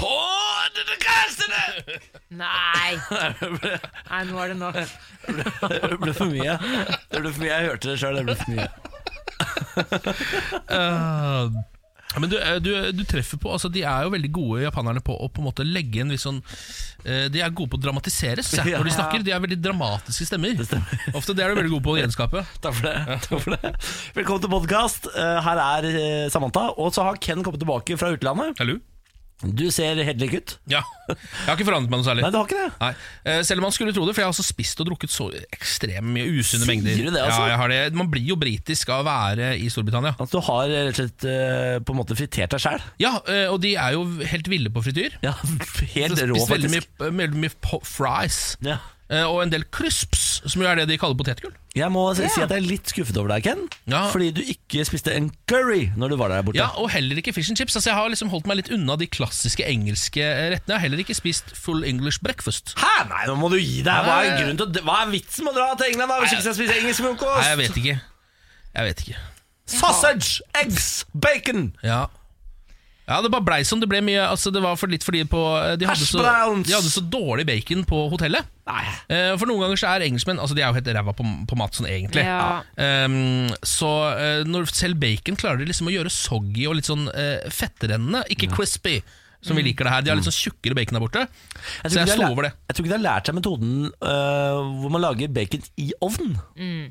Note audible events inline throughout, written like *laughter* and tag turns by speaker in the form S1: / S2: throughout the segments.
S1: På det grensene! *laughs*
S2: Nei. Nei, nå er det nok.
S1: Det ble for mye. Det ble for mye. Jeg hørte det sjøl, det ble for mye.
S3: Ja, *laughs* Men du, eh, du, du treffer på altså, De er jo veldig gode japanerne på å på en måte legge inn litt sånn eh, De er gode på å dramatisere seg
S1: Ja.
S3: når de snakker. De er veldig dramatiske stemmer.
S1: Det stemmer.
S3: Ofte det er du veldig god på å gjenskape.
S1: Takk for det. Takk for det. Velkommen til podkast. Her er eh, Samantha. Og så har Ken kommet tilbake fra utlandet.
S3: Hallo?
S1: Du ser helt lik ut.
S3: Ja. Jeg har ikke forandret meg noe særlig.
S1: Nei, du har ikke det?
S3: Nei. Eh, Selv om man skulle tro det, for jeg har også spist og drukket så ekstremt mye usunne
S1: Sier
S3: mengder.
S1: du det, altså?
S3: Ja, jeg har det. Man blir jo britisk av å være i Storbritannia.
S1: Altså, du har eh, rett og slett eh, på en måte fritert deg sjæl.
S3: Ja, eh, og de er jo helt ville på frityr.
S1: *laughs* Ja,
S3: Så
S1: helt rå,
S3: spist veldig
S1: faktisk.
S3: mye, veldig mye po- fries.
S1: Ja.
S3: Eh, Og en del crisps, som jo er det de kaller potetgull.
S1: Jeg må si si at jeg er litt skuffet over deg, Ken.
S3: Ja.
S1: Fordi du ikke spiste en curry når du var der borte.
S3: Ja, Og heller ikke fish and chips. Altså Jeg har liksom holdt meg litt unna de klassiske engelske eh, rettene. Jeg har heller ikke spist full English breakfast.
S1: Hæ? Nei, nå må du gi deg. Hva er,
S3: Nei.
S1: grunnen til, å- hva er vitsen med å dra til England da, hvis
S3: Nei.
S1: ikke skal spise engelsk
S3: Nei, jeg
S1: frokost?
S3: vet ikke. Jeg vet ikke.
S1: Sausage, eggs, bacon,
S3: Ja ja, Det bare blei sånn. Det ble mye Altså det var for litt fordi på eh, de hadde,
S1: Hash
S3: så,
S1: browns.
S3: de hadde så dårlig bacon på hotellet.
S1: Nei.
S3: Eh, For noen ganger så er engelskmenn Altså De er jo helt ræva på, på mat sånn egentlig.
S2: Ja.
S3: Ehm, så eh, når selv bacon klarer de liksom å gjøre soggy og litt sånn eh, fettrennende, ikke crispy, som
S2: Mm.
S3: vi liker det her. De har litt sånn tjukkere bacon der borte.
S1: Mm. Jeg
S3: så
S1: tror ikke
S3: jeg sto
S1: de har lært-
S3: over det.
S1: Jeg tror ikke de har lært seg metoden øh, hvor man lager bacon i ovn.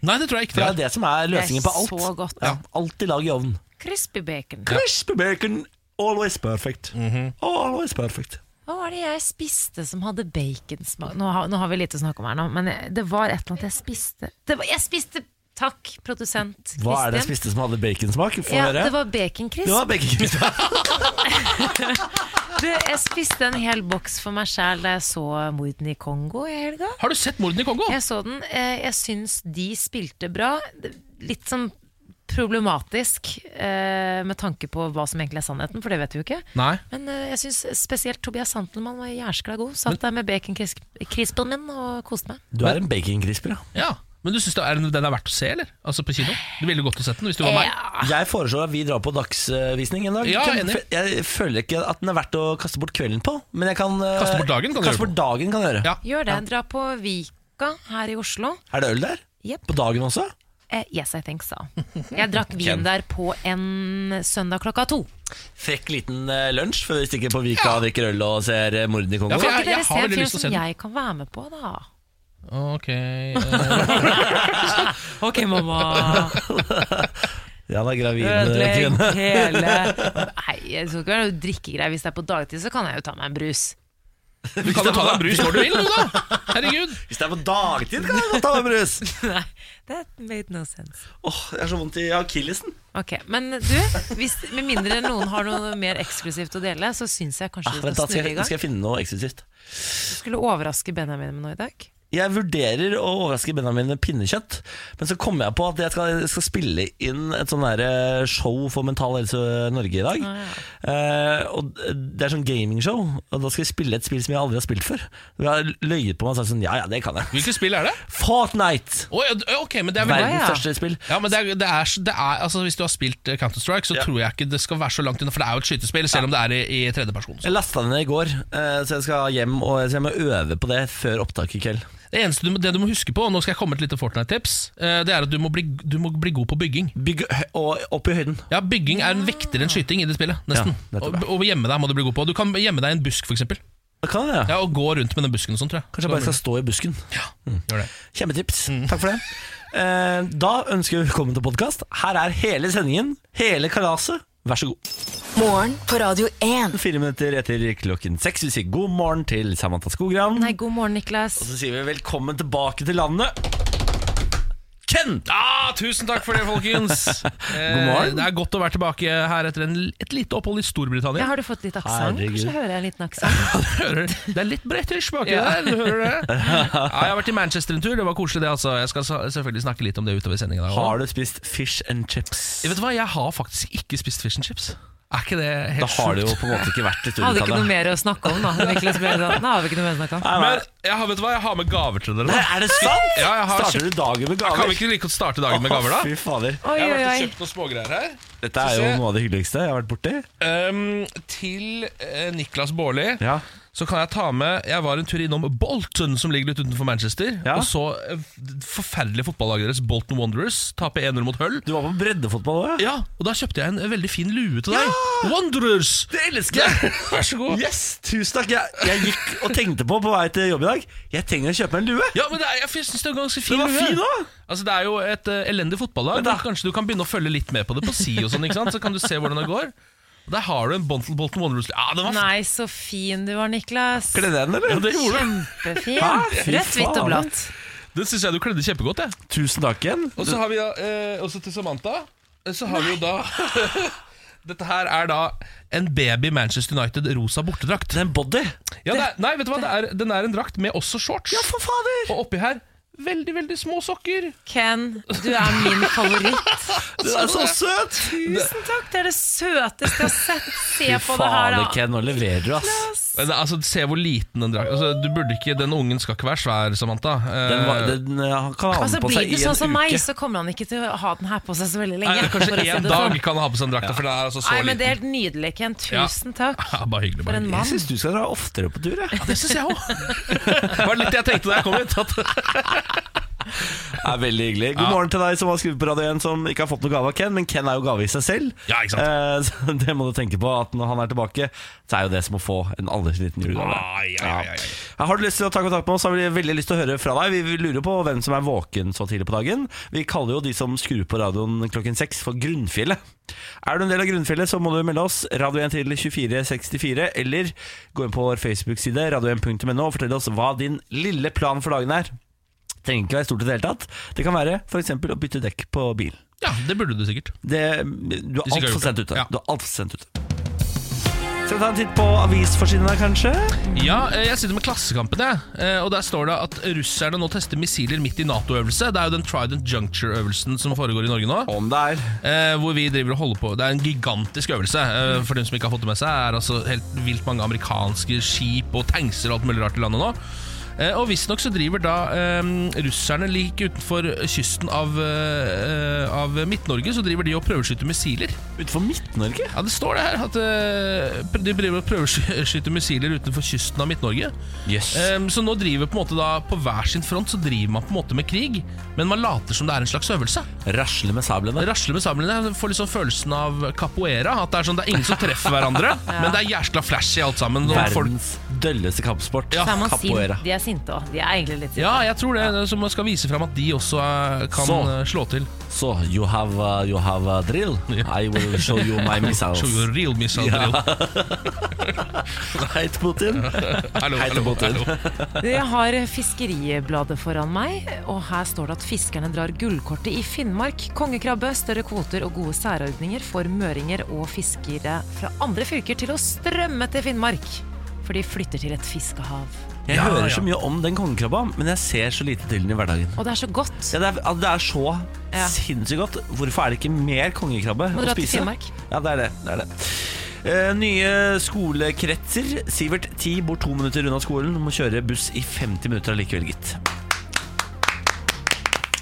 S3: Nei, det tror jeg ikke.
S1: For
S3: de
S1: det
S3: har.
S1: er det som er løsningen
S2: Det er
S1: på alt.
S2: så godt.
S1: Ja, alltid lag i ovn.
S2: Crispy bacon.
S1: Crispy bacon, always perfect.
S3: Mhm.
S1: Always perfect.
S2: Hva var det jeg spiste som hadde baconsmak nå, har- nå har vi lite å snakke om her nå, men jeg- det var et eller annet jeg spiste det var, Jeg spiste Takk, produsent
S1: Hva er det jeg
S2: Kristin.
S1: spiste som hadde baconsmak? Få
S2: Ja,
S1: høre.
S2: det var baconcrisp.
S1: Det var bacon.
S3: *laughs*
S2: Du, Jeg spiste en hel boks for meg sjæl da jeg så mordene i Kongo i helga.
S3: Har du sett mordene i Kongo?
S2: Jeg så den. eh, Jeg syns de spilte bra. Litt sånn problematisk eh, med tanke på hva som egentlig er sannheten, for det vet vi jo ikke.
S3: Nei.
S2: Men eh, jeg syns spesielt Tobias Santelmann var jæskla god. Satt der med baconcrispen min og koste meg.
S1: Du er en baconcrisper, ja.
S3: Ja. Men du syns det er, den er verdt å se, eller? Altså på kino? Du ville godt å sett den hvis du var meg.
S2: Ja.
S1: Jeg foreslår at vi drar på dagsvisning en dag.
S3: Ja,
S1: Kan-
S3: enig.
S1: Jeg føler ikke at den er verdt å kaste bort kvelden på, men jeg kan eh,
S3: Kaste bort dagen kan du
S1: kaste
S3: gjøre
S1: bort dagen kan jeg gjøre.
S3: Ja.
S2: Gjør det. Dra på Vika her i Oslo.
S1: Er det øl der?
S2: Jepp.
S1: På dagen også?
S2: Eh, yes, I think so. Jeg drakk vin
S1: Ken.
S2: der på en søndag klokka to.
S1: Frekk liten eh, lunsj før vi stikker på Vika og drikker øl og ser eh, mordene i Kongo.
S3: Ja, for
S2: Kan
S3: jeg-
S2: ikke dere
S3: har
S2: se en
S3: veldig
S2: film
S3: lyst til å se
S2: som
S3: den.
S2: jeg kan være med på, da?
S1: *laughs*
S3: Ok eh,
S2: Ok, mamma.
S1: Ja, da gravid eh,
S2: Ødelegg
S1: kvinne.
S2: hele Nei, det skal ikke være noe drikkegreier. Hvis det er på dagtid, så kan jeg jo ta meg en brus. *laughs*
S3: Du kan jo ta deg en brus når du vil, du, da! Herregud.
S1: *laughs* Hvis det er på dagtid, kan jeg godt ta meg en brus!
S2: Nei, that made no sense.
S1: Åh, Jeg har så vondt i akillesen.
S2: Ok, Men du, hvis, med mindre noen har noe mer eksklusivt å dele, så syns jeg kanskje
S1: Ah,
S2: vi
S1: vent, da
S2: skal
S1: skal
S2: snurre
S1: jeg,
S2: i gang.
S1: skal jeg finne noe eksklusivt.
S2: Du skulle overraske Benjamin med noe i dag.
S1: Jeg vurderer å overraske Benjamin med pinnekjøtt, men så kommer jeg på at jeg skal, skal spille inn et sånn derre show for Mental Helse Norge i dag. Eh, og Det er sånn gamingshow, og da skal jeg spille et spill som jeg aldri har spilt før. Og Jeg har løyet på meg og sagt sånn Ja, ja, det kan jeg.
S3: Hvilket spill er det?
S1: Fortnite!
S3: Å, ja, d- ok, men det er veldig
S1: Verdens
S2: ja.
S1: største spill.
S3: ja, men det er, det er, det er, altså Hvis du har spilt eh, Counter-Strike, så
S1: Ja.
S3: tror jeg ikke det skal være så langt unna. For det er jo et skytespill, selv om det er i, i tredjeperson.
S1: Jeg lasta den ned i går, eh, så jeg skal hjem og så jeg må øve på det før opptak i kveld.
S3: Det eneste du, må- det du må huske på, og nå skal jeg komme med et lite Fortnite-tips, eh, det er at du må, bli, du må bli god på bygging.
S1: Bygg hø- og opp i høyden.
S3: Ja, Bygging er en vektere enn skyting i det spillet. nesten
S1: Ja,
S3: Og,
S1: nettopp, ja.
S3: og gjemme deg må du bli god på. Du kan gjemme deg i en busk, f.eks.
S1: Da kan jeg det.
S3: Ja, og gå rundt med den busken og sånn, tror jeg.
S1: Kanskje jeg bare Mm. skal stå i busken.
S3: ja, gjør det.
S1: Kjempetips. Takk for det. Eh, Da ønsker vi velkommen til podkast. Her er hele sendingen, hele kalaset. Vær så god.
S4: Morgen på Radio 1.
S1: Fire minutter etter klokken seks. Vi sier god morgen til Samantha Skogran.
S2: Nei, god morgen, Niklas.
S1: Så sier vi velkommen tilbake til landet. Ken!
S3: Ah, tusen takk for det,
S1: *laughs*
S3: folkens. God
S1: morgen.
S3: Det er godt å være tilbake her etter en, et lite opphold i Storbritannia.
S2: Ja, har du fått litt aksent?
S1: Herregud.
S2: Kanskje jeg hører en liten *laughs* aksent?
S3: Hører du? Det er litt british baki der, du hører *laughs* det? Ja, jeg har vært i Manchester en tur, det var koselig det altså. Jeg skal sa- selvfølgelig snakke litt om det utover sendingen. da.
S1: Har du spist fish and chips?
S3: Vet du hva, jeg har faktisk ikke spist fish and chips. Er ikke det helt
S1: Da har det jo
S3: sjukt?
S1: på en måte ikke vært i
S2: Hadde ikke noe
S1: Storbritannia.
S2: mer å snakke om, da. Niklas Bjørndal. Nå har vi ikke noe mer å snakke om.
S1: Nei, nei.
S3: Men jeg har, vet du hva, jeg har med gaver til dere.
S1: Nei,
S3: da.
S1: er det sant?
S3: Ja, jeg har
S1: Starter du dagen med gaver?
S3: Kan vi ikke like godt starte dagen med gaver,
S1: Å,
S3: da?
S1: Fy fader.
S2: Oi,
S3: Jeg har
S2: oi,
S3: vært og
S2: oi.
S3: kjøpt noen smågreier her.
S1: Dette er
S3: Skal
S1: jo
S3: vi se.
S1: noe av det hyggeligste jeg har vært borti.
S3: Ehm, til eh, Niklas Baarli
S1: Ja.
S3: så kan jeg ta med Jeg var en tur innom Bolton, som ligger litt utenfor Manchester.
S1: Ja.
S3: Og så eh, det forferdelige fotballaget deres, Bolton Wanderers, taper 1-0 mot Hull.
S1: Du var på breddefotball òg?
S3: Ja, og da kjøpte jeg en eh, veldig fin lue til deg. Wanderers!
S1: Det elsker jeg!
S3: *laughs* Vær så god.
S1: Yes, tusen takk. Jeg, jeg gikk *laughs* og tenkte på på vei til jobb i dag. Jeg trenger å kjøpe meg en lue.
S3: Ja, men det er, jeg synes det er en ganske fin
S1: Den var
S3: lue.
S1: fin òg!
S3: Altså, det er jo et eh, elendig fotballag. men Kanskje du kan begynne å følge litt med på det på si og sånn, ikke sant? Så kan du se hvordan det går. Og der har du en Bolton, Bolton Wanderers. Ja, den var f-
S2: Nei, så fin du var, Niklas.
S1: Kledde jeg den, eller?
S2: Kjempefin.
S1: Hæ? Fy
S2: Rødt, hvitt
S1: faen.
S2: og blått.
S3: Den synes jeg du kledde kjempegodt, jeg.
S1: Tusen takk igjen.
S3: Og så har vi da, eh, også til Samantha, eh, så har vi jo da *laughs* Dette her er da en baby Manchester United rosa bortedrakt.
S1: Den body.
S3: Ja, det er, nei, vet du hva, det er, den er en drakt med også shorts.
S1: Ja, for fader!
S3: Og oppi her veldig, veldig små sokker.
S2: Ken, du er min favoritt.
S1: Den er så søt!
S2: Tusen takk, det er det søteste jeg har sett. Se
S1: Fy
S2: på det her,
S1: fader,
S2: da.
S1: Ken. Nå leverer du, ass.
S3: Men det- Altså, Se hvor liten den drakten altså, Du burde ikke, Den ungen skal ikke være svær, Samantha. Eh,
S1: Den, var, den eh, han kan ha
S2: Altså,
S1: den på
S2: blir
S1: seg
S2: du
S1: i
S2: sånn som
S1: en
S2: meg,
S1: uke.
S2: så kommer han ikke til å ha den her på seg så veldig
S3: nei,
S2: lenge. for å
S3: kanskje
S2: si
S3: én
S2: det sånn.
S3: dag kan han ha på seg den drakta, for den er altså så
S2: Nei, men Det er
S3: liten.
S2: helt nydelig, Ken.
S3: Ja.
S2: Tusen takk.
S3: *laughs* Ja, bare hyggelig.
S2: For
S3: Bare.
S2: en
S3: hyggelig.
S1: Jeg
S2: mann.
S1: syns du skal dra oftere på tur. Jeg.
S3: Det syns jeg òg. Det var litt det jeg tenkte da jeg kom hit.
S2: *laughs*
S3: At
S1: Det er veldig hyggelig God morgen til deg som har skrevet på radio igjen som ikke har fått noe gave av Ken, men Ken er jo gave i seg selv.
S3: Ja, ikke sant?
S1: Eh, *laughs* så det må du tenke på, at når han er tilbake, så er jo det som å få en aldersliten julegave.
S3: Ah, ja, ja, ja, ja.
S1: Ja. Har du lyst til å ta kontakt med oss, har vi veldig lyst til å høre fra deg. Vi lurer jo på hvem som er våken så tidlig på dagen. Vi kaller jo de som skrur på radioen klokken seks for Grunnfjellet. Er du en del av Grunnfjellet, så må du melde oss. Radio 1 til 2464, eller gå inn på vår Facebook-side, radio1.no, og fortell oss hva din lille plan for dagen er. Trenger ikke være stort i det hele tatt. Det kan være f.eks. å bytte dekk på bilen.
S3: ja, det burde du sikkert.
S1: Det, du er
S3: Hvis ikke jeg har
S1: altfor
S3: gjort
S1: sent
S3: det.
S1: ute.
S3: Ja.
S1: Du er alt for sent ute. Skal vi ta en titt på avisforsidene, kanskje?
S3: Ja, eh, jeg sitter med Klassekampen, jeg. Eh, Og der står det at russerne nå tester missiler midt i Nato-øvelse. Det er jo den Trident Juncture-øvelsen som foregår i Norge nå.
S1: Om det er.
S3: Eh, hvor vi driver og holder på Det er en gigantisk øvelse. Eh, for dem som ikke har fått det med seg, er altså helt vilt mange amerikanske skip og tankser og alt mulig rart i landet nå. Eh, og visstnok så driver da eh, russerne like utenfor kysten av, eh, av Midt-Norge, så driver de og prøveskyter missiler.
S1: Utenfor Midt-Norge?
S3: Ja, det står det her at eh, de driver og prøveskyter missiler utenfor kysten av Midt-Norge.
S1: Yes.
S3: Ehm, så nå driver på en måte da På hver sin front så driver man på en måte med krig, men man later som det er en slags øvelse.
S1: Rasle med sablene.
S3: Rasler med sablene, får liksom følelsen av capoeira. At det er sånn, det er ingen som treffer hverandre, men det er jæskla flashy alt sammen. og folk-
S1: Verdens dølleste kampsport.
S3: Ja.
S2: Så er man
S1: Capoeira.
S2: sint. De er sinte òg. De er egentlig litt sinte.
S3: Ja, jeg tror det. Så man skal vise fram at de også eh, kan
S1: Så.
S3: eh, slå til.
S1: Så, you have, uh, you have a drill? I will show you
S3: *laughs*
S1: my missiles.
S3: Show you a real missile
S1: Ja. *laughs*
S3: drill.
S1: Hei til Putin.
S3: Hallo,
S1: Hei til
S3: hallo,
S1: Putin.
S3: hallo.
S2: Jeg har Fiskeribladet foran meg, og her står det at fiskerne drar gullkortet i Finnmark. Kongekrabbe, større kvoter og gode særordninger får møringer og fiskere fra andre fylker til å strømme til Finnmark. For de flytter til et fiskehav.
S1: Jeg
S3: Ja,
S1: hører
S3: ja.
S1: så mye om den kongekrabba, men jeg ser så lite til den i hverdagen.
S2: Og det er så godt.
S1: Ja, det, er, altså, det er så
S2: Ja.
S1: sinnssykt godt. Hvorfor er det ikke mer kongekrabbe
S2: Må
S1: å
S2: dra til
S1: spise?
S2: Finnmark.
S1: Ja, det er det. det, er det. Eh, nye skolekretser. Sivert, ti bor to minutter unna skolen. Må kjøre buss i 50 minutter allikevel, gitt.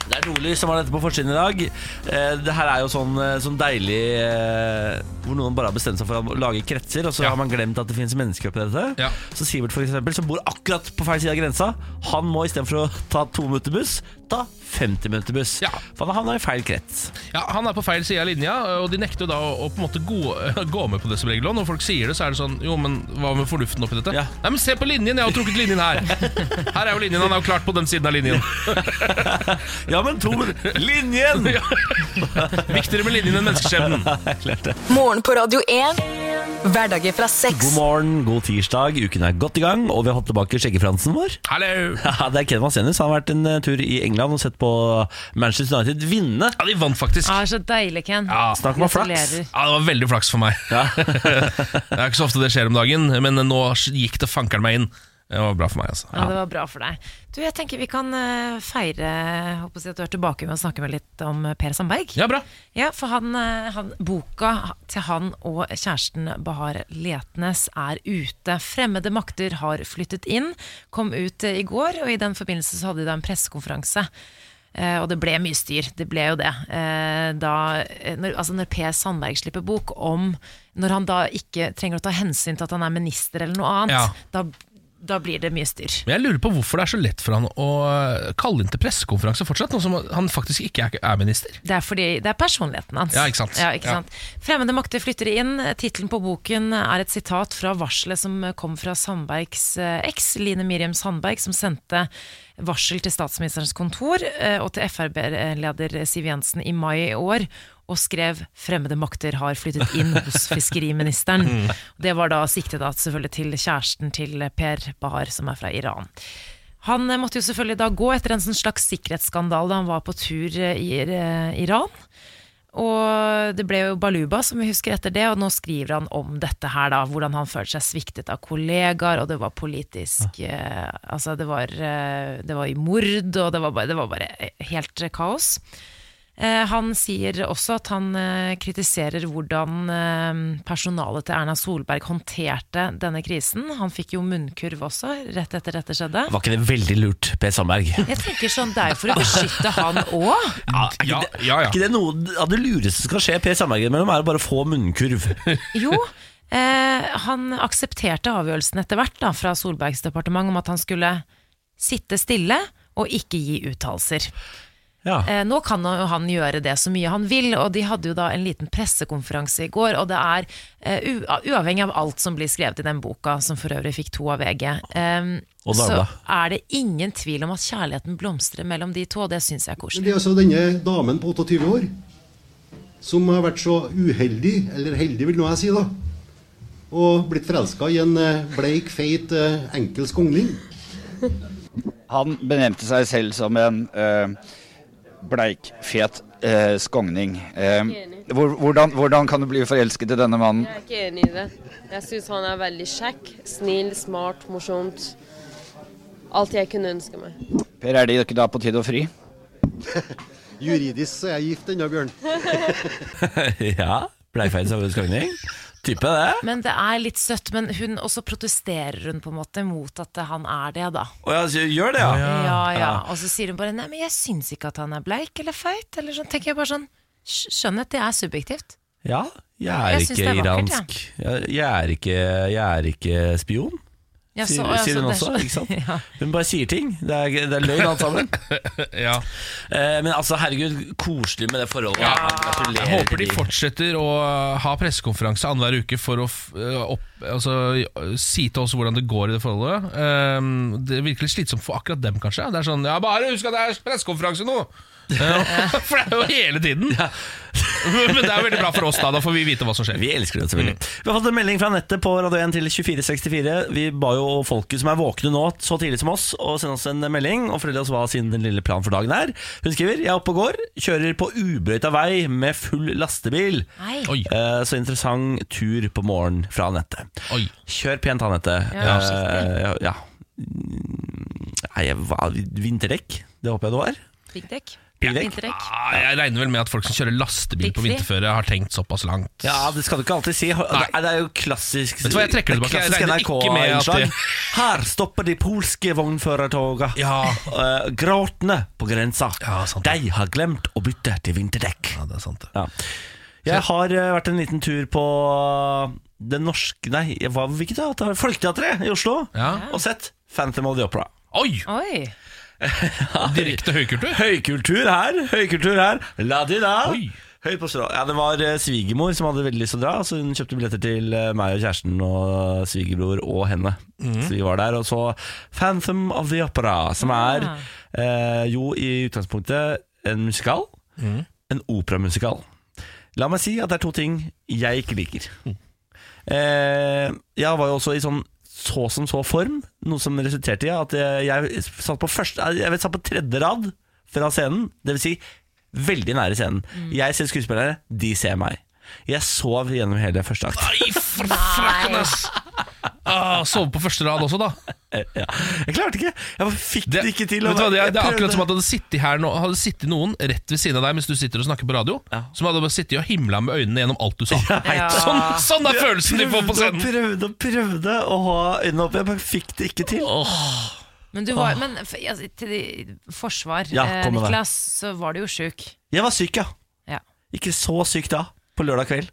S1: Det er Nordlys som har dette på forsiden i dag. Eh, det her er jo sånn, eh, sånn deilig eh, Hvor noen bare har bestemt seg for å lage kretser, og så
S3: Ja.
S1: har man glemt at det finnes mennesker oppi dette.
S3: Ja.
S1: Så Sivert, for eksempel, som bor akkurat på feil side av grensa, han må istedenfor å ta to minutter buss, ta 50 minutter buss.
S3: Ja.
S1: For han har havna i feil krets.
S3: Ja, Han er på feil side av linja, og de nekter jo da å, å på en måte gå, gå *laughs* med på det som regel. Og når folk sier det, så er det sånn Jo, men hva med fornuften oppi dette?
S1: Ja.
S3: Nei, men se på linjen! Jeg har trukket linjen
S1: *laughs*
S3: her! Her er jo linjen, han er jo klart på den siden av linjen.
S1: Ja, men to minutter Linjen!
S3: *laughs*
S1: *laughs*
S3: Viktigere med linjen enn menneskeskjebnen.
S4: Morgen på Radio 1. Hverdager fra seks.
S1: God morgen, god tirsdag. Uken er godt i gang, og vi har fått tilbake skjeggefransen vår.
S3: Hallo!
S1: Ja, *laughs* det er Ken Vasenius. Han har vært en eh, tur i England og sett på Manchester United vinne.
S3: Ja, de vant faktisk.
S2: Ah, så deilig, Ken.
S3: Ja,
S1: snakk om flaks.
S2: Gratulerer.
S3: Ja, Det var veldig flaks for meg. *laughs* det er ikke så ofte det skjer om dagen, men nå gikk det fankeren meg inn. Det var bra for meg, altså.
S2: Ja, det var bra for deg. Du, jeg tenker vi kan eh, feire håper å si at du er tilbake med å snakke med litt om eh, Per Sandberg.
S3: Ja, bra.
S2: Ja, for han, eh, han, boka til han og kjæresten Bahar Letnes er ute. 'Fremmede makter har flyttet inn', kom ut eh, i går, og i den forbindelse så hadde de en pressekonferanse. Eh, og det ble mye styr, det ble jo det. Eh, da, eh, når, altså når Per Sandberg slipper bok om Når han da ikke trenger å ta hensyn til at han er minister eller noe annet,
S3: Ja.
S2: da, da blir det mye styr.
S3: Men jeg lurer på hvorfor det er så lett for han å øh, kalle inn til pressekonferanse fortsatt, nå som han faktisk ikke er- er minister.
S2: Det er fordi det er personligheten hans.
S3: Ja, ikke sant. Ja.
S2: sant? Fremmede makter flytter inn. Tittelen på boken er et sitat fra varselet som kom fra Sandbergs eh, eks, Line Miriam Sandberg, som sendte varsel til statsministerens kontor eh, og til Frp-leder Siv Jensen i mai i år. Og skrev 'Fremmede makter har flyttet inn hos fiskeriministeren'. Det var da siktet da selvfølgelig til kjæresten til Per Bahar, som er fra Iran. Han eh, måtte jo selvfølgelig da gå etter en sånn slags sikkerhetsskandale da han var på tur eh, i eh, Iran. Og det ble jo Baluba som vi husker etter det, og nå skriver han om dette her, da. Hvordan han følte seg sviktet av kollegaer, og det var politisk eh, Altså, det var, eh, det var i mord, og det var bare, det var bare eh, helt eh, kaos. Eh, Han sier også at han eh, kritiserer hvordan eh, personalet til Erna Solberg håndterte denne krisen. Han fikk jo munnkurv også, rett etter dette skjedde.
S1: Var ikke det veldig lurt, Per
S3: *laughs*
S1: Sandberg? Er
S2: Jeg tenker sånn, Det er jo for å beskytte han òg.
S3: Ja, ja, ja.
S1: ikke det noe av det lureste som kan skje Per Sandberg imellom, er å bare få munnkurv?
S3: *laughs*
S2: Jo, eh, han aksepterte avgjørelsen etter hvert da, fra Solbergs departement om at han skulle sitte stille og ikke gi uttalelser.
S1: Ja. *laughs*
S2: Eh, nå kan jo han gjøre det så mye han vil, og de hadde jo da en liten pressekonferanse i går, og det er eh, u uavhengig av alt som blir skrevet i den boka, som for øvrig fikk to av VG, eh,
S1: Og
S2: så
S1: Dagbladet.
S2: er det ingen tvil om at kjærligheten blomstrer mellom de to, og det syns jeg er
S5: Men
S2: koselig.
S5: det er altså denne damen på 28 år som har vært så uheldig, eller heldig vil nå jeg si, da, og blitt forelska i en eh, bleik, feit, eh, enkel skogning.
S6: Han benevnte seg selv som en eh, bleikfet eh, skogning. Eh, hvor, hvordan, hvordan kan du bli forelsket i denne mannen?
S7: Jeg er ikke enig i det. Jeg syns han er veldig kjekk, snill, smart, morsomt. Alt jeg kunne ønske meg.
S6: Per, er det ikke da på tide å fri?
S5: Juridisk så er jeg gift ennå, Bjørn.
S1: ja. Bleikfeil samfunnsgagning. Type det.
S2: Men det er litt søtt, men hun også protesterer hun på en måte mot at eh, han er det, da.
S1: Å ja, så gjør det, ja.
S2: Ja, ja. Og så sier hun bare 'nei, men jeg syns ikke at han er bleik eller feit'. Eller sånn. tenker jeg bare sånn «Skj- Skjønnhet, det er subjektivt.
S1: Ja, jeg er
S2: Jeg synes det
S1: ikke
S2: er vakkert,
S1: iransk. Jeg jeg er ikke, jeg er ikke spion,
S2: Ja, så-
S1: sier,
S2: ja,
S1: sier
S2: så
S1: hun
S2: det er
S1: også.
S2: så-
S1: ikke sant?
S2: *laughs* Ja.
S1: Hun bare sier ting. Det er, det er løgn alt
S2: *laughs*
S1: sammen.
S3: ja.
S1: Eh, men altså, herregud, koselig med det forholdet. Ja, gratulerer
S3: Jeg håper de
S1: til
S3: fortsetter å ha pressekonferanse annenhver uke for å f- øh, opp, altså, øh, si til oss hvordan det går i det forholdet. Ehm, det er virkelig slitsomt for akkurat dem, kanskje. Det er sånn Ja, bare husk at det er pressekonferanse nå! Ja, for det er jo hele tiden! *laughs* Men det er veldig bra for oss, da. Da får vi vite hva som skjer.
S1: Vi elsker det selvfølgelig. Vi har fått en melding fra nettet på Radio 1 til 2464. Vi ba jo folket som er våkne nå, så tidlig som oss, å sende oss en melding og fortelle oss hva sin lille plan for dagen er. Hun skriver Jeg er oppe og går, kjører på ubrøyta vei med full lastebil.
S2: Nei.
S3: Oi.
S1: Eh, Så interessant tur på morgenen fra nettet.
S3: Oi.
S1: Kjør pent, Anette.
S2: Ja,
S1: Eh, ja. Mm, Nei, jeg var- vinterdekk. Det håper jeg det var.
S2: Piggdekk.
S1: Piggdekk.
S2: Vinterdekk.
S3: Ah, jeg regner vel med at folk som kjører lastebil på
S2: Piggfri.
S3: vinterføre, har tenkt såpass langt.
S1: Ja, det skal du ikke alltid si. Det, er jo klassisk
S3: Vet du hva, jeg trekker det tilbake. Jeg
S1: klassisk
S3: regner ikke med at
S1: NRK-innslag.
S3: det-
S1: Her stopper de polske vognførertoga.
S3: Ja.
S1: Eh, gråtende på grensa.
S3: Ja, sant det.
S1: de har glemt å bytte til vinterdekk.
S3: Ja, det er sant, det.
S1: Ja. Jeg har eh, vært en liten tur på eh, det norske Nei, jeg var, hvilket teater? Folketeatret i Oslo.
S3: Ja.
S1: Og sett Phantom of the Opera.
S3: Oi!
S2: Oi.
S3: Direkte høykultur.
S1: Høykultur her, høykultur her. La di da.
S3: Oi.
S1: Høyt på strå. Ja, det var eh, svigermor som hadde veldig lyst til å dra, så hun kjøpte billetter til eh, meg og kjæresten og svigerbror og henne. Så vi var der og så Phantom of the Opera, som er eh, jo i utgangspunktet en musikal. En operamusikal. La meg si at det er to ting jeg ikke liker. Eh, jeg var jo også i sånn så som så form, noe som resulterte i at jeg, jeg satt på første Jeg vet, satt på tredje rad fra scenen, dvs. Si, veldig nære scenen.
S3: Mm.
S1: Jeg ser skuespillerne, de ser meg. Jeg sov gjennom hele første akt.
S3: Nei, for frakken, ass! Ah, Sove på første rad også, da.
S1: Eh, Ja. Jeg klarte ikke! Jeg bare fikk det, ikke til.
S3: vet
S1: og
S3: du hva, det, er,
S1: jeg
S3: det er akkurat
S1: prøvde.
S3: som at det hadde sittet, her nå, hadde sittet noen rett ved siden av deg mens du sitter og snakker på radio,
S1: Ja.
S3: som hadde bare sittet og himla med øynene gjennom alt du sa.
S2: *laughs* Ja.
S3: *laughs* Sånn, sånn er følelsen de får på
S1: Prøvde og
S3: scenen!
S1: prøvde og prøvde å ha øynene oppe, jeg bare fikk det ikke til.
S2: Men, du var, men f- altså, til de- forsvar,
S1: Ja,
S2: eh,
S1: kom med det.
S2: Niklas, så var du jo sjuk.
S1: Jeg var syk, ja.
S2: Ja.
S1: Ikke så syk da, på lørdag kveld.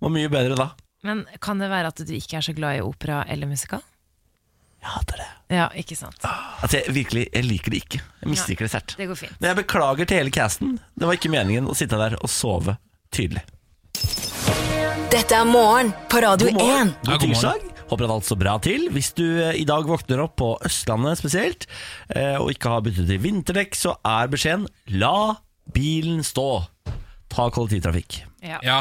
S1: Var mye bedre da.
S2: Men kan det være at du ikke er så glad i opera eller musikal?
S1: Jeg hater det.
S2: Ja, ikke sant?
S1: At jeg virkelig, jeg liker det ikke. Jeg misliker det sterkt.
S2: Det går fint.
S1: Men jeg beklager til hele casten. Det var ikke meningen å sitte der og sove tydelig.
S4: Dette er morgen på Radio 1.
S3: Ja,
S1: God
S3: god morgen.
S1: tirsdag. Håper at alt står bra til. Hvis du eh, i dag våkner opp på Østlandet spesielt, eh, og ikke har byttet til vinterdekk, så er beskjeden la bilen stå. Ta kollektivtrafikk.
S2: Ja.
S3: Ja,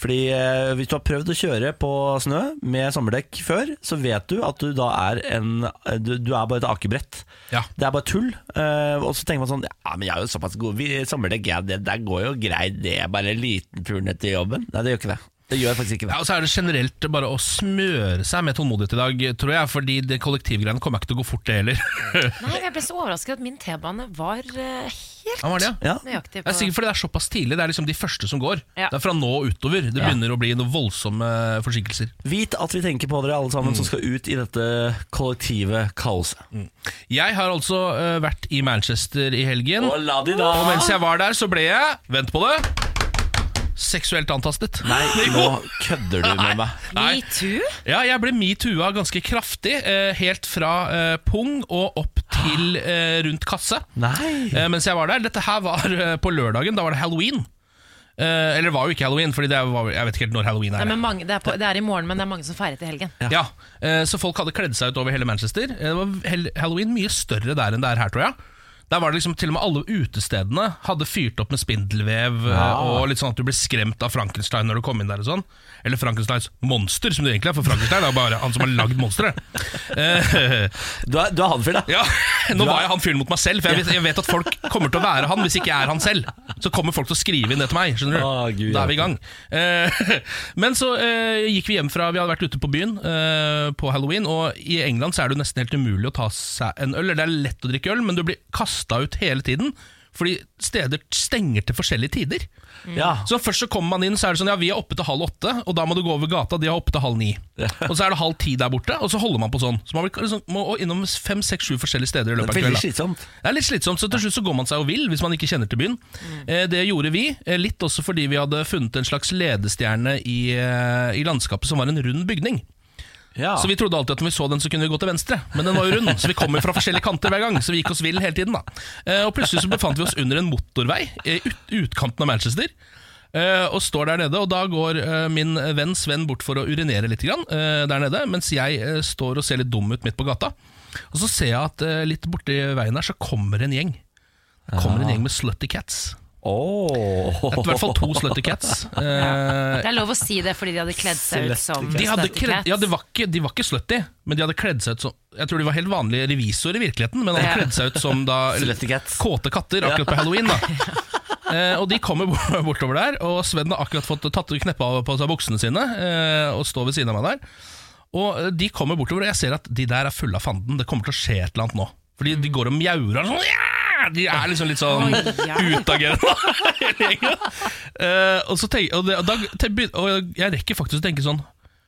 S1: Fordi eh, hvis du har prøvd å kjøre på snø med sommerdekk før, så vet du at du da er en eh, Du, du er bare et akebrett.
S3: Ja.
S1: Det er bare tull. eh, og så tenker man sånn Ja, men jeg er jo såpass god. Vi, sommerdekk, ja, det der går jo greit, det er bare en liten tur ned til jobben. Nei, det gjør ikke det. Det gjør faktisk ikke
S3: ja,
S1: det.
S3: og så er det generelt bare å smøre seg med tålmodighet i dag, tror jeg, fordi det kollektivgreiene kommer ikke til å gå fort, det heller.
S2: Nei, jeg ble så overrasket at min T-bane var eh, helt
S3: *laughs* Ja, var det, ja?
S1: Ja.
S2: nøyaktig
S3: Det
S2: på
S3: er sikkert fordi det er såpass tidlig. Det er liksom de første som går.
S2: Ja.
S3: Det er fra nå og utover. Det begynner å bli noen voldsomme forsinkelser.
S1: Vit at vi tenker på dere alle sammen som skal ut i dette kollektive kaoset.
S3: Jeg har altså eh, vært i Manchester i helgen.
S1: Og la de da
S3: Og mens jeg var der, så ble jeg Vent på det seksuelt antastet.
S1: Nei, nå kødder du med meg.
S3: Nei.
S2: Metoo?
S3: Ja, jeg ble metoo-a ganske kraftig. eh, helt fra eh, pung og opp til eh, rundt kasse.
S1: Nei.
S3: eh, mens jeg var der. Dette her var eh, på lørdagen. Da var det halloween. Eh, eller det var jo ikke halloween, Fordi det var, jeg vet ikke helt når halloween
S2: Nei,
S3: er.
S2: men mange, det, er på, det er i morgen, men det er mange som feirer til helgen.
S3: Ja, eh, Så folk hadde kledd seg ut over hele Manchester. Eh, Det var hel- Halloween mye større der enn det er her, tror jeg. Der var det liksom Til og med alle utestedene hadde fyrt opp med spindelvev. eh, Og litt sånn at du ble skremt av Frankenstein når du kom inn der. og sånn Eller Frankensteins monster, som det egentlig er, for Frankenstein er jo bare han som har lagd monsteret. Eh,
S1: Du er, du er han fyren, da.
S3: ja, *laughs* nå var jeg han fyren mot meg selv, for jeg vet, jeg vet at folk kommer til å være han hvis ikke jeg er han selv. Så kommer folk til å skrive inn det til meg. skjønner du?
S1: Å, Gud,
S3: da er vi i gang. Eh, *laughs* men så eh, gikk vi hjem fra Vi hadde vært ute på byen eh, på halloween, og i England så er det jo nesten helt umulig å ta seg en øl. Eller det er lett å drikke øl, men du blir kasta ut hele tiden. Fordi steder stenger til forskjellige tider.
S1: Ja.
S3: Så først så kommer man inn, så er det sånn Ja, vi er oppe til halv åtte, og da må du gå over gata. De er oppe til halv ni. Og så er det halv ti der borte, og så holder man på sånn. Så man blir liksom, må innom fem, seks, sju forskjellige steder i løpet av
S1: Veldig
S3: kvelden.
S1: slitsomt.
S3: Det er litt slitsomt, så til slutt så går man seg jo vill hvis man ikke kjenner til byen. Eh, det gjorde vi, eh, litt også fordi vi hadde funnet en slags ledestjerne i, eh, i landskapet som var en rund bygning.
S1: Ja.
S3: Så vi trodde alltid at når vi så den, så kunne vi gå til venstre, men den var jo rund, så vi kom jo fra forskjellige kanter hver gang, så vi gikk oss vill hele tiden, da. Eh, og plutselig så befant vi oss under en motorvei i ut, utkanten av Manchester. eh, og står der nede, og da går eh, min venn Sven bort for å urinere litt grann, eh, der nede, mens jeg eh, står og ser litt dum ut midt på gata. Og så ser jeg at eh, litt borti veien her så kommer en gjeng. Det kommer en gjeng med slutty cats.
S1: Åh.
S3: I hvert
S1: *laughs*
S3: fall to slutty cats. Eh,
S2: Det er lov å si det fordi de hadde kledd seg ut som
S3: de, hadde
S2: Snøtte
S3: kledd,
S2: Cats.
S3: ja, det var ikke, de var ikke slutty, men de hadde kledd seg ut som Jeg tror de var helt vanlige revisorer i virkeligheten, men hadde
S2: Ja.
S3: kledd seg ut som da
S1: Slutty cats.
S3: kåte katter akkurat på halloween. da Eh, og De kommer bo- *laughs* bortover der, og Sven har akkurat fått tatt kneppa av på seg buksene sine eh, og står ved siden av meg der. Og eh, De kommer bortover, og jeg ser at de der er fulle av fanden. Det kommer til å skje et eller annet nå. Fordi de går og mjauer og sånn. «Ja!» De er liksom litt sånn *laughs* utagerende. hele gjengen. Eh, og, så tenk, og, det, og, da, til begyn- og jeg rekker faktisk å tenke sånn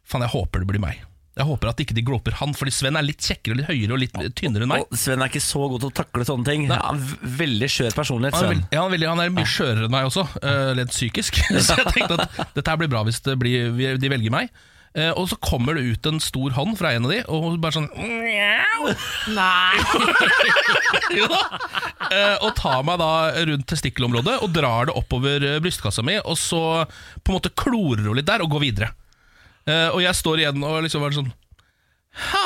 S3: Faen, jeg håper det blir meg. Jeg håper at ikke de glåper han, fordi Sven er litt kjekkere og litt høyere og litt tynnere enn meg.
S1: Og Sven er ikke så god til å takle sånne ting. Ja, veldig skjør personlighet,
S3: Han er,
S1: Sven.
S3: veld- ja, han er, veldig, han er mye skjørere enn meg også, eh, rent psykisk. *laughs* Så jeg tenkte at dette her blir bra hvis det blir, vi- de velger meg. Eh, og så kommer det ut en stor hånd fra en av de, og hun bare sånn «Mjau!»
S2: Nei,
S3: *laughs* Jo da. Eh, og tar meg da rundt testikkelområdet og drar det oppover eh, brystkassa mi, og så på en måte klorer hun litt der og går videre. Eh, og jeg står igjen og liksom er sånn Ha!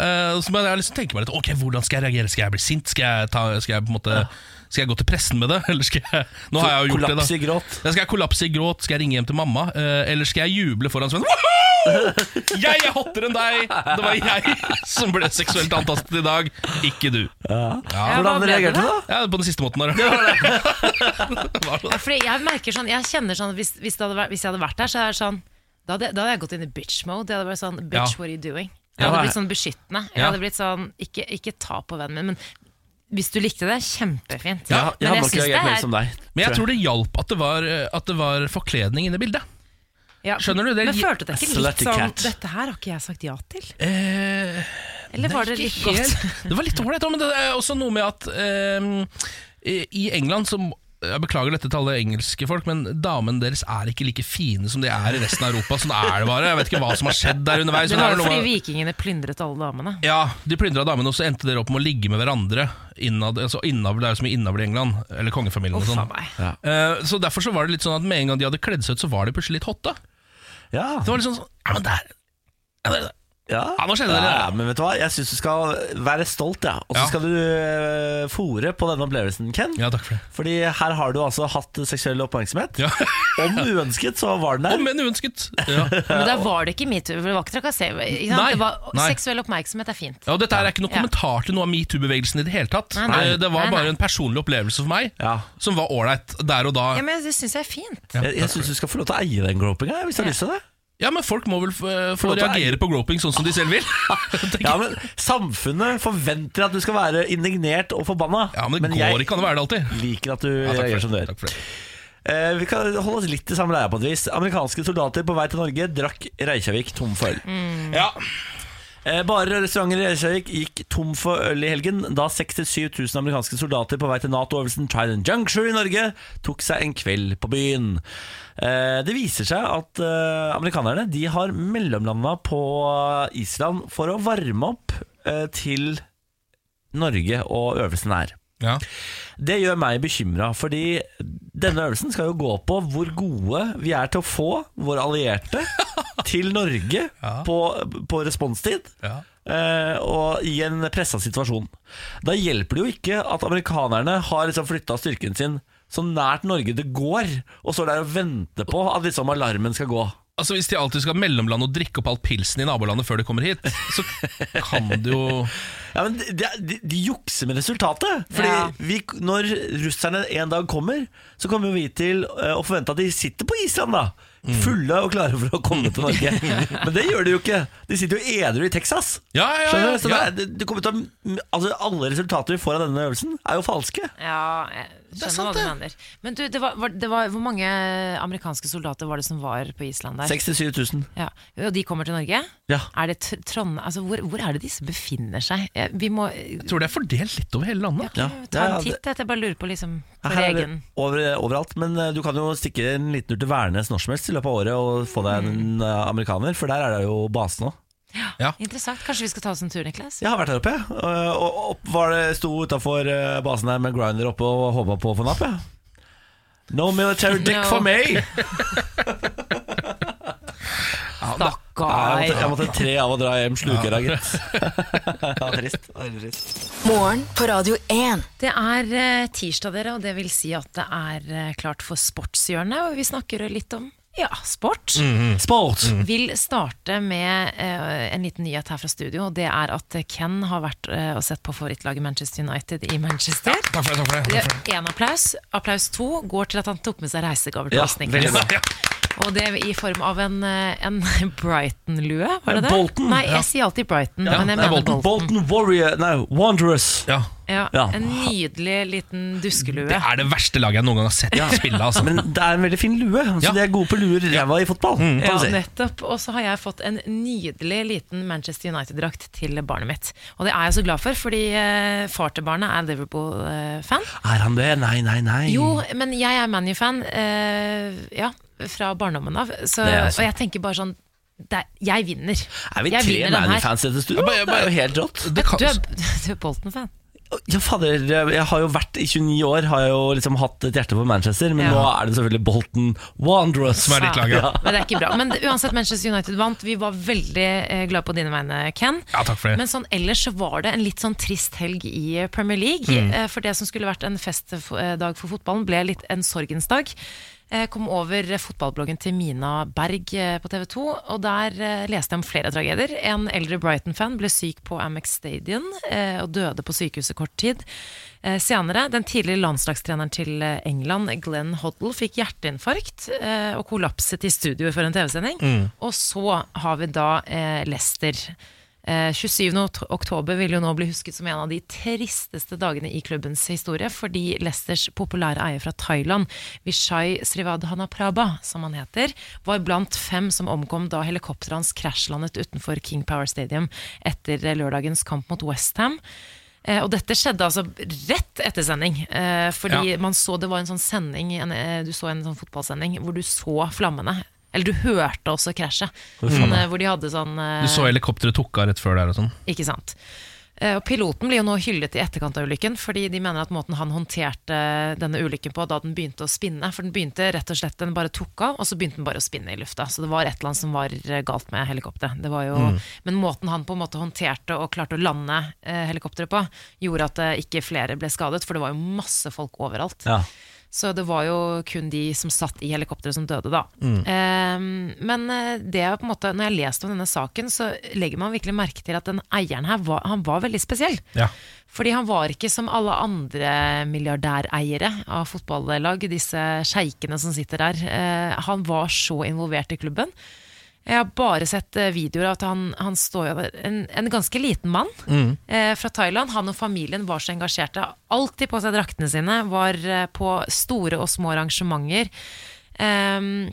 S3: eh, så må jeg liksom tenke meg litt Ok, hvordan skal jeg reagere? Skal jeg bli sint? Skal jeg, ta, skal jeg på en måte Skal jeg gå til pressen med det? *laughs* Eller skal jeg Nå har jeg jo gjort det, da.
S1: Kollaps i gråt.
S3: Ja, Skal jeg kollapse i gråt? Skal jeg ringe hjem til mamma? Eh, eller skal jeg juble foran Sven? Woohoo!
S1: *laughs*
S3: Jeg er hottere enn deg! Det var jeg *laughs* som ble seksuelt antastet i dag, ikke du.
S2: Ja, hva
S1: Hvordan
S2: ble det
S1: reagerte du,
S2: da?
S1: da?
S3: Ja, På den siste måten der. Det var det.
S2: Fordi jeg merker sånn, jeg kjenner sånn Hvis, hvis, det hadde vært, hvis jeg hadde vært der, så er det sånn da hadde, da hadde jeg gått inn i bitch mode. Jeg hadde vært sånn, bitch,
S3: Ja.
S2: what are you doing? Jeg
S3: Ja,
S2: hadde
S3: det er-
S2: blitt sånn beskyttende. Jeg
S3: Ja.
S2: hadde blitt sånn, ikke, ikke ta på vennen min, men hvis du likte det, kjempefint.
S1: Ja, jeg
S2: men
S1: hadde
S2: jeg
S1: nok
S2: syns det
S1: reagert mer
S2: er
S1: som deg.
S3: Men jeg tror det hjalp at det var, eh, at det var forkledning inne i bildet.
S2: ja.
S3: Skjønner du, det er-
S2: Men følte dere ikke litt
S1: Slutty
S2: sånn
S1: cat.
S2: Dette her har ikke jeg sagt ja til?
S3: Eh,
S2: Eller var det
S3: Ikke *laughs*
S2: litt godt?
S3: helt. Det var litt ålreit, men det er også noe med at ehm, i England så jeg beklager dette til alle engelske folk, men damene deres er ikke like fine som de er i resten av Europa. Sånn er det bare. Jeg vet ikke hva som har skjedd der underveis.
S2: Det
S3: men
S2: var
S3: er
S2: jo
S3: vel noe
S2: fordi
S3: med-
S2: vikingene plyndret alle damene.
S3: Ja, de plyndra damene, og så endte dere opp med å ligge med hverandre. Innad, altså innavl, det er jo så mye innavl i England. Eller kongefamilien og
S2: Uff a
S3: sånn.
S2: meg.
S3: Eh, så derfor så var det litt sånn at med en gang de hadde kledd seg ut, så var de plutselig litt hotte.
S1: Ja,
S3: Det var litt sånn sånn, Ja, men der ja, der-
S1: ja.
S3: Ja, nå skjedde det.
S1: Ja, men vet du hva? Jeg syns du skal være stolt, ja. og så
S3: Ja.
S1: skal du uh, fore på denne opplevelsen, Ken.
S3: Ja, takk for det.
S1: Fordi her har du altså hatt seksuell oppmerksomhet.
S3: Ja.
S1: Om uønsket, så var den der.
S3: Om enn uønsket. Ja.
S2: Men da var det ikke metoo. for Det var ikke trakassering. ikke sant?
S3: Nei,
S2: Det var-
S3: nei.
S2: Seksuell oppmerksomhet er fint.
S3: Ja, og Dette her er ikke noen
S2: Ja.
S3: kommentar til noe av metoo-bevegelsen i det hele tatt.
S2: Nei, nei.
S3: Eh, Det var
S2: Nei, nei.
S3: bare en personlig opplevelse for meg
S1: Ja.
S3: som var ålreit der og da.
S2: Ja, men Det syns jeg er fint.
S1: Jeg, jeg syns du skal få lov til å eie den gropinga, hvis du har
S2: Ja.
S1: lyst til det.
S3: Ja, men folk må vel eh, få
S1: lov til å
S3: reagere på groping sånn som de selv vil. *laughs* Tenker
S1: *laughs* Ja,
S3: jeg.
S1: men Samfunnet forventer at du skal være indignert og forbanna.
S3: ja, men det går
S1: jeg
S3: ikke an å være det alltid.
S1: liker at du
S3: Ja, takk,
S1: gjør
S3: for
S1: som du
S3: det.
S1: gjør.
S3: takk for det.
S1: Eh, vi kan holde oss litt i samme leia på et vis. Amerikanske soldater på vei til Norge drakk Reykjavik tom for øl.
S3: Ja.
S1: Eh, Barer og restauranter i Reykjavik gikk tom for øl i helgen da 67 000 amerikanske soldater på vei til Nato-øvelsen Trident Juncture i Norge tok seg en kveld på byen. Eh, Det viser seg at eh, amerikanerne de har mellomlanda på Island for å varme opp eh, til Norge og øvelsen her.
S3: Ja.
S1: Det gjør meg bekymra, fordi denne øvelsen skal jo gå på hvor gode vi er til å få våre
S3: *laughs*
S1: allierte til Norge
S3: Ja.
S1: på, på responstid.
S3: Ja.
S1: eh, og i en pressa situasjon. Da hjelper det jo ikke at amerikanerne har liksom flytta styrken sin så nært Norge det går, og står der og venter på at liksom alarmen skal gå.
S3: Altså Hvis de alltid skal mellomlande og drikke opp all pilsen i nabolandet før de kommer hit, så kan det jo
S1: Ja, men de, de, de jukser med resultatet. Fordi
S2: Ja.
S1: vi, når russerne en dag kommer, så kommer jo vi til eh, å forvente at de sitter på Island, da.
S3: Mm.
S1: Fulle og klare for å komme til Norge.
S3: *laughs*
S1: Men det gjør de jo ikke. De sitter jo edru i Texas.
S3: Ja, ja, ja,
S1: Skjønner du? Så
S3: ja.
S1: det, er- det kommer til å, altså, alle resultater vi får av denne øvelsen, er jo falske.
S2: Ja, jeg skjønner
S3: sant,
S2: hva du
S3: det.
S2: mener. Men du, det var, var, det var, hvor mange amerikanske soldater var det som var på Island der?
S1: 67 000.
S2: Ja. Og de kommer til Norge?
S1: Ja.
S2: Er det Tr- Trondheim altså, hvor, hvor er det disse befinner seg? Eh, Vi må
S3: Jeg tror det er fordelt litt over hele landet.
S1: Ja.
S2: ta
S1: Ja, ja,
S2: en titt, jeg, jeg bare lurer på liksom på
S1: Her er det
S2: egen
S1: over, overalt, men eh, du kan jo stikke en liten tur til Værnes når som helst i løpet av året og få deg
S2: Mm.
S1: en eh, amerikaner, for der er det jo base nå.
S2: Interessant. Kanskje vi skal ta oss en tur, Niklas?
S1: Jeg har vært her oppe, jeg. Eh, Og opp var det, sto utafor basen her med grinder oppe og håpa på å få napp, jeg. No military dick
S2: No.
S1: for meg! Jeg måtte, jeg
S2: Stakkar.
S1: måtte tre av å dra hjem slukøra, gitt. *laughs* Ja, trist. Veldig trist.
S4: Morgen på Radio 1.
S2: Det er eh, tirsdag, dere, og det vil si at det er eh, klart for sportshjørnet. Og vi snakker litt om ja, sport.
S1: Sport!
S2: Vil starte med eh, en liten nyhet her fra studio. og Det er at Ken har vært eh, og sett på favorittlaget Manchester United i Manchester.
S3: Takk for det, takk for det,
S2: Det
S3: takk for det.
S2: er Én applaus. Applaus to går til at han tok med seg reisegaver til
S1: Ja,
S2: oss,
S1: veldig
S2: Niklas.
S1: bra.
S3: Ja.
S2: Og det i form av en, eh, en *laughs* Brighton-lue, var det det?
S1: Bolton,
S2: Nei,
S1: ja.
S2: jeg sier alltid Brighton,
S3: Ja,
S2: men
S3: det er
S2: jeg mener
S3: Bolton.
S2: Bolton.
S1: Bolton Warrior Nei, Wanderers.
S3: Ja.
S2: Ja,
S1: Ja.
S2: En nydelig liten duskelue.
S3: Det er det verste laget jeg noen gang har sett spille. Altså.
S1: Men det er en veldig fin lue, så
S3: Ja. Mm,
S1: de er gode på luer ræva i fotball.
S2: Ja,
S1: Kan du si.
S2: nettopp. Og så har jeg fått en nydelig liten Manchester United-drakt til barnet mitt. Og det er jeg så glad for, fordi eh, far til barnet er eh, Liverpool-fan.
S1: Er han det? Nei, nei, nei.
S2: Jo, men jeg er ManU-fan, eh, ja, fra barndommen av. Så,
S1: Det er jeg også.
S2: og jeg tenker bare sånn det er, Jeg vinner.
S1: Er vi
S2: jeg
S1: tre
S2: vinner den her.
S1: ManU-fans i dette studioet? Det er jo helt rått.
S3: Det kan,
S2: *laughs* Du er, du er Bolton-fan.
S1: Ja, fader, jeg har jo vært i 29 år, har jeg jo liksom hatt et hjerte for Manchester, men
S2: Ja.
S1: nå er det selvfølgelig Bolton Wanderers.
S3: Som er ditt lag, ja.
S1: Ja.
S2: Men det er ikke bra. Men uansett, Manchester United vant. Vi var veldig eh, glad på dine vegne, Ken.
S3: Ja, takk for det.
S2: Men sånn, ellers så var det en litt sånn trist helg i Premier League.
S3: Mm.
S2: Eh, For det som skulle vært en festdag for fotballen, ble litt en sorgens dag. Jeg kom over fotballbloggen til Mina Berg eh, på TV 2, og der eh, leste jeg om flere tragedier. En eldre Brighton-fan ble syk på Amex Stadium eh, og døde på sykehuset kort tid. Eh, Senere, den tidligere landslagstreneren til eh, England, Glenn Hoddle, fikk hjerteinfarkt eh, og kollapset i studio for en TV-sending.
S3: Mm.
S2: Og så har vi da eh, Leicester. Eh, 27. okt- oktober vil jo nå bli husket som en av de tristeste dagene i klubbens historie, fordi Leicesters populære eier fra Thailand, Vishay Srivadhanaprabha, som han heter, var blant fem som omkom da helikopteret hans krasjlandet utenfor King Power Stadium etter eh, lørdagens kamp mot Westham. Eh, og dette skjedde altså rett etter sending. Eh, fordi
S3: Ja.
S2: man så det var en sånn sending en, eh, Du så en sånn fotballsending hvor du så flammene. Eller du hørte også krasjet. Sånn, eh, hvor de hadde sånn eh,
S3: Du så helikopteret tok av rett før der og sånn.
S2: ikke sant? Eh, Og piloten blir jo nå hyllet i etterkant av ulykken, fordi de mener at måten han håndterte denne ulykken på da den begynte å spinne For den begynte rett og slett, den bare tok av, og så begynte den bare å spinne i lufta. Så det var et eller annet som var eh, galt med helikopteret. Det var jo, Men måten han på en måte håndterte og klarte å lande eh, helikopteret på, gjorde at eh, ikke flere ble skadet, for det var jo masse folk overalt.
S1: Ja.
S2: Så det var jo kun de som satt i helikopteret som døde, da. Eh, men eh, det er på en måte, når jeg leste om denne saken, så legger man virkelig merke til at den eieren her var, han var veldig spesiell.
S3: Ja.
S2: Fordi han var ikke som alle andre milliardæreiere av fotballag, disse sjeikene som sitter der. Eh, han var så involvert i klubben. Jeg har bare sett eh, videoer av at han, han står jo der. En, en ganske liten mann eh, fra Thailand. Han og familien var så engasjerte. Alltid på seg draktene sine. Var eh, på store og små arrangementer. Ehm,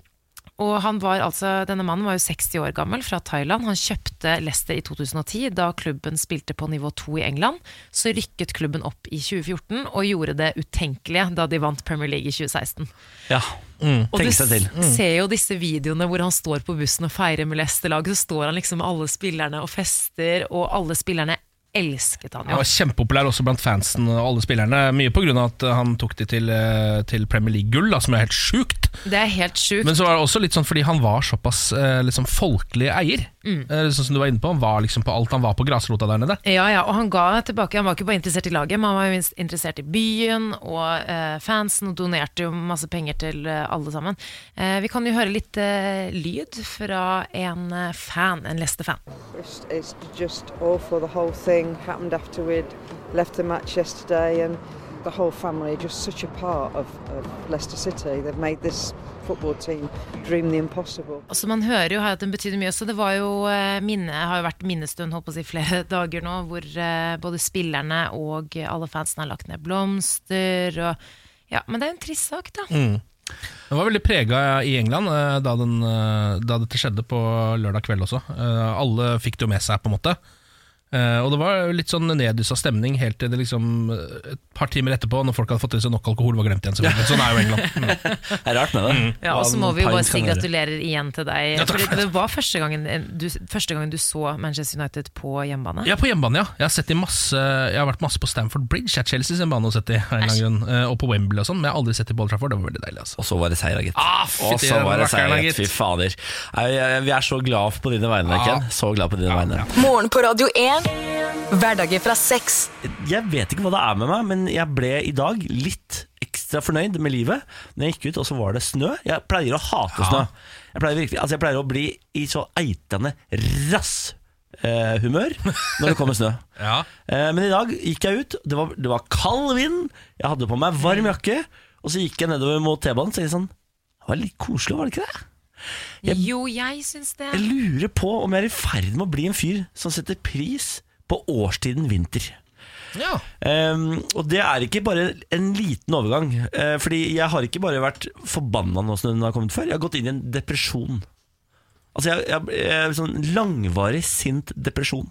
S2: og han var altså, Denne mannen var jo 60 år gammel, fra Thailand. Han kjøpte Leicester i 2010, da klubben spilte på nivå 2 i England. Så rykket klubben opp i 2014 og gjorde det utenkelige da de vant Premier League i 2016.
S1: ja.
S3: Mm.
S2: Og du
S1: Tenke seg til.
S2: s- ser jo disse videoene hvor han står på bussen og feirer med Leicester-laget. Så står han liksom med alle spillerne og fester, og alle spillerne elsket han
S3: Han
S2: jo.
S3: var kjempepopulær også blant fansen og alle spillerne. Mye pga. at eh, han tok de til, eh, til Premier League-gull, da, som er helt sjukt.
S2: Det er helt sjukt.
S3: Men så var det også litt sånn fordi han var såpass eh, liksom folkelig eier. Eh, sånn som du var inne på Han var liksom på alt. Han var på grasrota der nede.
S2: Ja, ja, og han ga tilbake. Han var ikke bare interessert i laget, men han var jo minst interessert i byen og eh, fansen, og donerte jo masse penger til eh, alle sammen. Eh, vi kan jo høre litt eh, lyd fra en eh, fan, en Leicester-fan.
S8: It's, it's just awful. The whole thing happened after we'd left the match yesterday, and the whole family are just such a part of, of Leicester City. They've made this football team dream the impossible.
S2: Altså, man hører jo her at den betydde mye også. Det var jo, eh, minne, har jo vært minnestund holdt på å si, flere *laughs* dager nå, hvor eh, både spillerne og alle fansen har lagt ned blomster. Og, ja, men det er jo en trist sak, da.
S3: Den var veldig prega i England eh, da, den, eh, da dette skjedde på lørdag kveld også. Eh, Alle fikk det jo med seg, på en måte. Eh, Og det var jo litt sånn neddyssa stemning helt til det liksom eh, et par timer etterpå, når folk hadde fått i seg nok alkohol, var glemt igjen. selvfølgelig Sånn er jo England. Mm.
S1: Det er rart med det.
S2: Ja, og så må
S1: Hva
S2: vi jo
S1: en
S2: bare
S1: pint
S2: si
S1: kan gjøre.
S2: gratulerer igjen til deg.
S3: Ja, takk
S2: Fordi
S3: for det.
S2: det var første gangen eh, du, første gangen du så Manchester United på hjemmebane.
S3: Ja, på hjemmebane, ja. Jeg har, sett de masse, jeg har vært masse på Stamford Bridge. Jeg har Chelsea sin bane å sette i, av en eller annen grunn. Eh, og på Wembley og sånn, men jeg har aldri sett i Ball Trafford. Det var veldig deilig, altså.
S1: Og så var det seier, da, gitt.
S3: Ah, fytti
S1: og så var det seier,
S3: rakkeren,
S1: gitt.
S3: gitt.
S1: Fy fader. Nei, jeg- Vi er så glad på dine vegne,
S3: Ja.
S1: Ken. Så glad på dine vegne.
S4: Morgen på Radio 1. Hverdager fra seks.
S1: Jeg vet ikke hva det er med meg, men jeg ble i dag litt ekstra fornøyd med livet. Når jeg gikk ut, og så var det snø. Jeg pleier å hate snø. Jeg pleier, virkelig, altså jeg pleier å bli i så eitende rass eh, humør når det kommer snø.
S3: Ja.
S1: Eh, Men i dag gikk jeg ut, det var, det var kald vind, jeg hadde på meg varm jakke, og så gikk jeg nedover mot T-banen og tenkte jeg sånn Det var litt koselig, var det ikke det? jeg-
S2: Jo, jeg syns det.
S1: Jeg lurer på om jeg er i ferd med å bli en fyr som setter pris på årstiden vinter.
S3: ja.
S1: Ehm, og det er ikke bare en liten overgang. eh, fordi jeg har ikke bare vært forbanna nå som den har kommet før. Jeg har gått inn i en depresjon. Altså jeg, jeg, jeg, sånn Langvarig, sint depresjon.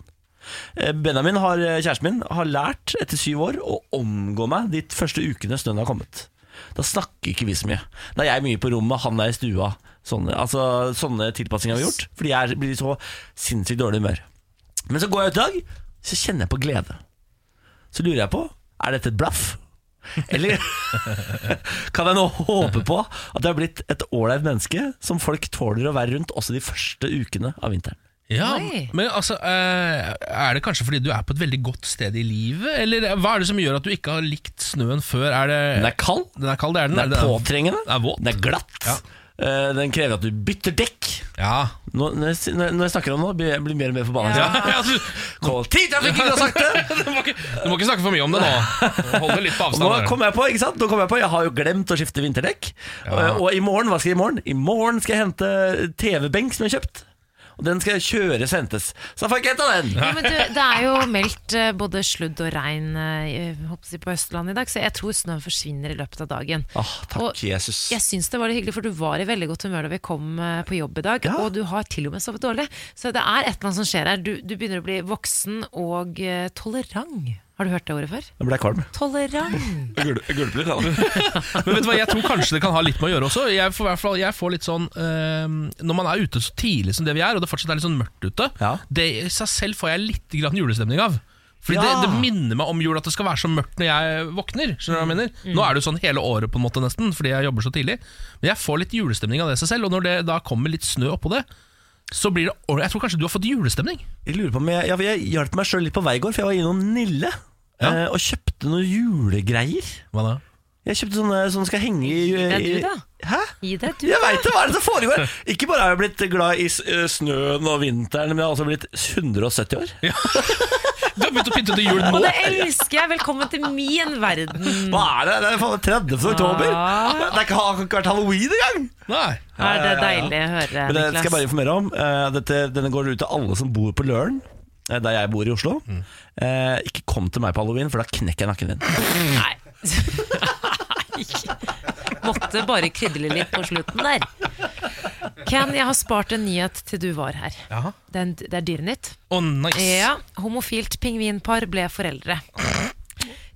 S1: Eh, Benjamin, har, eh, kjæresten min, har lært etter syv år å omgå meg de første ukene snøen har kommet. Da snakker ikke vi så mye. Da er jeg mye på rommet, han er i stua. Sånne, altså, sånne tilpassinger har vi gjort. Fordi jeg er- blir i så sinnssykt dårlig humør. Men så går jeg ut i dag, så kjenner jeg på glede. Så lurer jeg på Er dette et blaff? Eller *laughs* kan jeg nå håpe på at jeg har blitt et ålreit menneske som folk tåler å være rundt også de første ukene av vinteren?
S3: Ja,
S2: Oi.
S3: men altså, eh, Er det kanskje fordi du er på et veldig godt sted i livet? Eller hva er det som gjør at du ikke har likt snøen før? Er det,
S1: Den er kald,
S3: den er kald, det er den.
S1: den er påtrengende,
S3: Den er våt.
S1: den er glatt,
S3: Ja.
S1: eh, den krever at du bytter dekk.
S3: Ja.
S1: Nå, når, jeg, når jeg- når jeg snakker om det, nå, blir jeg blir jeg mer og mer forbanna.
S3: ja.
S1: Ja.
S3: *laughs* ja du,
S1: Kollektivtrafikken har
S3: *laughs*
S1: sagt det!
S3: du, må ikke, du må ikke snakke for mye om det nå. Hold det litt på
S1: Nå
S3: avstand. her.
S1: kom jeg på, ikke sant? Nå kom jeg på, jeg har jo glemt å skifte vinterdekk. Og, og i morgen, hva skal jeg i morgen? I morgen skal jeg hente TV-benk som jeg har kjøpt. Og den skal jeg kjøre sentes. Så da får jeg ikke henta den.
S2: Jo, men du, det er jo meldt eh, både sludd og regn eh, i- håper jeg, på Østlandet i dag, så jeg tror snøen forsvinner i løpet av dagen.
S1: Åh, Ah, takk,
S2: Og
S1: Jesus.
S2: Jeg syns det var litt hyggelig, for du var i veldig godt humør da vi kom eh, på jobb i dag.
S1: Ja.
S2: Og du har til og med sovet dårlig. Så det er et eller annet som skjer her. Du, du begynner å bli voksen og eh, tolerant. Har du hørt det ordet før?
S1: Nå ble jeg kvalm. *laughs*
S2: Tolerant.
S1: Gulpler,
S3: Men vet du hva, jeg tror kanskje det kan ha litt med å gjøre også. Jeg får, i hvert fall, jeg får litt sånn eh, Når man er ute så tidlig som det vi er, og det fortsatt er litt sånn mørkt ute,
S1: Ja.
S3: det i seg selv får jeg litt grann julestemning av. Fordi
S1: Ja.
S3: det, det minner meg om jul, at det skal være så mørkt når jeg våkner. Skjønner du hva jeg mener?
S2: Mm.
S3: Nå er det jo sånn hele året, på en måte nesten, fordi jeg jobber så tidlig. Men jeg får litt julestemning av det i seg selv, og når det da kommer litt snø oppå det, så blir det ordentlig- Jeg tror kanskje du har fått julestemning.
S1: Jeg lurer på om jeg, jeg, jeg hjalp meg sjøl litt på vei i går, for jeg var innom Nille
S3: Ja.
S1: eh, og kjøpte noen julegreier.
S3: Hva da?
S1: Jeg kjøpte sånne som skal henge i,
S2: Det er
S1: i
S2: du, da.
S1: Hæ?
S2: Gi deg, du.
S1: Jeg veit det! Hva er det som foregår? Ikke bare har jeg blitt glad i s- eh, snøen og vinteren, men jeg har også blitt 170 år.
S3: Du har begynt å pynte til jul
S2: Og
S3: nå?
S1: *laughs*
S2: det elsker jeg! Velkommen til min verden.
S1: Hva er det? Det er faen 30. oktober!
S2: Ah.
S1: Det er ikke, har ikke vært halloween engang!
S3: Nei.
S2: Er
S1: ja,
S2: det
S1: ja, ja.
S2: deilig å høre,
S1: Men det skal jeg bare
S2: Niklas?
S1: informere om. Eh, dette, denne går ut til alle som bor på Løren, eh, der jeg bor i Oslo. Eh, ikke kom til meg på halloween, for da knekker jeg nakken din.
S2: Nei. *laughs* Måtte bare krydre litt på slutten der. Ken, jeg har spart en nyhet til du var her.
S3: Jaha.
S2: Det er, en- det er Dyrenytt.
S3: Å, nice.
S2: Ja, homofilt pingvinpar ble foreldre.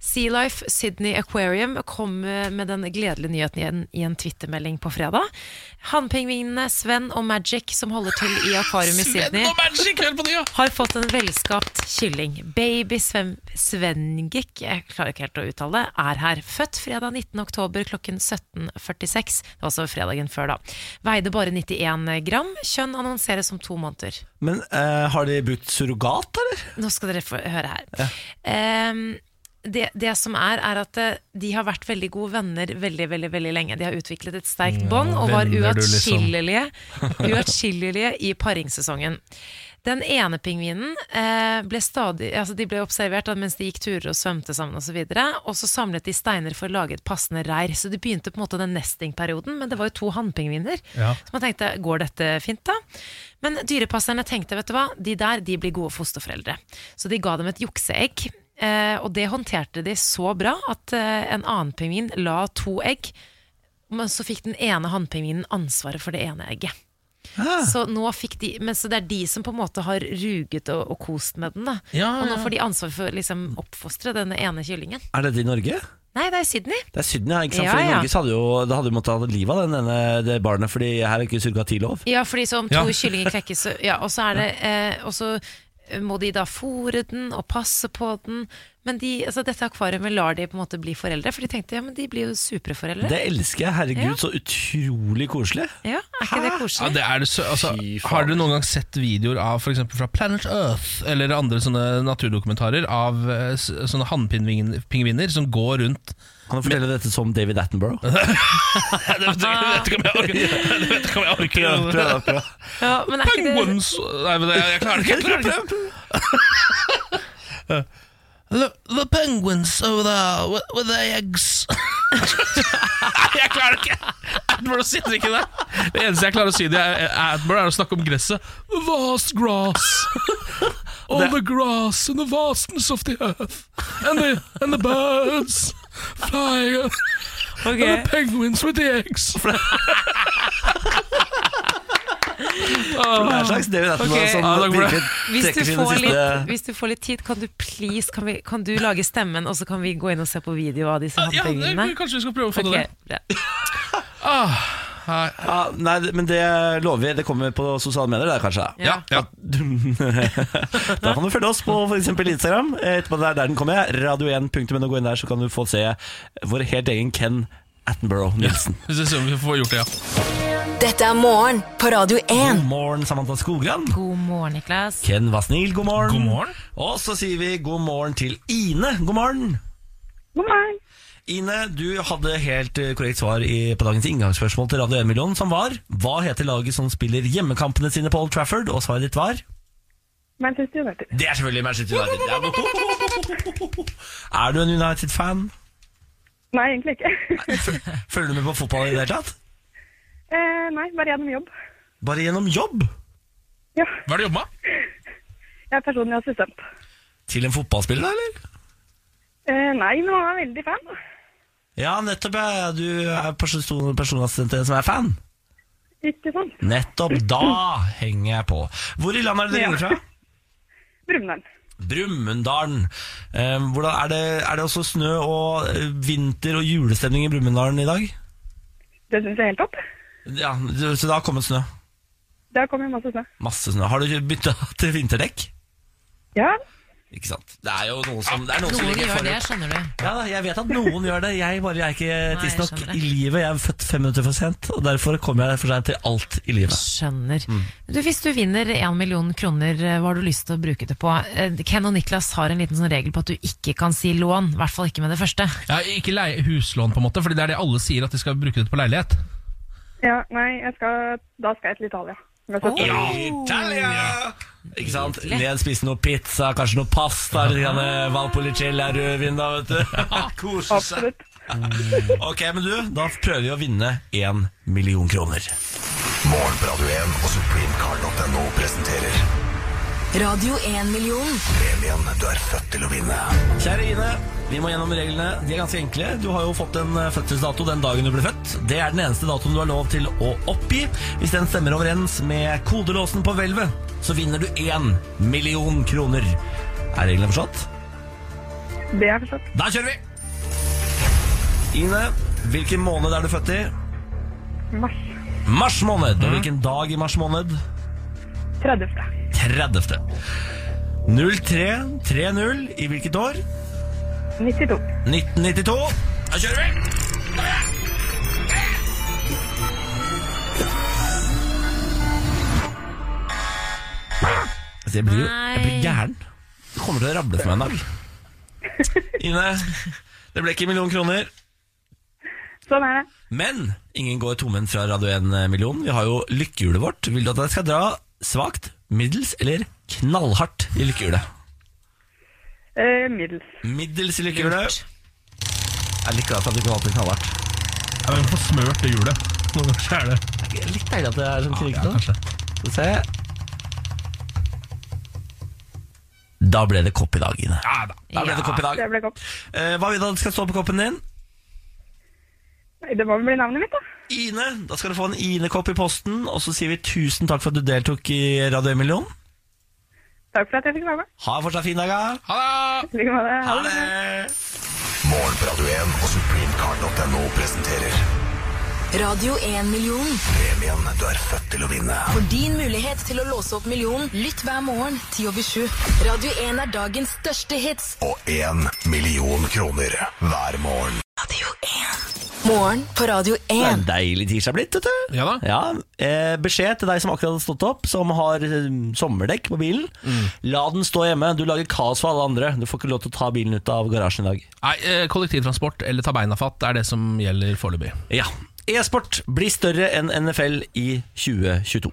S2: Sea Life Sydney Aquarium kom eh, med den gledelige nyheten i en, i en twittermelding på fredag. Hannpingvinene Sven og Magic, som holder til i akvariet i Sydney,
S3: Sven og Magic, hør på det, ja!
S2: har fått en velskapt kylling. Baby Sven Svengik, jeg klarer ikke helt å uttale det, er her. Født fredag 19. oktober klokken 17.46. Det var altså fredagen før, da. Veide bare 91 gram. Kjønn annonseres om to måneder.
S1: Men eh, har de brukt surrogat, eller?
S2: Nå skal dere få høre her. Ehm, det, det som er, er at eh, de har vært veldig gode venner veldig veldig, veldig lenge. De har utviklet et sterkt bånd og var
S3: Mm, venner du liksom.
S2: uatskillelige uatskillelige i paringssesongen. Den ene pingvinen eh, ble stadig altså De ble observert da, mens de gikk turer og svømte sammen osv. Og, så videre, og så samlet de steiner for å lage et passende reir. Så de begynte på en måte den nestingperioden, men det var jo to hannpingviner.
S3: Ja.
S2: Så man tenkte går dette fint, da? Men dyrepasserne tenkte vet du hva, de der de blir gode fosterforeldre. Så de ga dem et jukseegg. Eh, og det håndterte de så bra at eh, en annen pingvin la to egg. Men så fikk den ene hannpingvinen ansvaret for det ene egget.
S3: Ah.
S2: Så, nå fikk de, men så det er de som på en måte har ruget og, og kost med den. Da.
S3: Ja,
S2: Og nå
S3: ja.
S2: får de ansvar for å liksom, oppfostre denne ene kyllingen.
S1: Er dette i Norge?
S2: Nei, det er i Sydney.
S1: Det er Syden, ja. ikke sant?
S2: Ja,
S1: For I
S2: ja.
S1: Norge så hadde jo, da hadde vi måttet ha livet av den ene, det barnet, Fordi her er ikke surrogatilov.
S2: Ja, fordi så om to
S3: Ja. *laughs*
S2: kyllinger klekkes så- ja, Og så er det eh, Og så må de da fôre den og passe på den. Men de, altså, dette akvariet lar de på en måte bli foreldre, for de tenkte ja, men de blir jo supre foreldre.
S1: Det elsker jeg. Herregud,
S2: Ja.
S1: så utrolig koselig.
S2: Ja, er ikke det koselig?
S3: Ja, det er det, sø- altså,
S1: Fy faen.
S3: har dere noen gang sett videoer av for eksempel fra Planet Earth eller andre sånne naturdokumentarer av eh, s- sånne hannpingviner som går rundt
S1: Kan du fortelle dette som David Attenborough?
S3: Jeg vet ikke jeg vet ikke om jeg orker- jeg vet ikke om jeg orker
S1: Prøv, prøv.
S2: Ja, men er ikke det
S3: Penguins Nei, men jeg, jeg klarer det ikke. Jeg klarer det ikke. Look, *laughs* the penguins over there with, with their eggs Nei, jeg klarer det ikke! Attenborough sitter ikke der. Det eneste jeg klarer å si det er, er Attenborough, er å snakke om gresset. The vast grass. All the grass and the vastness of the earth. And the, and the birds flying. And the penguins with the *laughs* eggs. Ah.
S1: Det er en slags David Attenborough
S2: Ok.
S3: Ja,
S1: som
S3: takk for det.
S1: virkelig
S2: Hvis du,
S1: trekker sine
S2: får
S1: siste
S2: litt, hvis du får litt tid, kan du please Kan, vi, kan du lage stemmen, og så kan vi gå inn og se på video av disse
S3: Ja, det,
S2: handpengene?
S3: kanskje vi skal prøve å få
S2: Ok,
S3: det der.
S2: bra.
S3: Ah, Her.
S1: Ja, nei, men det lover vi. Det kommer på sosiale medier, det er kanskje.
S3: Ja, ja.
S1: Da kan du følge oss på f.eks. Instagram. Etterpå der, der den kommer. Radio1.no. Gå inn der, så kan du få se vår helt egen Ken Attenborough Nilsen.
S3: Vi skal se om vi får gjort det, ja.
S4: Dette er morgen på Radio 1.
S1: God morgen, Samantha Skogran.
S2: God morgen, Niklas.
S1: Ken var snill, god morgen.
S3: God morgen.
S1: Og så sier vi god morgen til Ine. God morgen.
S9: God morgen.
S1: Ine, du hadde helt eh, korrekt svar i, på dagens inngangsspørsmål til Radio 1-millionen, som var Hva heter laget som spiller hjemmekampene sine på Old Trafford? Og svaret ditt var
S9: Manchester United.
S1: Det er selvfølgelig Manchester United. Ja, men- Er du en United-fan?
S9: Nei, egentlig ikke. *laughs*
S1: Følger du med på fotball i det hele tatt?
S9: eh, nei, bare gjennom jobb.
S1: Bare gjennom jobb
S9: Ja,
S3: Hva er det du jobber med?
S9: jeg er personlig assistent.
S1: til en fotballspiller, da, eller?
S9: Eh, nei, men han er veldig fan.
S1: Ja, nettopp. Ja. Du er person- personassistent til en som er fan.
S9: Ikke sant?
S1: Nettopp da henger jeg på. Hvor i landet er det du
S9: Ja.
S1: ringer fra?
S9: Brumunddal.
S1: Brumunddal. Eh, hvordan er det, er det også snø og eh, vinter og julestemning i Brumunddal i dag?
S9: Det syns jeg er helt topp.
S1: Ja, Så det har kommet snø?
S9: Der kommer masse snø.
S1: Masse snø. Har du bytta *laughs* til vinterdekk?
S9: Ja,
S1: Ikke sant. Det er jo noen som, det er noen som
S2: Noen
S1: ligger
S2: gjør det,
S1: forut.
S2: skjønner du.
S1: Ja, da, jeg vet at noen gjør det. Jeg bare er ikke
S2: jeg
S1: tidsnok
S2: skjønner det.
S1: i livet. Jeg er født fem minutter for sent, og derfor kommer jeg for seint til alt i livet.
S2: Skjønner. Du, hvis du vinner én million kroner, eh, hva har du lyst til å bruke det på? Eh, Ken og Niklas har en liten sånn regel på at du ikke kan si lån, i hvert fall ikke med det første.
S3: Ja, ikke leie huslån, på en måte, Fordi det er det alle sier at de skal bruke det på leilighet.
S9: ja nei, jeg skal, da skal jeg til Italia. Med søsteren.
S1: Italia! Ikke sant? Ned spise noe pizza, kanskje noe pasta, litt grann, eh, Valpolicella rødvin, da, vet du. Kose seg.
S9: Absolutt.
S1: Ok, men du, da prøver vi å vinne én million kroner.
S10: Morgen på Radio 1 og supremecard.no presenterer
S4: Radio 1-million.
S10: premien du er født til å vinne.
S1: Kjære Ine, vi må gjennom reglene. De er ganske enkle. Du har jo fått en eh, fødselsdato den dagen du ble født. Det er den eneste datoen du har lov til å oppgi. Hvis den stemmer overens med kodelåsen på hvelvet, så vinner du én million kroner. Er reglene forstått?
S9: Det er forstått.
S1: Da kjører vi! Ine, hvilken måned er du født i?
S9: Mars
S1: Mars måned. Og hvilken dag i mars måned?
S9: 30.
S1: 30. 0330 i hvilket år?
S9: 92.
S1: 1992. Da kjører vi! Altså, jeg blir jo jeg blir
S2: Nei.
S1: gæren. Det kommer til å rable for meg en dag. Ine, det ble ikke en million kroner.
S9: Sånn er det.
S1: Men ingen går tomhendt fra Radio 1-millionen. Vi har jo lykkehjulet vårt. Vil du at jeg skal dra svakt, middels eller knallhardt i lykkehjulet?
S9: Eh, middels.
S1: Middels i lykkehjulet. Jeg liker at du ikke valgte knallhardt.
S3: Ja, men Få smørt det hjulet. Noen ganger så er det
S1: Det er Litt deilig at det er sånn
S3: ja,
S1: knirkete.
S3: kanskje.
S1: Skal vi se Da ble det kopp i dag, Ine.
S3: Ja, da.
S1: Da ble det kopp i dag.
S9: Det ble godt.
S1: Eh, hva vil du at det skal stå på koppen din?
S9: Nei, Det må vel bli navnet mitt, da.
S1: Ine. Da skal du få en Ine-kopp i posten, og så sier vi tusen takk for at du deltok i Radio 1-million.
S9: Takk for at jeg fikk være med.
S1: Ha en fortsatt fin dag, da.
S3: Ha det!
S9: I like måte.
S1: Ha det!
S10: Morgen på Radio 1 og supremecard.no presenterer
S4: Radio 1-million.
S10: premien du er født til å vinne.
S4: For din mulighet til å låse opp millionen, lytt hver morgen 10 over 7. Radio 1 er dagens største hits.
S10: Og én million kroner hver morgen.
S4: Radio 1. Morgen på Radio
S1: Det er
S4: 1.
S1: en deilig tirsdag blitt, vet du.
S3: Ja da.
S1: eh, beskjed til deg som akkurat har stått opp, som har eh, sommerdekk på bilen.
S3: Mm.
S1: La den stå hjemme. Du lager kaos for alle andre. Du får ikke lov til å ta bilen ut av garasjen i dag.
S3: Nei, eh, kollektivtransport eller ta beina fatt er det som gjelder foreløpig.
S1: Ja. E-sport blir større enn NFL i 2022.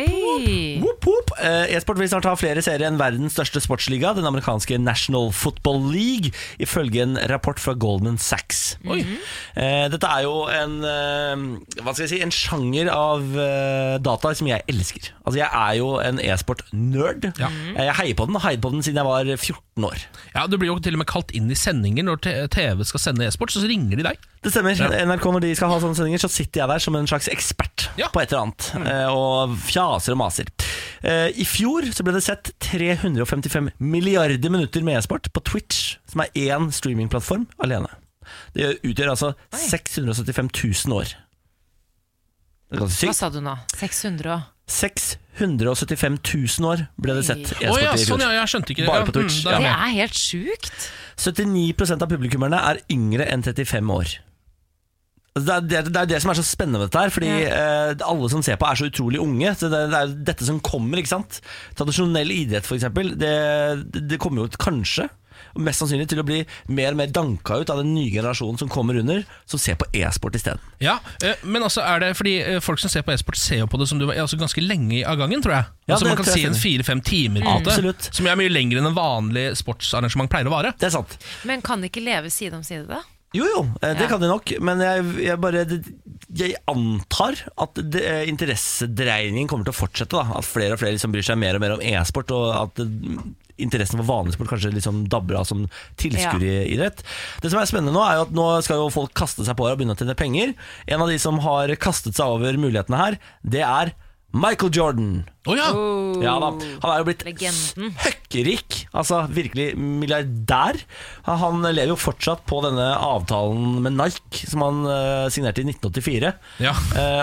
S2: Oi.
S1: Whoop, whoop. Eh, E-sport vil snart ha flere seere enn verdens største sportsliga, den amerikanske National Football League, ifølge en rapport fra Goldman Sachs. Eh, Dette er jo en eh, Hva skal jeg si En sjanger av eh, data som jeg elsker. Altså Jeg er jo en e-sport-nerd.
S3: Ja.
S1: Eh, Jeg heier på den, og heiet på den siden jeg var 14 år.
S3: Ja, Du blir jo til og med kalt inn i sendinger når te- TV skal sende e-sport, så ringer de deg.
S1: Det stemmer. NRK Når de skal ha sånne sendinger, så sitter jeg der som en slags ekspert
S3: Ja.
S1: på et eller annet.
S2: Mm.
S1: eh, Og fjaser og maser. Eh, I fjor så ble det sett 355 milliarder minutter med e-sport på Twitch, som er én streamingplattform alene. Det utgjør altså 675 000 år. Det er ganske
S2: Hva
S1: sykt.
S2: sa du nå? 600 og
S1: 675 000 år ble det sett.
S2: Oi. Å ja,
S1: e-sport i fjor.
S2: sånn, ja, jeg skjønte ikke det. Ja,
S1: Bare på
S2: mm,
S1: Twitch.
S2: da- Det er helt sjukt.
S1: 79 av publikummerne er yngre enn 35 år. Altså, Det er det, er- det, er det som er så spennende med dette her, fordi eh, alle som ser på, er så utrolig unge. Så det, det er dette som kommer, ikke sant. Tradisjonell idrett, f.eks., det, det det kommer jo ut kanskje. og Mest sannsynlig til å bli mer og mer danka ut av den nye generasjonen som kommer under, som ser på e-sport isteden.
S3: Ja, eh, men altså er det fordi eh, folk som ser på e-sport, ser jo på det som du var altså ganske lenge av gangen, tror jeg.
S1: Ja,
S3: altså
S1: det
S3: Man kan
S1: tror
S3: si
S1: jeg
S3: en
S1: stemmer.
S3: fire-fem timer, på en måte,
S1: Absolutt.
S3: som er mye lengre enn en vanlig sportsarrangement pleier å vare.
S1: Det er sant.
S2: Men kan det ikke leve side om side, da?
S1: Jo, jo, eh, det
S2: Ja.
S1: kan de nok. Men jeg, jeg bare det- Jeg antar at det, eh, interessedreiningen kommer til å fortsette. da At flere og flere liksom bryr seg mer og mer om e-sport, og at eh, interessen for vanlig sport kanskje liksom dabber av som tilskueridrett. Det som er spennende nå, er jo at nå skal jo folk kaste seg på her og begynne å tjene penger. En av de som har kastet seg over mulighetene her, det er Michael Jordan.
S3: Å ja.
S1: ja da. Han er jo blitt
S2: Legenden.
S1: søkkerik, altså virkelig milliardær. Han lever jo fortsatt på denne avtalen med Nike, som han eh, signerte i 1984. Eh,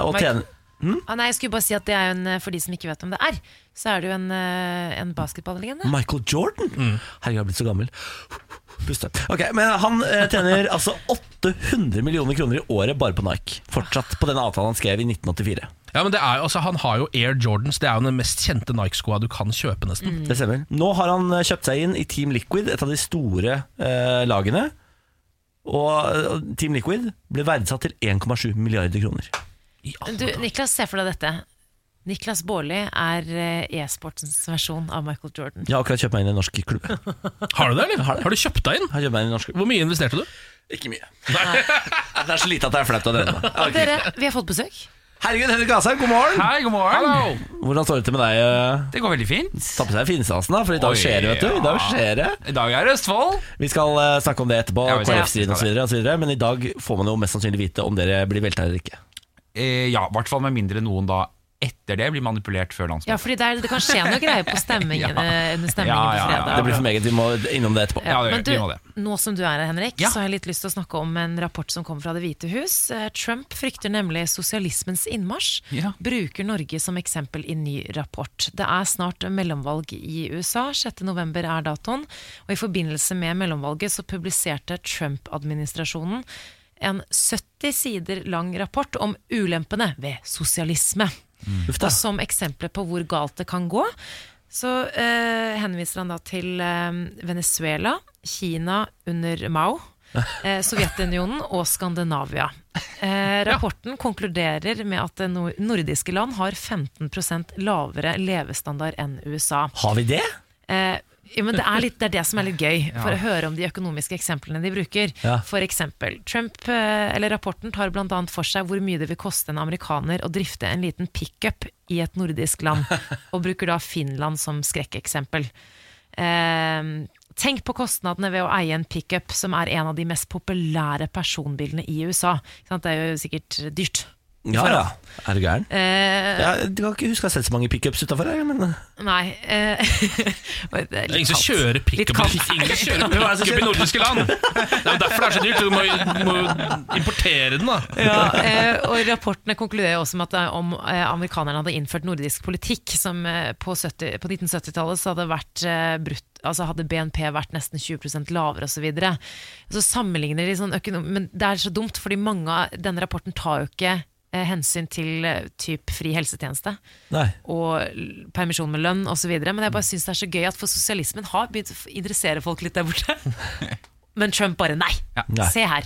S1: og
S2: Mike-
S1: tjener
S2: Ah, nei, jeg skulle bare si at det er jo en, eh, For de som ikke vet om det er, så er det jo en, eh, en basketballlegende.
S1: Michael Jordan? Herregud, jeg har blitt så gammel. Puste. Ok, men Han eh, tjener altså 800 millioner kroner i året bare på Nike. Fortsatt på den avtalen han skrev i 1984.
S3: Ja, men det er jo, altså Han har jo Air Jordans, det er jo den mest kjente Nike-skoa du kan kjøpe, nesten.
S1: Det stemmer. Nå har han eh, kjøpt seg inn i Team Liquid, et av de store eh, lagene. Og eh, Team Liquid ble verdsatt til 1,7 milliarder kroner.
S2: Du, Niklas, se for deg dette. Niklas Baarli er eh, e-sportens versjon av Michael Jordan.
S1: Jeg har akkurat kjøpt meg inn i en norsk klubb.
S3: Har du det, eller? Har, du kjøpt deg inn?
S1: Har kjøpt meg inn i en norsk klubb
S3: Hvor mye investerte du?
S1: Ikke mye. *laughs* Det er så lite at det er flaut å drømme.
S2: Og dere, vi har fått besøk.
S1: Herregud, Henrik Asheim, god morgen!
S11: Hei, god morgen.
S1: Hvordan står det til med deg? eh?
S11: Det går veldig fint.
S1: Ta på seg finstasen, da, for i dag
S11: Oi,
S1: skjer det, vet du. I dag
S11: ja.
S1: skjer det.
S11: I dag er det Østfold.
S1: Vi skal eh, snakke om det etterpå,
S11: Ja, vi skal-
S1: KrF-striden og så videre og så videre men i dag får man jo mest sannsynlig vite om dere blir velta eller ikke.
S11: Eh, ja, i hvert fall med mindre noen da etter det blir manipulert før landsmøtet.
S2: Ja, fordi det, er, det kan skje noe
S11: *laughs*
S2: greier på stemmingen, eh, under stemningen
S11: Ja,
S2: på
S11: ja, ja.
S2: fredag.
S1: Det blir for meget, vi må innom det etterpå.
S11: Ja, det-
S2: Men du,
S11: vi må det.
S2: nå som du er her, Henrik, så har jeg litt lyst til å snakke om en rapport som kom fra Det hvite hus. Eh, Trump frykter nemlig sosialismens innmarsj.
S11: Ja.
S2: Bruker Norge som eksempel i ny rapport. Det er snart mellomvalg i USA. 6.11 er datoen. Og i forbindelse med mellomvalget så publiserte Trump-administrasjonen en 70 sider lang rapport om ulempene ved sosialisme.
S1: Uff da.
S2: Og som eksempler på hvor galt det kan gå, så eh, henviser han da til eh, Venezuela, Kina under Mao, eh, Sovjetunionen og Skandinavia. Eh, rapporten konkluderer med at det nor- nordiske land har 15 lavere levestandard enn USA.
S1: Har vi det?
S2: Eh, ja, men det er, litt, det er det som er litt gøy, for
S1: Ja.
S2: å høre om de økonomiske eksemplene de bruker.
S1: Ja.
S2: For eksempel, Trump, eh, eller rapporten tar bl.a. for seg hvor mye det vil koste en amerikaner å drifte en liten pickup i et nordisk land, og bruker da Finland som skrekkeksempel. Eh, tenk på kostnadene ved å eie en pickup, som er en av de mest populære personbilene i USA. Ikke sant? Det er jo sikkert dyrt.
S1: Ja ja. Er du gæren?
S2: Eh,
S1: Jeg kan ikke huske å ha sett så mange pickups utafor her, men
S2: Nei eh, *laughs* det er litt
S3: Ingen som
S2: kaldt.
S3: kjører pickup
S2: Litt
S3: i-
S2: kaldt.
S3: *laughs* ingen kjører pickup i nordiske land! Det er jo derfor det er så dyrt. Du må jo du må jo importere den, da.
S2: Ja, *laughs* eh, og Rapportene konkluderer jo også med at eh, om eh, amerikanerne hadde innført nordisk politikk, som eh, på, 70, på 1970-tallet så hadde, vært, eh, brutt, altså hadde BNP vært nesten 20 lavere osv. Så, videre. så sammenligner de sånn økonom... Men det er så dumt, fordi mange av denne rapporten tar jo ikke eh, hensyn til eh, typ fri helsetjeneste
S1: Nei.
S2: og l- permisjon med lønn osv. Men jeg bare syns det er så gøy at for sosialismen har begynt å f- interessere folk litt der borte. Men Trump bare nei!
S3: Nei.
S2: Se her.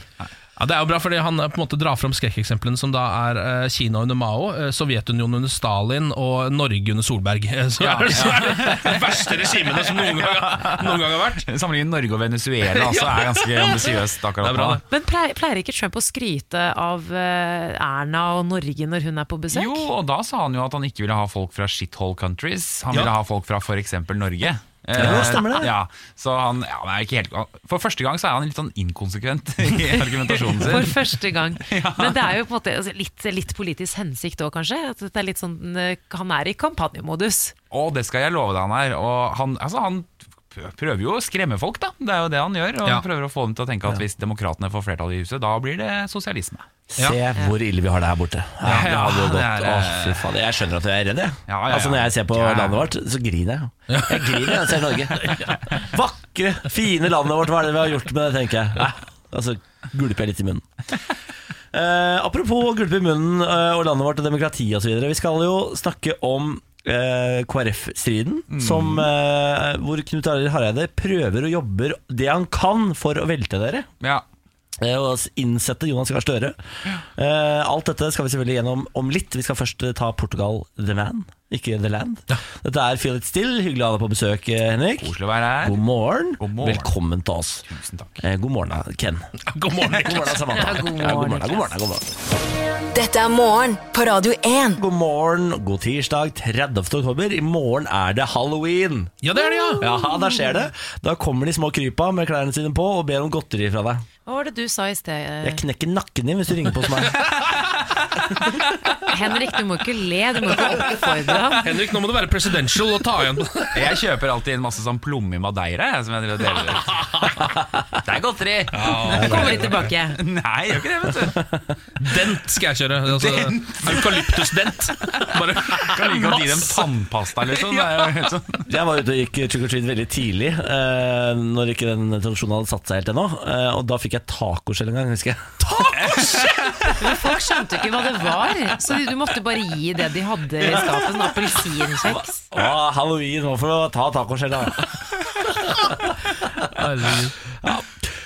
S3: Ja, Det er jo bra, fordi han eh, på en måte drar fram skrekkeksemplene som da er eh, Kina under Mao, eh, Sovjetunionen under Stalin og Norge under Solberg. *laughs* Eh, Så,
S11: Ja,
S3: er det- så er det de verste regimene som noen gang, har- noen gang har vært.
S11: *laughs* Sammenlignet Norge og Venezuela altså, er
S3: *laughs*
S11: ganske ambisiøst akkurat
S3: Det er bra,
S11: nå.
S3: det.
S2: Men pleier, pleier ikke Trump å skryte av eh, Erna og Norge når hun er på besøk?
S11: Jo, og da sa han jo at han ikke ville ha folk fra shithole countries. Han
S2: Ja.
S11: ville ha folk fra f.eks. Norge.
S2: Ja,
S11: Eh,
S2: stemmer det.
S11: Ja, så han, ja, det er ikke helt, for første gang så er han litt sånn inkonsekvent i argumentasjonen sin.
S2: For *laughs* første gang. Men det er jo på en måte altså, litt, litt politisk hensikt òg, kanskje? At det er litt sånn, eh, han er i kampanjemodus.
S11: Og det skal jeg love deg han er. Og han, altså, han p- prøver jo å skremme folk, da. Det er jo det han gjør. Og han prøver å få dem til å tenke at hvis demokratene får flertall i huset, da blir det sosialisme.
S1: Se hvor ille vi har det her borte. Ja, det
S11: Ja,
S1: hadde jo
S11: det
S1: gått.
S11: er, eh,
S1: Å, fy faen. Jeg skjønner at jeg er redd, jeg.
S11: Ja, ja, ja.
S1: Altså, når jeg ser på
S11: Ja.
S1: landet vårt, så griner jeg. Jeg griner når jeg ser
S11: *laughs*
S1: Norge. Vakre, fine landet vårt, hva er det vi har gjort med det, tenker jeg. Nei, altså, gulper jeg litt i munnen. Eh, apropos gulpe i munnen eh, og landet vårt og demokrati osv. Vi skal jo snakke om eh, KrF-striden,
S11: Mm.
S1: som, eh, hvor Knut Arild Hareide prøver og jobber det han kan for å velte dere.
S11: Ja.
S1: Eh, Og innsette Jonas Gahr Støre. Eh, alt dette skal vi selvfølgelig gjennom om litt. Vi skal først eh, ta Portugal The Man, ikke The Land. Dette er Feel It Still. Hyggelig å ha deg på besøk, eh, Henrik.
S11: Koselig å være her.
S1: God morgen.
S11: morgen.
S1: Velkommen til oss.
S11: Tusen takk.
S1: Eh, god morgen, da, Ken.
S3: God
S11: *laughs*
S3: morgen,
S1: God morgen, da, Samantha.
S4: Ja,
S1: Ja, *laughs*
S4: god
S1: god
S4: morgen,
S1: morgen, da, god morgen, da, god morgen.
S4: Dette er morgen på Radio 1.
S1: God morgen, god tirsdag 30. oktober. I morgen er det halloween.
S3: Ja, det er det, ja.
S1: Ja, da skjer det. Da kommer de små krypa med klærne sine på og ber om godteri fra deg.
S2: Hva var det du sa i sted?
S1: Jeg
S2: eh?
S1: knekker nakken din hvis du ringer på hos meg.
S2: Henrik, du må ikke le, du må ikke oppfordre ham.
S3: Henrik, nå må du være presidential og ta igjen.
S11: *laughs* Jeg kjøper alltid inn masse sånn plomme i madeira. jeg, Som jeg driver og deler ut.
S3: *laughs*
S11: Det er godteri!
S3: Ja, det er
S2: Kommer de tilbake?
S11: Nei, jeg gjør ikke det, vet du.
S3: Dent skal jeg kjøre. Altså, Eukalyptusdent.
S11: *laughs*
S3: Bare
S11: Kan like godt gi dem tannpasta,
S3: *laughs*
S11: liksom. Det er jo helt sånn.
S1: Jeg var ute og gikk trick or treat veldig tidlig, eh, når ikke den tradisjonen hadde satt seg helt ennå. Eh, og da fikk jeg tacoskjell en gang, husker jeg.
S2: Men folk skjønte jo ikke hva det var, så du måtte bare gi det de hadde i skapet. Sånn appelsinkjeks.
S1: Å, halloween, nå får du ta tacoskjell, da.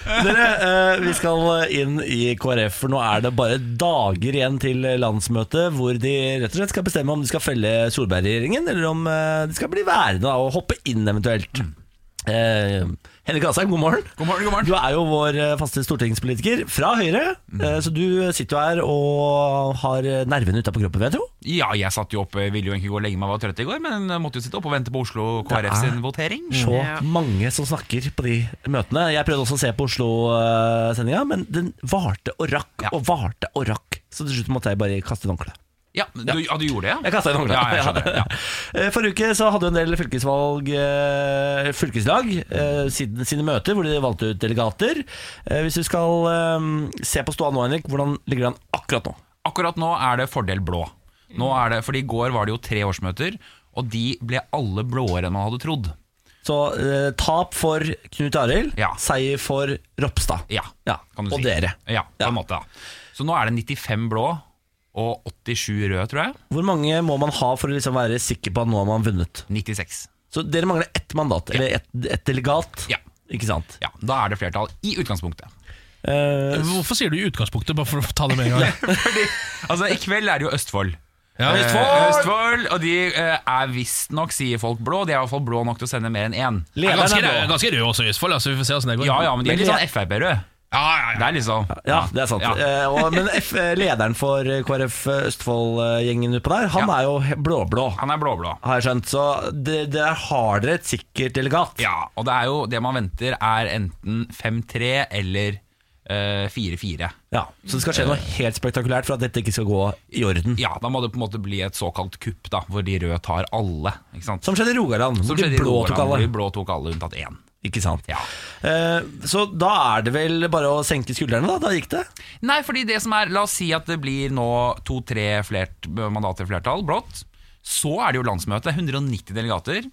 S1: Dere, eh, vi skal inn i KrF, for nå er det bare dager igjen til landsmøtet, hvor de rett og slett skal bestemme om de skal felle Solberg-regjeringen, eller om eh, de skal bli værende da, og hoppe inn eventuelt. Eh, Henrik Asheim, god morgen.
S11: God morgen, god morgen. Mm.
S1: Du er jo vår eh, faste stortingspolitiker fra Høyre, eh, så du sitter jo her og har nervene ute på kroppen, vet du.
S11: Ja, jeg satt jo oppe, ville jo egentlig gå og legge meg, var trøtt i går, men eh, måtte jo sitte oppe og vente på Oslo
S1: Det
S11: KrF
S1: er-
S11: sin votering. Mm.
S1: Så mange som snakker på de møtene. Jeg prøvde også å se på Oslo-sendinga, men den varte og rakk og varte og rakk. Så til slutt måtte jeg bare kaste inn håndkleet.
S11: Ja, men du, ja, du gjorde det, ja?
S1: Jeg kastet inn håndkleet.
S11: Ja, jeg skjønner. Ja.
S1: *laughs* Eh, Forrige uke så hadde jo en del fylkesvalg eh, fylkeslag eh, siden, sine møter, hvor de valgte ut delegater. Eh, hvis du skal eh, se på ståa nå, Henrik, hvordan ligger det an akkurat nå?
S11: Akkurat nå er det fordel blå. Nå er det, fordi I går var det jo tre årsmøter, og de ble alle blåere enn man hadde trodd.
S1: Så eh, tap for Knut Arild,
S11: Ja.
S1: seier for Ropstad.
S11: Ja,
S1: Ja,
S11: kan du
S1: og
S11: si.
S1: dere.
S11: Ja,
S1: Ja.
S11: på en måte. da. Så nå er det 95 blå og 87 røde, tror jeg.
S1: Hvor mange må man ha for å liksom være sikker på at nå har man vunnet?
S11: 96.
S1: Så dere mangler ett mandat, eller ett ett delegat.
S11: Ja.
S1: Ikke sant?
S11: Ja, Da er det flertall i utgangspunktet.
S1: Eh,
S3: Hvorfor sier du i utgangspunktet, bare for å ta det med en gang?
S11: Altså, I kveld er det jo Østfold.
S3: Ja.
S11: Eh, Østfold! Og de eh, er visstnok, sier folk, blå. De er iallfall blå nok til å sende mer enn én.
S3: Jeg er
S1: lederen
S3: ganske,
S1: er
S3: jeg er
S1: blå.
S3: ganske rød også i Østfold, altså, vi får se åssen det går.
S11: Ja, ja, men de
S1: Men
S11: er litt
S1: de-
S11: sånn Frp-røde.
S3: Ja, ja, ja.
S11: Det er liksom
S1: Ja, det er sant.
S11: Ja.
S1: Eh, og, men F, eh, lederen for eh, KrF Østfold-gjengen utpå der, han
S11: Ja.
S1: er jo he- blå-blå,
S11: Han er blå-blå.
S1: har jeg skjønt. Så det- der har dere et sikkert delegat.
S11: Ja, og det er jo det man venter er enten 5-3 eller eh, 4-4.
S1: Ja, Så det skal skje noe helt spektakulært for at dette ikke skal gå i orden.
S11: Eh. Ja, da må det på en måte bli et såkalt kupp, da, hvor de røde tar alle. Ikke sant?
S1: Som skjedde i Rogaland, hvor
S11: Som
S1: de
S11: skjedde i
S1: blå tok
S11: Rogaland, hvor
S1: alle.
S11: De blå tok alle unntatt én.
S1: Ikke sant?
S11: Ja.
S1: Eh, så da er det vel bare å senke skuldrene, da. Da gikk det.
S11: Nei, fordi det som er La oss si at det blir nå to-tre flert, mandater flertall, blått. Så er det jo landsmøte. 190 delegater.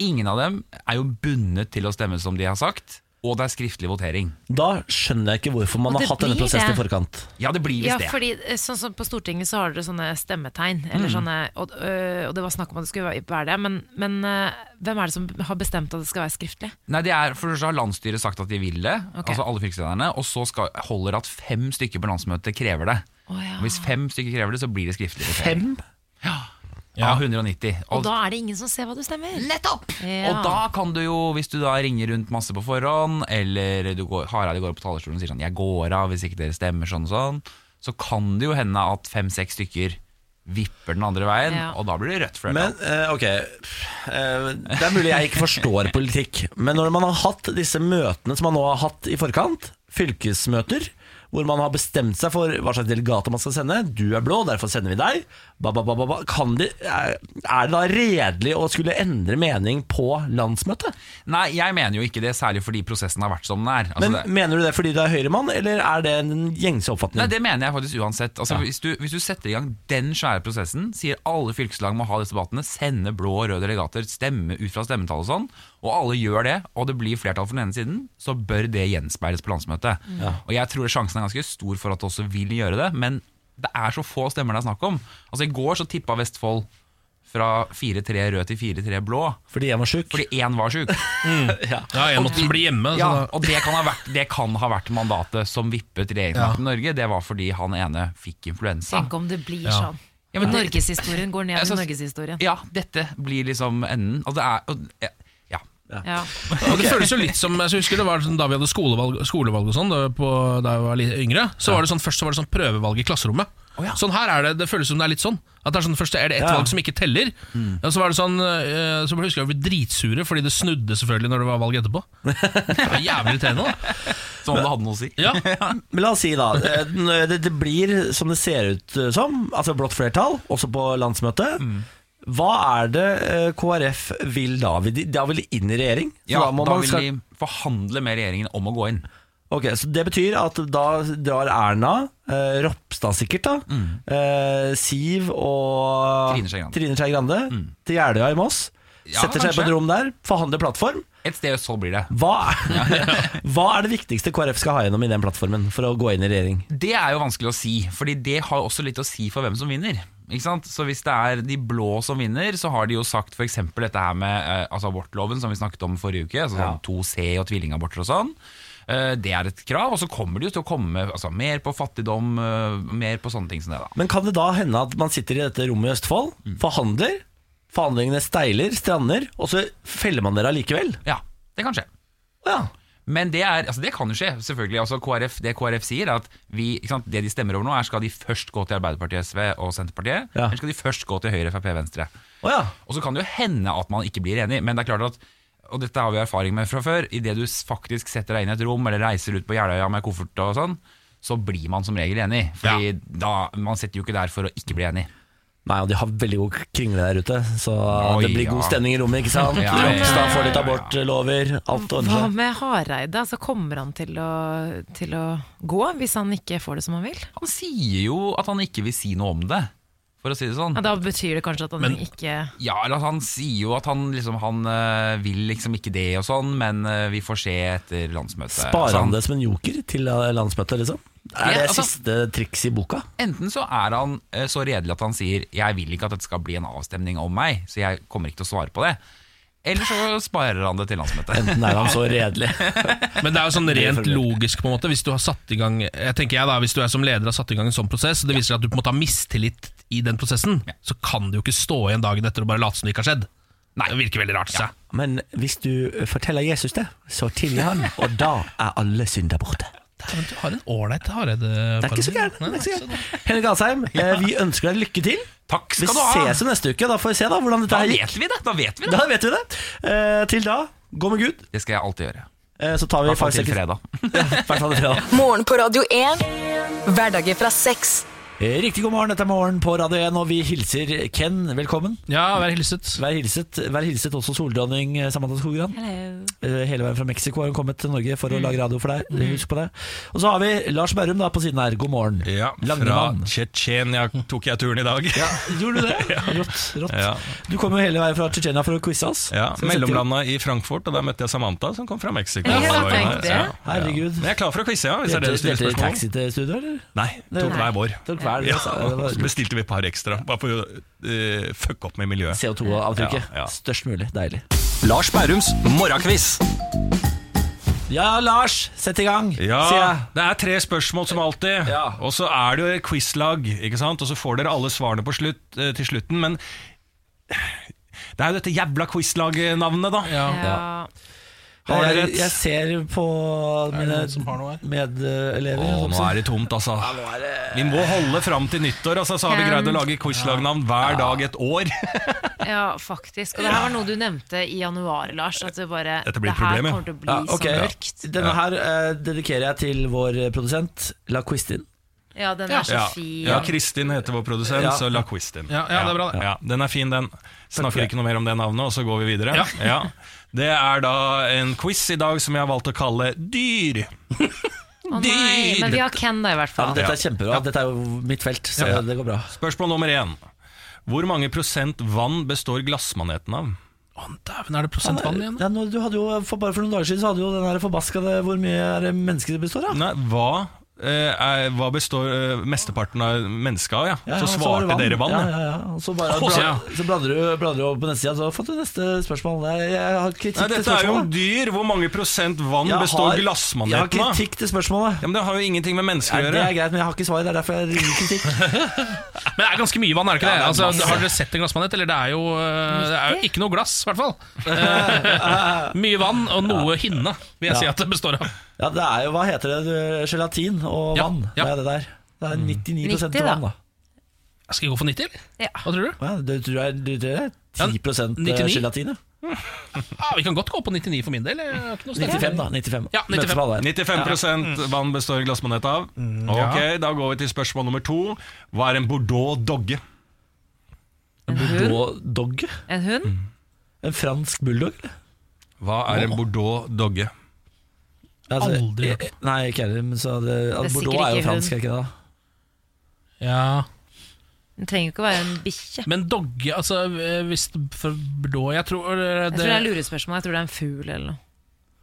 S11: Ingen av dem er jo bundet til å stemme som de har sagt. Og det er skriftlig votering.
S1: Da skjønner jeg ikke hvorfor man
S2: Og
S1: har
S2: det
S1: hatt denne
S2: blir
S1: prosessen i
S2: det.
S1: forkant.
S11: Ja, det blir
S2: Ja,
S11: visst det.
S2: fordi eh, sånn som På Stortinget så har dere sånne stemmetegn,
S11: Mm.
S2: eller sånne, og, øh, og det var snakk om at det skulle være det. Men, men eh, hvem er det som har bestemt at det skal være skriftlig?
S11: Nei, det er, for så har landstyret sagt at de vil det,
S2: Ok.
S11: altså alle fylkeslederne, og så skal, holder at fem stykker på landsmøtet krever det.
S2: Å ja.
S11: Hvis fem stykker krever det, så blir det skriftlig.
S1: Fem?
S11: votering. Ja, 190.
S2: Og da er det ingen som ser hva du stemmer.
S11: Nettopp!
S2: Ja.
S11: Og da kan du jo, hvis du da ringer rundt masse på forhånd, eller du går, Hareide går opp på talerstolen og sier sånn 'jeg går av hvis ikke dere stemmer', sånn og sånn, så kan det jo hende at fem-seks stykker vipper den andre veien,
S2: Ja.
S11: og da blir det rødt
S1: Men
S11: flertall.
S1: eh, ok, Eh, det er mulig jeg ikke forstår politikk, men når man har hatt disse møtene som man nå har hatt i forkant, fylkesmøter, hvor man har bestemt seg for hva slags delegater man skal sende. Du er blå, derfor sender vi deg. Ba, ba, ba, ba, ba. Kan de, er er det da redelig å skulle endre mening på landsmøtet?
S11: Nei, jeg mener jo ikke det, særlig fordi prosessen har vært som den er. Altså,
S1: Men
S11: det,
S1: Mener du det fordi du er høyremann, eller er det en gjengse oppfatning?
S11: Nei, Det mener jeg faktisk uansett. Altså, hvis, du, hvis du setter i gang den svære prosessen, sier alle fylkeslag må ha disse debattene, sende blå og røde delegater, stemme ut fra stemmetall og sånn, og alle gjør det, og det blir flertall for den ene siden, så bør det gjenspeiles på landsmøtet.
S1: Ja.
S11: Og jeg tror sjansen er ganske stor for at det også vil gjøre det, men det er så få stemmer det er snakk om. Altså, I går så tippa Vestfold fra 4-3 rød til 4-3 blå.
S1: Fordi én var sjuk?
S11: Fordi én var sjuk.
S2: Mm.
S11: *laughs*
S1: Ja.
S3: Ja, en måtte bli hjemme, så
S11: Ja,
S3: da-
S11: og det kan, ha vært, det kan ha vært mandatet som vippet regjeringsmakten i Norge. Det var fordi han ene fikk influensa.
S2: Tenk om det blir
S11: Ja.
S2: sånn.
S11: Ja, men det-
S2: Norgeshistorien går ned
S11: Jeg
S2: i
S11: synes-
S2: norgeshistorien.
S11: Ja, dette blir liksom enden. Og det er og, ja.
S2: Ja.
S3: Og det føles jo litt som jeg husker det var sånn, Da vi hadde skolevalg, skolevalg og sånn da, på- da jeg var litt yngre, så var det sånn, først så var det sånn prøvevalg i klasserommet. Sånn her er det, det føles som det er litt sånn. At det er sånn, Først er det ett
S11: Ja.
S3: valg som ikke teller. Og så var det sånn eh, Så husker jeg vi ble dritsure fordi det snudde selvfølgelig når det var valg etterpå. Det var jævlig irriterende da
S11: Som om det hadde noe å si.
S3: Ja.
S1: Men la oss si da eh, det, det blir som det ser ut som, altså blått flertall, også på landsmøtet.
S11: Mm.
S1: Hva er det eh, KrF vil da? Vil de, da vil de inn i regjering? Så
S11: *laughs* Ja,
S1: må
S11: da
S1: man
S11: vil
S1: skal-
S11: de forhandle med regjeringen om å gå inn.
S1: Ok, Så det betyr at da drar Erna, eh, Ropstad sikkert, da eh, Siv og
S11: Mm. Trine Skei Grande. Mm.
S1: Trine Skei Grande til Jeløya i Moss.
S11: Ja,
S1: setter seg på et
S11: kanskje.
S1: rom der, forhandler plattform.
S11: Et sted så blir det.
S1: Hva er, *laughs* hva er det viktigste KrF skal ha gjennom i den plattformen for å gå inn i regjering?
S11: Det er jo vanskelig å si, Fordi det har jo også litt å si for hvem som vinner. Ikke sant? Så Hvis det er de blå som vinner, så har de jo sagt f.eks. dette her med eh, altså abortloven som vi snakket om forrige uke. Altså sånn 2C og tvillingaborter og sånn. Eh, det er et krav. Og så kommer det jo til å komme altså, mer på fattigdom, eh, mer på sånne ting som det. da
S1: Men kan det da hende at man sitter i dette rommet i Østfold,
S11: Mm.
S1: forhandler, forhandlingene steiler, strander, og så feller man dere allikevel?
S11: Ja, det kan skje. Men det, er, altså det kan jo skje, selvfølgelig. Altså KrF, det KrF sier, er at vi, ikke sant, det de stemmer over nå, er skal de først gå til Arbeiderpartiet, SV og Senterpartiet,
S1: Ja.
S11: eller skal de først gå til Høyre, Frp, Venstre?
S1: ja.
S11: Og så kan det jo hende at man ikke blir enig, men det er klart at og dette har vi erfaring med fra før. Idet du s- faktisk setter deg inn i et rom eller reiser ut på Jeløya med koffert og sånn, så blir man som regel enig. Fordi da, man sitter jo ikke der for å ikke bli enig.
S1: Nei, og de har veldig god kringle der ute, så
S11: Oi,
S1: det blir god
S11: ja.
S1: stemning i rommet, ikke sant?
S11: *laughs* Ja, ja, ja,
S1: Ropstad får litt
S11: ja, ja.
S1: abortlover, alt ordner
S2: Hva
S1: seg.
S2: med Hareide? Altså, kommer han til å, til å gå hvis han ikke får det som han vil?
S11: Han sier jo at han ikke vil si noe om det, for å si det sånn.
S2: Ja, da betyr det kanskje at han
S11: Men-
S2: ikke
S11: Ja, eller at Han sier jo at han, liksom, han eh, vil liksom ikke det og sånn, men eh, vi får se etter landsmøtet.
S1: Sparer
S11: Så
S1: han det som en joker til eh, landsmøtet, liksom? Er
S11: Ja,
S1: det
S11: altså-
S1: siste triks i boka?
S11: Enten så er han eh, så redelig at han sier 'jeg vil ikke at dette skal bli en avstemning om meg', så jeg kommer ikke til å svare på det. Eller så sparer han det til landsmøtet.
S1: Enten er han så redelig.
S11: *laughs*
S3: Men det er jo sånn
S1: Det er
S3: rent
S1: formulert.
S3: logisk på en måte Hvis du har satt i gang Jeg tenker jeg da Hvis du er som leder har satt i gang en sånn prosess og Det viser seg at du på en måte har mistillit i den prosessen Så kan du jo ikke stå igjen dagen etter Og bare late som det ikke har skjedd Det virker veldig rart ja.
S1: Men hvis du forteller Jesus det, så tilgir han, og da er alle synder borte.
S3: Du har en ålreit Hareide
S1: Det er ikke så gærent. det er ikke så gærent. Henrik Asheim, eh, vi ønsker deg lykke til.
S11: Takk
S3: skal
S1: vi
S3: du ha.
S1: Vi ses jo neste uke, da får vi se da hvordan dette
S11: Da
S1: her
S11: vet vi det! Da vet vi det.
S1: Da vet vi det. Eh, til da, gå med Gud.
S11: Det skal jeg alltid gjøre.
S1: Eh, så tar vi
S11: Hvertfall
S1: Five
S11: til
S1: Seconds-
S11: fredag.
S1: *laughs* Ja, hvertfall til fredag.
S4: Morgen på Radio 1. Hverdager fra seks.
S1: Eh, Riktig god morgen, dette er Morgen på Radio 1, og vi hilser Ken velkommen.
S3: Ja, vær hilset
S1: Vær hilset, vær hilset også soldronning eh, Samantha Skogran. Eh, Hele veien fra Mexico har hun kommet til Norge for å lage radio for deg. Eh, Husk på det. Og så har vi Lars Berrum da på siden her. God morgen.
S12: Ja, fra
S1: Langemann.
S12: *laughs* Tsjetsjenia tok jeg turen i dag. *laughs* Ja,
S1: Gjorde du det? Rått. rått.
S12: Ja.
S1: Du kom jo hele veien fra Tsjetsjenia for å quize oss. Skal vi sette i gang?
S12: Mellomlanda i Frankfurt, og der møtte jeg Samantha, som kom fra Mexico. Så
S1: Ja,
S12: det var jo
S1: tenk
S12: nice,
S1: det.
S12: ja.
S1: Herregud.
S12: Men jeg er klar for å quize, ja, hvis det er det du
S1: Delte-
S12: stiller
S1: delte dere
S12: spørsmål
S1: taxi
S12: om.
S1: til studio, eller?
S12: Nei, tok
S1: Nei.
S12: hver vår.
S1: Tok hver dere,
S12: ja,
S1: så det var-
S12: Så bestilte vi et par ekstra, bare for å eh, fucke opp med miljøet.
S1: CO2-avtrykket.
S12: Ja, ja.
S1: Størst mulig. Deilig.
S12: Lars Bærums morgenkviss.
S1: Ja, Lars, sett i gang, sier jeg.
S12: Ja, det er tre spørsmål som alltid. Og så er det jo et quizlag, ikke sant? og så får dere alle svarene på slutt, eh, til slutten. Men det er jo dette jævla quizlag-navnet, da.
S2: Ja.
S12: Har
S1: jeg,
S12: dere
S1: jeg,
S12: rett?
S1: ser på mine medelever. sånn
S12: Å, nå er det tomt, altså. Vi må holde fram til nyttår, altså, så har vi
S2: Ken.
S12: greid å lage quizlagnavn hver dag et år.
S2: Ja, faktisk. Og det her var noe du nevnte i januar, Lars. At det bare
S1: Dette blir
S2: det her
S1: problemet.
S2: kommer til å bli
S1: Ja, ok.
S2: så mørkt.
S1: Denne her eh, dedikerer jeg til vår produsent, La Quistin.
S2: Ja, den er så
S12: Ja.
S2: fin.
S12: ja, Kristin heter vår produsent,
S1: Ja.
S12: så la quiz den.
S1: Ja, ja, det er bra, det.
S12: Ja, den er fin, den. Snakker ikke noe mer om det navnet, og så går vi *laughs* videre.
S1: Ja.
S12: Det er da en quiz i dag som jeg har valgt å kalle Dyr.
S2: Å nei, men vi har Ken da, i
S12: Ja,
S2: hvert fall.
S12: men dette er
S1: Kjempebra. Dette er jo mitt felt, så
S12: Ja.
S1: det går bra.
S12: Spørsmål nummer én. Hvor mange prosent vann består glassmaneten av?
S3: Dæven, er det prosent vann igjen?
S1: Ja, nå, du hadde jo, for bare for noen dager siden så hadde du jo den her forbaskede hvor mye er det mennesker det består av.
S12: Nei, hva, eh, er, hva består eh, mesteparten av mennesket av? Ja?
S1: Ja,
S12: så
S1: og var
S12: svarte
S1: det
S12: dere vann.
S1: Ja,
S12: ja.
S1: ja, ja. Og Så,
S12: Å,
S1: bare, bla,
S12: ja.
S1: så bladrer du bladrer du over på neste side, så har du fått du neste spørsmål. Nei, jeg har kritikk
S12: Nei,
S1: til
S12: dette er jo
S1: spørsmålet.
S12: dyr. Hvor mange prosent vann
S1: Jeg
S12: består
S1: har-
S12: glassmaneten
S1: jeg
S12: av?
S1: har kritikk til spørsmålet.
S12: Ja, men Det har jo ingenting med mennesker
S1: Nei,
S12: å
S1: det
S12: gjøre.
S1: er greit, men jeg har ikke svaret. Det er derfor jeg ringer
S12: *laughs*
S1: kritikk.
S3: Men det er ganske mye vann, er det ikke
S1: Ja,
S3: det?
S1: det er
S3: Altså,
S1: masse.
S3: har dere sett en glassmanet? Eller det er jo, eh, det er jo ikke noe glass, i hvert fall. Eh, mye vann og noe hinne, vil jeg
S1: Ja.
S3: si at det består av.
S1: Ja, det er jo, hva heter det, du, gelatin og vann. Det er det der. Det
S12: Mm.
S1: er 99
S3: 90 da.
S1: vann, da.
S3: Skal jeg gå for 90, eller?
S1: Hva tror du? Ja, du tror jeg- du tror det er 10
S3: Ja, 99.
S1: gelatin, ja.
S3: Ja, vi kan godt gå på 99 for min del. jeg har ikke noe større-
S1: 95, da. 95.
S3: Ja, 95.
S1: Møtes på alle.
S12: 95
S1: Mm.
S12: vann består glassmanet av.
S3: ja.
S12: Ok, Da går vi til spørsmål nummer to. Hva er en bordeaux dogge?
S2: En
S1: Bordeaux dogge?
S2: En hund?
S1: En fransk bulldog?
S12: Hva er en bordeaux dogge? Aldri hørt
S1: eh, Nei, ikke heller. Men så det, altså,
S2: Det er
S1: Bordeaux
S2: sikkert
S1: er jo
S2: ikke
S1: fransk, er
S2: hund.
S1: ikke det? da?
S3: Ja.
S2: Den trenger jo ikke å være en bikkje.
S3: Men dogge altså, eh, hvis det- for da, Jeg tror eh, det,
S2: Jeg tror det er lurespørsmål. Jeg tror det er en fugl eller noe.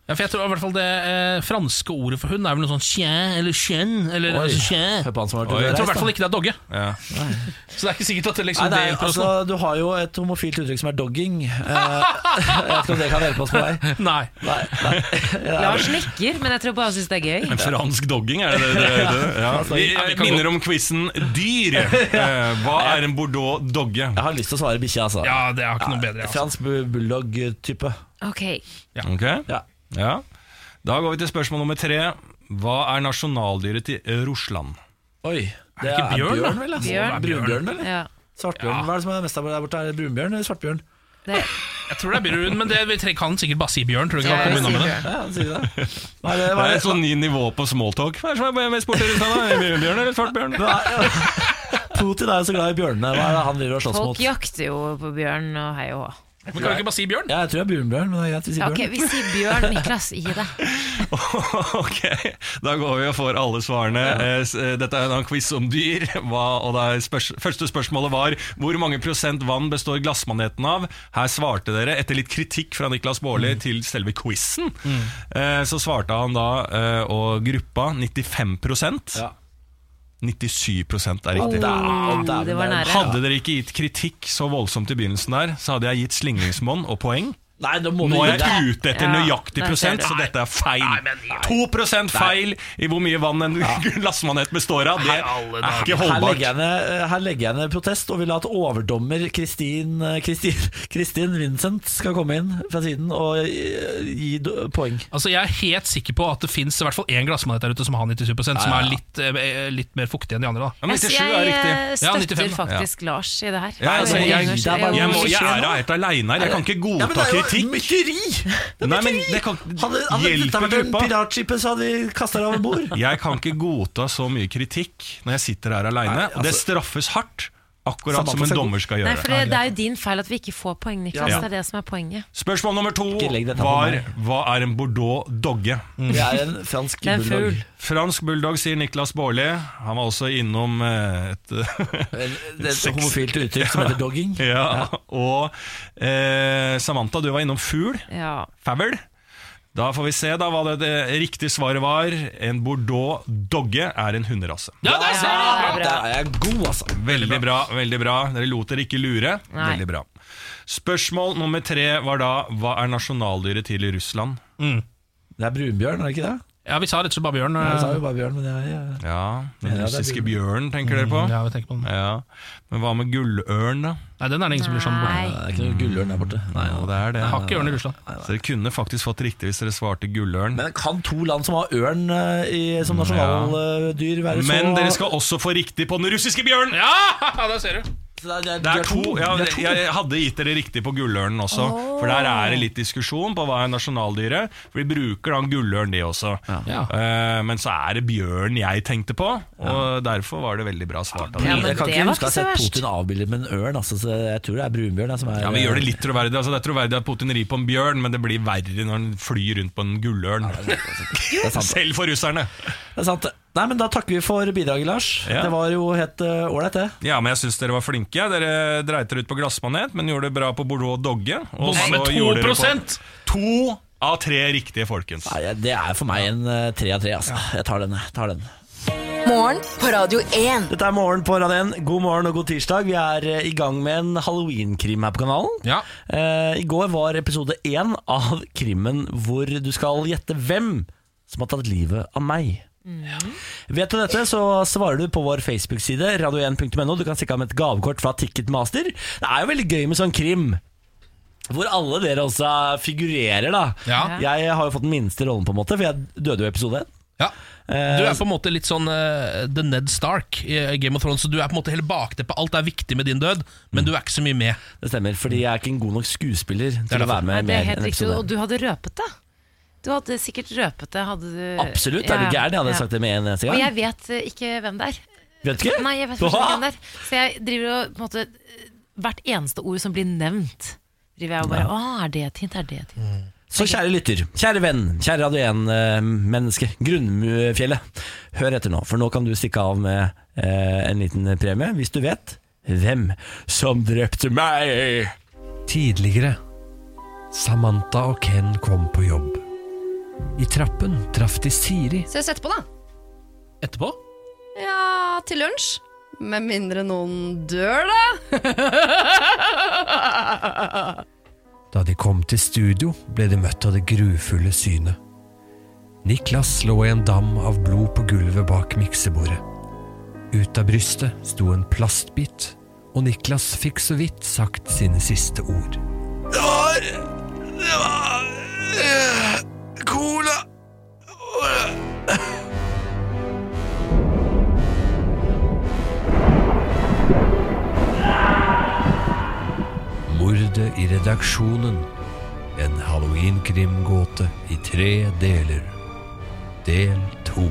S3: ja, for jeg tror i hvert fall det eh, franske ordet for hund er vel noe sånn chien eller chien. Eller,
S1: Oi,
S3: altså, chien.
S1: hør på han som har vært
S3: Oi,
S1: ute og
S3: jeg tror i
S1: reist,
S3: hvert fall ikke det er dogge.
S12: Ja.
S3: Så det er ikke sikkert at det
S1: Nei,
S3: liksom
S1: det er,
S3: hjelper oss
S1: altså,
S12: sånn.
S1: du har jo et homofilt uttrykk som er dogging. Eh, *laughs* jeg vet ikke om det kan hjelpe oss på vei.
S3: nå. Nei.
S1: Nei, nei. Ja.
S2: Lars nikker, men jeg tror bare han syns det er gøy.
S12: En fransk dogging, er det det? det, det? Ja. Vi
S1: *laughs* Ja, Altså, vi
S12: eh,
S1: kan
S12: minner om quizen Dyr.
S1: *laughs*
S12: Eh, Hva er en bordeaux dogge?
S1: Jeg har lyst til å svare bikkje, altså.
S3: Ja, det har ikke noe bedre. Altså.
S1: Fransk bu- bulldog-type.
S2: Ok,
S12: Ok? Ja. Da går vi til spørsmål nummer tre. Hva er nasjonaldyret til Russland?
S1: Oi,
S12: det ikke bjørn, da?
S1: vel? Altså.
S12: Bjørn.
S1: Brunbjørn, eller?
S2: Ja.
S1: Svartbjørn, Hva er det som er mest der borte? Er det brunbjørn eller
S12: *laughs*
S1: svartbjørn?
S3: Jeg tror det er brun, men det, vi tre- kan sikkert bare si bjørn. Tror du ikke
S1: Ja,
S3: han
S1: vi
S3: kommer unna med
S1: sier
S3: det?
S1: bjørn. Ja, han sier det. Hva er
S12: Det
S1: det- hva
S12: er
S1: er
S12: et sånn ny nivå på smalltalk. Hva er det som er mest borte i Russland? da? Brunbjørn eller
S1: *laughs*
S12: svartbjørn?
S1: Putin er jo så glad i bjørnene. Hva er det han driver og slåss
S2: Folk
S1: mot?
S2: jakter jo på bjørn og hei og hå.
S3: Men kan vi ikke bare si bjørn?
S1: Ja, jeg tror det er brunbjørn, men det er greit vi
S2: Ja,
S1: sier
S2: ok,
S1: bjørn.
S2: vi sier bjørn, Niklas. Gi deg.
S12: *laughs* Ok, da går vi og får alle svarene. Eh, s- eh, Dette er da en quiz om dyr. Hva, og det er spørs første spørsmålet var hvor mange prosent vann består glassmaneten av? Her svarte dere, etter litt kritikk fra Niklas
S1: Mm.
S12: Baarli til selve quizen, eh, så svarte han da eh, og gruppa 95
S1: Ja.
S12: 97 er riktig.
S1: Å, dæven,
S2: det var nære.
S12: Hadde dere ikke gitt kritikk så voldsomt i begynnelsen der, så hadde jeg gitt slingringsmonn og poeng.
S1: Nei, nå må
S12: Nå
S1: du
S12: er
S1: gi deg.
S12: jeg ute etter
S1: Ja,
S12: nøyaktig
S1: der ser
S12: prosent,
S1: du.
S12: så dette er feil.
S1: Nei, men-
S12: 2 feil i hvor mye vann en *laughs* glassmanet består av. Det er ikke
S1: Her legger,
S12: holdbart.
S1: jeg ned, eh, her legger jeg ned protest og vil at overdommer Kristin eh, Kristin *laughs* Kristin Vincent skal komme inn fra siden og gi- gi do- poeng.
S3: Altså, Jeg er helt sikker på at det fins i hvert fall én glassmanet der ute som har 97 som
S1: Ja, ja.
S3: er litt, eh, litt mer fuktig enn de andre. da
S2: Jeg, jeg eh, støtter faktisk Lars i det her.
S12: Ja, altså,
S2: Jeg-
S12: jeg, jeg,
S2: jeg- jeg-
S12: må, jeg er helt aleine her. Jeg kan ikke godta kritikk.
S1: mytteri!
S12: Nei, men det kan,
S1: Hadde, hadde dette
S12: hjelper
S1: vært en
S12: gruppa.
S1: piratskipe, så hadde vi kasta det over
S12: *laughs*
S1: bord.
S12: Jeg kan ikke godta så mye kritikk når jeg sitter her aleine. Og
S1: altså,
S12: det straffes hardt, akkurat som en dommer skal
S2: Nei,
S12: gjøre.
S2: for det, det er jo din feil at vi ikke får poeng, Niklas.
S12: Ja.
S2: Det er det som er poenget.
S12: Spørsmål nummer to
S1: Ikke legg dette på
S12: var Mm.
S1: meg.
S12: hva er en bordeaux dogge?
S1: Det er en fransk
S2: Det er en
S1: bulldog.
S2: fugl.
S12: Fransk bulldog, sier Niklas Baarli. Han var også innom eh, et, *laughs*
S1: Det er et homofilt uttrykk som heter dogging.
S12: Ja, og eh, Samantha, du var innom fugl.
S2: Ja.
S12: Favel. Da får vi se da hva det, det riktige svaret var. En bordeaux dogge er en hunderase.
S3: Ja, der ser du!
S1: Ja, der er jeg god, altså.
S12: Veldig bra, veldig bra. Dere lot dere ikke lure.
S2: Nei.
S12: Veldig bra. Spørsmål nummer tre var da hva er nasjonaldyret til i Russland?
S1: Det er brunbjørn, er det ikke det?
S3: Ja, vi sa rett og slett bare bjørn. eh.
S1: Ja, vi sa jo bare bjørn, men jeg, jeg
S12: Ja,
S1: Mener
S12: Den
S1: jeg det er
S12: russiske
S1: billig.
S12: bjørnen tenker dere på?
S3: Mm, ja, vi tenker på den.
S12: Ja.
S11: Mm.
S12: Men hva med gullørn, da?
S3: Nei, den er det ingen som bryr
S1: sånn-
S3: seg om.
S12: Nei.
S1: Det er ikke noe gullørn der borte. Nei,
S12: Jo, det er det.
S3: Jeg har ikke ørn i Russland.
S12: Så dere kunne faktisk fått riktig hvis dere svarte gullørn.
S1: Men kan to land som har ørn eh, i, som nasjonaldyr, være så
S12: Mm, Men dere skal også få riktig på den russiske bjørnen!
S3: Ja, *laughs* der ser du.
S12: Det er to, ja,
S1: Det er to.
S12: Jeg hadde gitt dere riktig på gullørnen også. For der er det litt diskusjon på hva er nasjonaldyret. For de bruker da en gullørn, de også. Eh, men så er det bjørn jeg tenkte på, og derfor var det veldig bra svart av
S1: Ja,
S12: dere.
S1: men jeg kan ikke huske å ha sett Putin avbildet med en ørn. Altså, så jeg tror det er brunbjørn. da, Som er,
S12: Ja, Vi gjør det litt troverdig. Altså, det er troverdig at Putin rir på en bjørn, men det blir verre når han flyr rundt på en gullørn.
S1: Det er sant.
S12: Selv for russerne!
S1: Det er sant. Nei, men Da takker vi for bidraget, Lars.
S12: Ja.
S1: Det var jo helt eh, ålreit, det.
S12: Ja, men jeg syns dere var flinke. Dere dreit dere ut på glassmanet, men gjorde det bra på Bordeaux Dogge. Og
S3: Bomma
S12: så
S3: med
S12: gjorde dere på-
S3: 2%!
S12: To av tre riktige, folkens.
S1: Nei, jeg- det er for meg en eh, tre av tre. Altså. Jeg tar den. jeg tar den.
S4: Morgen på Radio 1.
S1: Dette er Morgen på Radio 1. God morgen og god tirsdag. Vi er eh, i gang med en halloween-krim her på kanalen. Eh, I går var episode én av krimmen hvor du skal gjette hvem som har tatt livet av meg.
S3: Mm.
S1: Vet du dette, så svarer du på vår Facebook-side, radio1.no. Du kan stikke av med et gavekort fra Ticketmaster. Det er jo veldig gøy med sånn krim. Hvor alle dere også figurerer, da.
S3: Ja.
S1: Jeg har jo fått den minste rollen, på en måte, for jeg døde jo i episode én.
S3: Du er på en måte litt sånn eh, The Ned Stark i eh, Game of Thrones. Så du er på en måte hele bakteppet. Alt er viktig med din død, men du er ikke så mye med.
S1: Det stemmer, fordi jeg er ikke en god nok skuespiller til å være
S2: Nei,
S1: med
S2: det
S1: mer
S2: er
S1: enn
S2: helt
S1: en
S2: riktig,
S1: episode.
S2: og du hadde røpet det. Du hadde sikkert røpet det. Hadde du...
S1: Absolutt, er du gæren? Jeg hadde sagt det med en eneste
S2: Og jeg
S1: gang.
S2: vet eh, ikke hvem det er.
S1: Vet du ikke?
S2: Nei, jeg vet
S1: Hva?
S2: fortsatt ikke hvem det er. Så jeg driver og på en måte eh, Hvert eneste ord som blir nevnt, driver jeg og bare Å, er det et hint? Er det et hint?
S1: Så kjære lytter, kjære venn, kjære Radio 1-menneske, Grunnfjellet. Hør etter nå, for nå kan du stikke av med eh, en liten premie, hvis du vet hvem som drepte meg.
S13: Tidligere. Samantha og Ken kom på jobb. I trappen traff de Siri.
S14: Ses etterpå, da.
S3: Etterpå?
S14: Ja, til lunsj. Med mindre noen dør, da.
S13: Da de kom til studio, ble de møtt av det grufulle synet. Niklas lå i en dam av blod på gulvet bak miksebordet. Ut av brystet sto en plastbit, og Niklas fikk så vidt sagt sine siste ord.
S10: Det var Det var eh, Cola
S13: Mordet i redaksjonen. En halloweenkrimgåte i tre deler. Del to.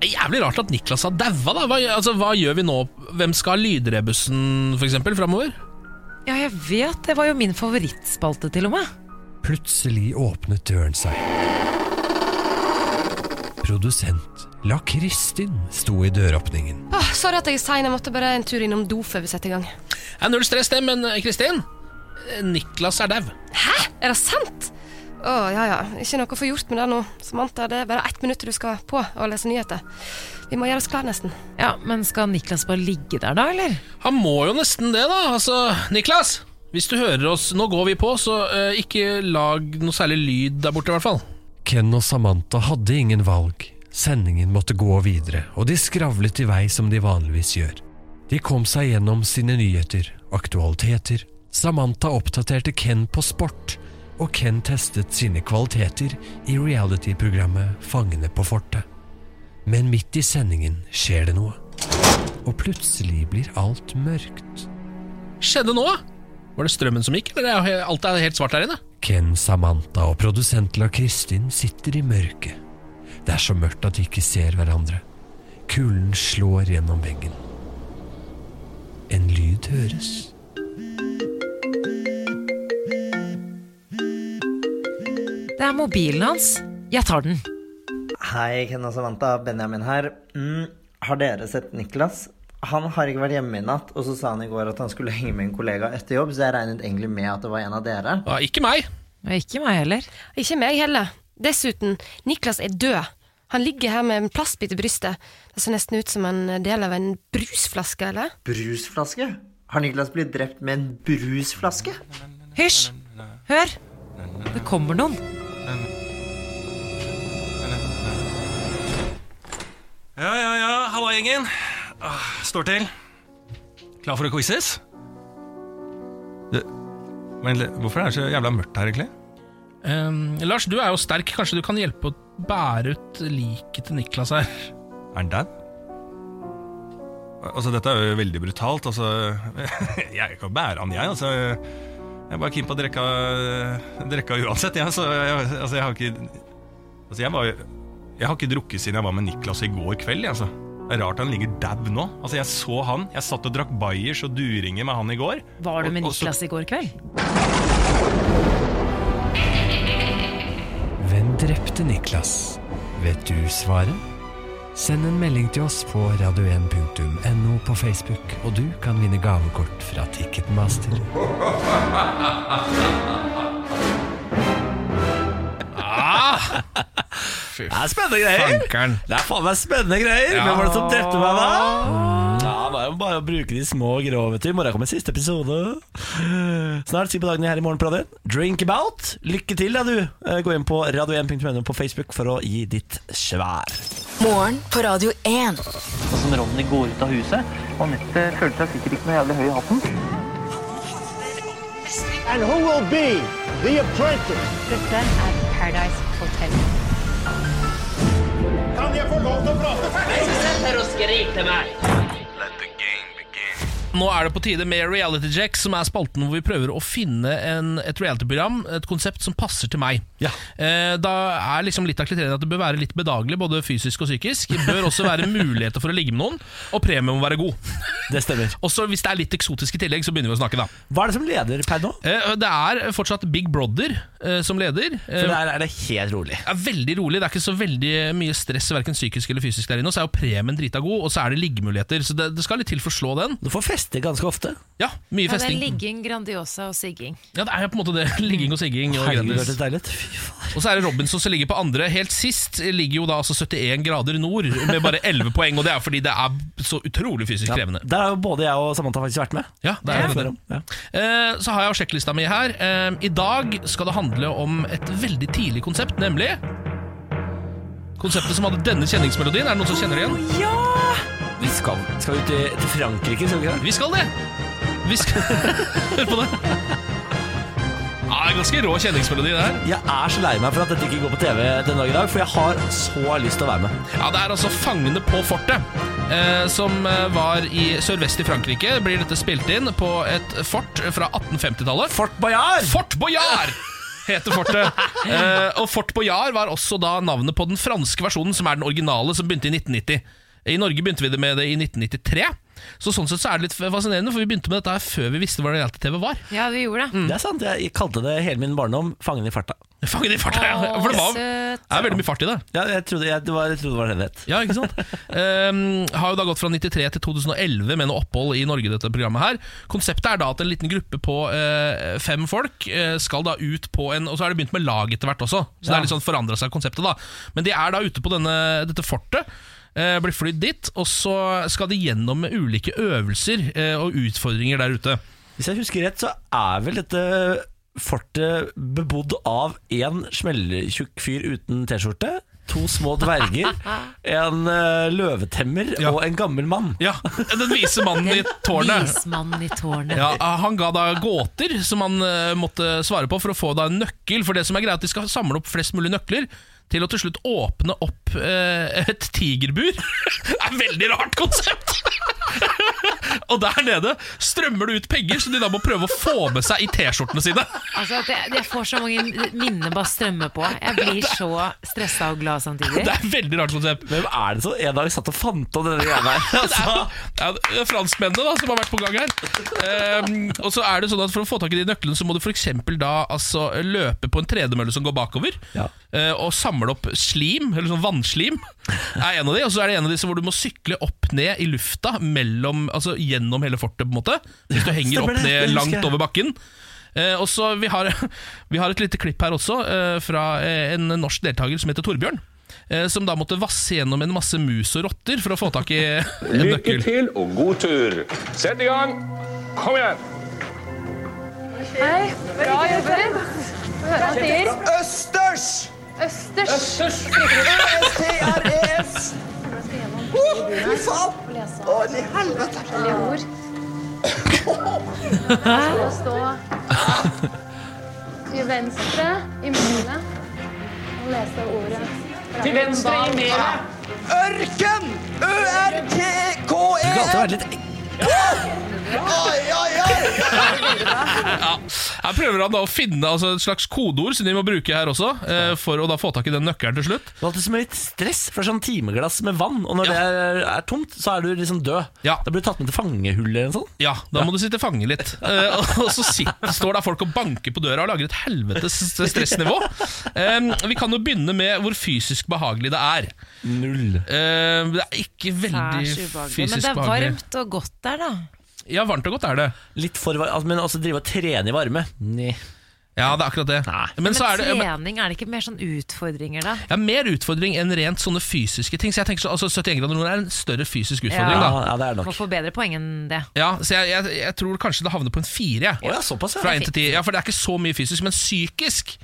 S3: Det er Jævlig rart at Niklas har daua, da. Hva, altså, hva gjør vi nå? Hvem skal ha lydrebussen, f.eks., framover?
S2: Ja, jeg vet. Det var jo min favorittspalte, til og med.
S13: Plutselig åpnet døren seg. Produsent La Kristin sto i døråpningen.
S14: Åh, sorry at jeg er sein. Jeg måtte bare en tur innom do før vi setter i gang.
S3: Ja, null stress, det, men eh, Kristin? eh, Niklas er dau.
S14: Hæ? Er det sant? Å, ja ja. Ikke noe å få gjort med det nå. Samantha, det er bare ett minutt til du skal på og lese nyheter. Vi må gjøre oss klar, nesten.
S2: Ja, Men skal Niklas bare ligge der, da, eller?
S3: Han må jo nesten det, da. Altså, Niklas, hvis du hører oss, nå går vi på, så eh, ikke lag noe særlig lyd der borte, i hvert fall.
S13: Ken og Samantha hadde ingen valg. Sendingen måtte gå videre, og de skravlet i vei som de vanligvis gjør. De kom seg gjennom sine nyheter, aktualiteter. Samantha oppdaterte Ken på sport, og Ken testet sine kvaliteter i reality-programmet Fangene på fortet. Men midt i sendingen skjer det noe, og plutselig blir alt mørkt.
S3: Skjedde nå? Var det strømmen som gikk, eller er he- alt er helt svart der inne?
S13: Ken, Samantha og produsent La Kristin sitter i mørket. Det er så mørkt at de ikke ser hverandre. Kulden slår gjennom veggen. En lyd høres.
S2: Det er mobilen hans. Jeg tar den.
S15: Hei, Ken og Samantha. Benjamin her. Mm, har dere sett Niklas? Han har ikke vært hjemme i natt, og så sa han i går at han skulle henge med en kollega etter jobb, så jeg regnet egentlig med at det var en av dere.
S3: ikke meg.
S2: Ikke meg heller.
S14: Ikke meg heller. Dessuten, Niklas er død. Han ligger her med en plastbit i brystet. Det ser nesten ut som en del av en brusflaske, eller?
S15: Brusflaske? Har Niklas blitt drept med en brusflaske?
S2: Hysj! Hør! Det kommer noen.
S12: Ja, ja, ja, halla gjengen. Ah, Står til. Klar for å quizes? Du, men le- hvorfor er det så jævla mørkt her, egentlig?
S3: Ehm, Lars, du er jo sterk. Kanskje du kan hjelpe å bære ut liket til Niklas her?
S12: Er han dau? Altså, dette er jo veldig brutalt. Altså, *laughs* jeg kan bære han, jeg. Altså, jeg er bare keen på å drikke eh, drikke uansett, jeg. Så jeg, altså, jeg har ikke Altså, jeg var jo Jeg har ikke drukket siden jeg var med Niklas i går kveld, jeg, altså. Det er rart han ligger dau nå. Altså, jeg så han. Jeg satt og drakk bayers og duringer med han i går.
S2: Var du med
S12: Og- og så-
S2: Niklas i går kveld?
S13: Hvem drepte Niklas? Vet du svaret? Send en melding til oss på radio1.no på Facebook, og du kan vinne gavekort fra Ticketmaster.
S1: Det er spennende greier! Det er faen meg spennende greier! Hvem var det som drepte meg, da? Ja, Det er jo bare å bruke de små grå, vet du. I morgen kommer siste episode. Snart si på dagen her i morgen på radioen. Drink about! Lykke til, da, du. Eh, Gå inn på radio1.no på Facebook for å gi ditt svær.
S4: Morgen på Radio 1.
S16: Og som Ronny går ut av huset. Anette følte seg sikkert ikke noe jævlig høy i hatten.
S17: And who will be the apprentice? Dette er Paradise Hotel. Kan jeg få lov til å prate
S3: Nå er det på tide med Reality Jack, som er spalten hvor vi prøver å finne en, et realityprogram, et konsept som passer til meg. Eh, da er liksom litt av kriteriet at det bør være litt bedagelig, både fysisk og psykisk. Det bør også være muligheter for å ligge med noen, og premien må være god.
S1: Det stemmer.
S3: Også hvis det er litt eksotisk i tillegg, så begynner vi å snakke, da. Eh,
S1: Hva er det som leder per nå?
S3: det er fortsatt Big Brother eh, som leder.
S1: For der er det helt rolig.
S3: er veldig rolig. Det er ikke så veldig mye stress, hverken psykisk eller fysisk der inne. Og så er jo premien drita god, og så er det liggemuligheter. Så det, det skal litt til for å slå den.
S1: Du får feste ganske ofte.
S3: Ja, mye
S2: Ja, det er
S3: festing.
S2: ligging, Grandiosa og sigging.
S3: Ja, det er jo på en måte det. *laughs* Ligging og sigging. Og
S1: Herregud,
S3: Grandis.
S1: det er deilig. Fy
S3: Og så er det Robinson som ligger på andre. Helt sist ligger jo da altså 71 grader nord med bare 11 *laughs* poeng, og det er fordi det er så utrolig fysisk
S1: Ja,
S3: krevende.
S1: Der har jo både jeg og Samantha faktisk vært med.
S3: Ja, det er jo
S1: Før
S3: det.
S1: om, ja.
S3: Eh, Så har jeg jo sjekklista mi her. Eh, I dag skal det handle om et veldig tidlig konsept, nemlig Konseptet som hadde denne kjenningsmelodien. Er det noen som kjenner det igjen?
S1: Vi skal, skal vi til, til Frankrike, skal vi ikke det?
S3: Vi skal det! Vi skal *laughs* Hør på det. Ja, det er ganske rå kjenningsmelodi, det her.
S1: Jeg er så lei meg for at dette ikke går på TV den dag i dag, for jeg har så lyst til å være med.
S3: Ja, det er altså Fangene på fortet, eh, som eh, var i sørvest i Frankrike. Blir dette spilt inn på et fort fra 1850-tallet.
S1: Fort Boyard!
S3: Fort Boyard! Heter fortet. Eh, og Fort Boyard var også da navnet på den franske versjonen, som er den originale, som begynte i 1990. I Norge begynte vi det med det i 1993. Så sånn sett så er det litt fascinerende, for vi begynte med dette her før vi visste hva reality-TV var.
S2: Ja, vi gjorde det.
S1: Det er sant, jeg kalte det hele min barndom Fangen i farta.
S3: Fangen i farta, ja. For det var, det er veldig mye fart i det.
S1: Ja, jeg trodde, jeg, det var, jeg trodde det var det det het.
S3: Ja, ikke sant? Ehm, har jo da gått fra 93 til 2011 med noe opphold i Norge, dette programmet her. Konseptet er da at en liten gruppe på eh, fem folk eh, skal da ut på en Og så er det begynt med lag etter hvert også, så det
S11: Ja.
S3: er litt sånn forandra seg konseptet, da. Men de er da ute på denne, dette fortet. eh, Blir flydd dit, og så skal de gjennom ulike øvelser eh, og utfordringer der ute.
S1: Hvis jeg husker rett, så er vel dette fortet bebodd av én smelltjukk fyr uten T-skjorte, to små *laughs* dverger, en eh, løvetemmer og en gammel mann.
S3: Ja, Den vise mannen i tårnet.
S2: Vismannen i tårnet.
S3: Ja, eh, Han ga da gåter som han eh, måtte svare på for å få da en nøkkel. For det som er greit, at de skal samle opp flest mulig nøkler til å til slutt åpne opp eh, et tigerbur. det er et veldig rart konsept! *laughs* og der nede strømmer det ut penger som de da må prøve å få med seg i T-skjortene sine.
S2: Altså, at jeg, jeg får så mange minner bare strømme på. Jeg blir så stressa og glad samtidig.
S3: Det er et veldig rart konsept.
S1: Hvem er det som en dag satt og fant opp denne greia *laughs* der? Altså.
S3: Ja, det er franskmennene da, som har vært på gang her. Ehm, og så er det sånn at For å få tak i de nøklene Så må du for eksempel da altså, løpe på en tredemølle som går bakover, eh, og samle opp slim, eller sånn vannslim, er en av de. Og så er det en av disse hvor du må sykle opp ned i lufta mellom, altså, gjennom hele fortet, på en måte. Hvis du henger
S11: stemmer
S3: opp
S11: det, det
S3: ned
S11: husker
S3: langt
S11: jeg.
S3: over bakken. Eh, *laughs* og så vi, har, vi har et lite klipp her også, eh, fra eh, en norsk deltaker som heter Torbjørn. eh, som da måtte vasse gjennom en masse mus og rotter for å få tak i eh, en
S18: Lykke
S3: nøkkel.
S18: til og god tur. Sett i gang. Kom igjen.
S19: Hei, bra jobbet. Hva sier?
S18: Østers!
S19: Østers.
S18: Østers.
S19: Ø-S-T-R-E-S.
S18: Å, fy faen! Å, i helvete!
S19: Forskjellige ord. Så stå til venstre i midten og lese ordet.
S18: Til venstre i melet. Ørken!
S3: Du
S18: Ø-r-t-k-e-n!
S3: kan alltid være litt
S18: Oi, oi, oi!
S3: Ja. Her prøver han da å finne altså, et slags kodeord som de må bruke her også, eh, for å da få tak i den nøkkelen til slutt.
S1: Det er alltid som litt stress, for det er sånn timeglass med vann, og når det er, er tomt, så er du liksom død. Da blir du tatt med til fangehull eller noe sånt.
S3: Ja, da må du sitte fange *laughs* litt. Eh, og så sitter, står der folk og banker på døra og lager et helvetes stressnivå. Eh, vi kan jo begynne med hvor fysisk behagelig det er.
S1: Null.
S3: det er ikke veldig
S2: Særs ubehagelig. Men det
S3: fysisk
S2: er
S3: behagelig.
S2: varmt og godt der, da.
S3: Ja, varmt og godt er det.
S1: Litt for varmt, altså, men altså drive og trene i varme. Nei.
S3: Ja, det er akkurat det.
S2: Men,
S3: så er det- ja, men-
S2: trening, er det ikke mer sånn utfordringer, da?
S3: Ja, Mer utfordring enn rent sånne fysiske ting. Så jeg tenker så, altså 71 grader nord er en større fysisk utfordring.
S1: Ja.
S3: da
S1: Ja, det er nok.
S2: Må få bedre poeng enn det.
S3: Ja, så jeg, jeg, jeg tror kanskje det havner på en fire. jeg.
S1: Å ja, såpass, ja.
S3: Fra
S1: Det er
S3: 1 til 10. Ja, for det er ikke så mye fysisk, men psykisk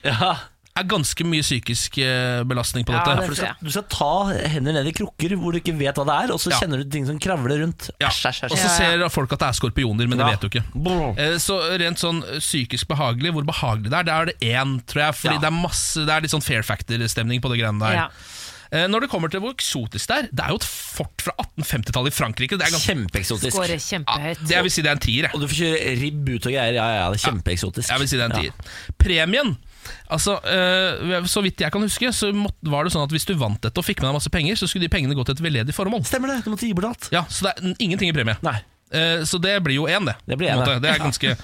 S3: er ganske mye psykisk eh, belastning på dette.
S1: for du, skal, du skal ta hender ned i krukker hvor du ikke vet hva det er, og så
S3: Ja.
S1: kjenner du ting som kravler rundt. Æsj, æsj, æsj.
S3: Og så ser folk at det er skorpioner, men det
S1: Ja.
S3: vet du ikke. Eh, Så rent sånn psykisk behagelig, hvor behagelig det er, der er det én, tror jeg. Fordi
S1: Ja.
S3: det, er masse, det er litt sånn fair factor-stemning på det greiene der.
S1: Ja.
S3: Eh, Når det kommer til hvor eksotisk det er, det er jo et fort fra 1850-tallet i Frankrike. Det er ganske
S1: Kjempeeksotisk.
S2: Skårer kjempehøyt.
S3: Det jeg vil si det er en tier. Jeg.
S1: Og du får kjøre ribb ut og greier. Ja, ja, det er kjempeeksotisk.
S3: Jeg vil si det er en tier. Premien Altså, eh, Så vidt jeg kan huske, så måtte, var det sånn at hvis du vant dette og fikk med deg masse penger, så skulle de pengene gå til et veldedig formål.
S1: Stemmer det, du måtte gi bort alt
S3: Ja, Så det er n- ingenting i premie. Eh, så det blir jo én, det.
S1: Det blir
S3: på en
S1: én,
S3: måte.
S1: det.
S3: det er
S1: Ja.
S3: ganske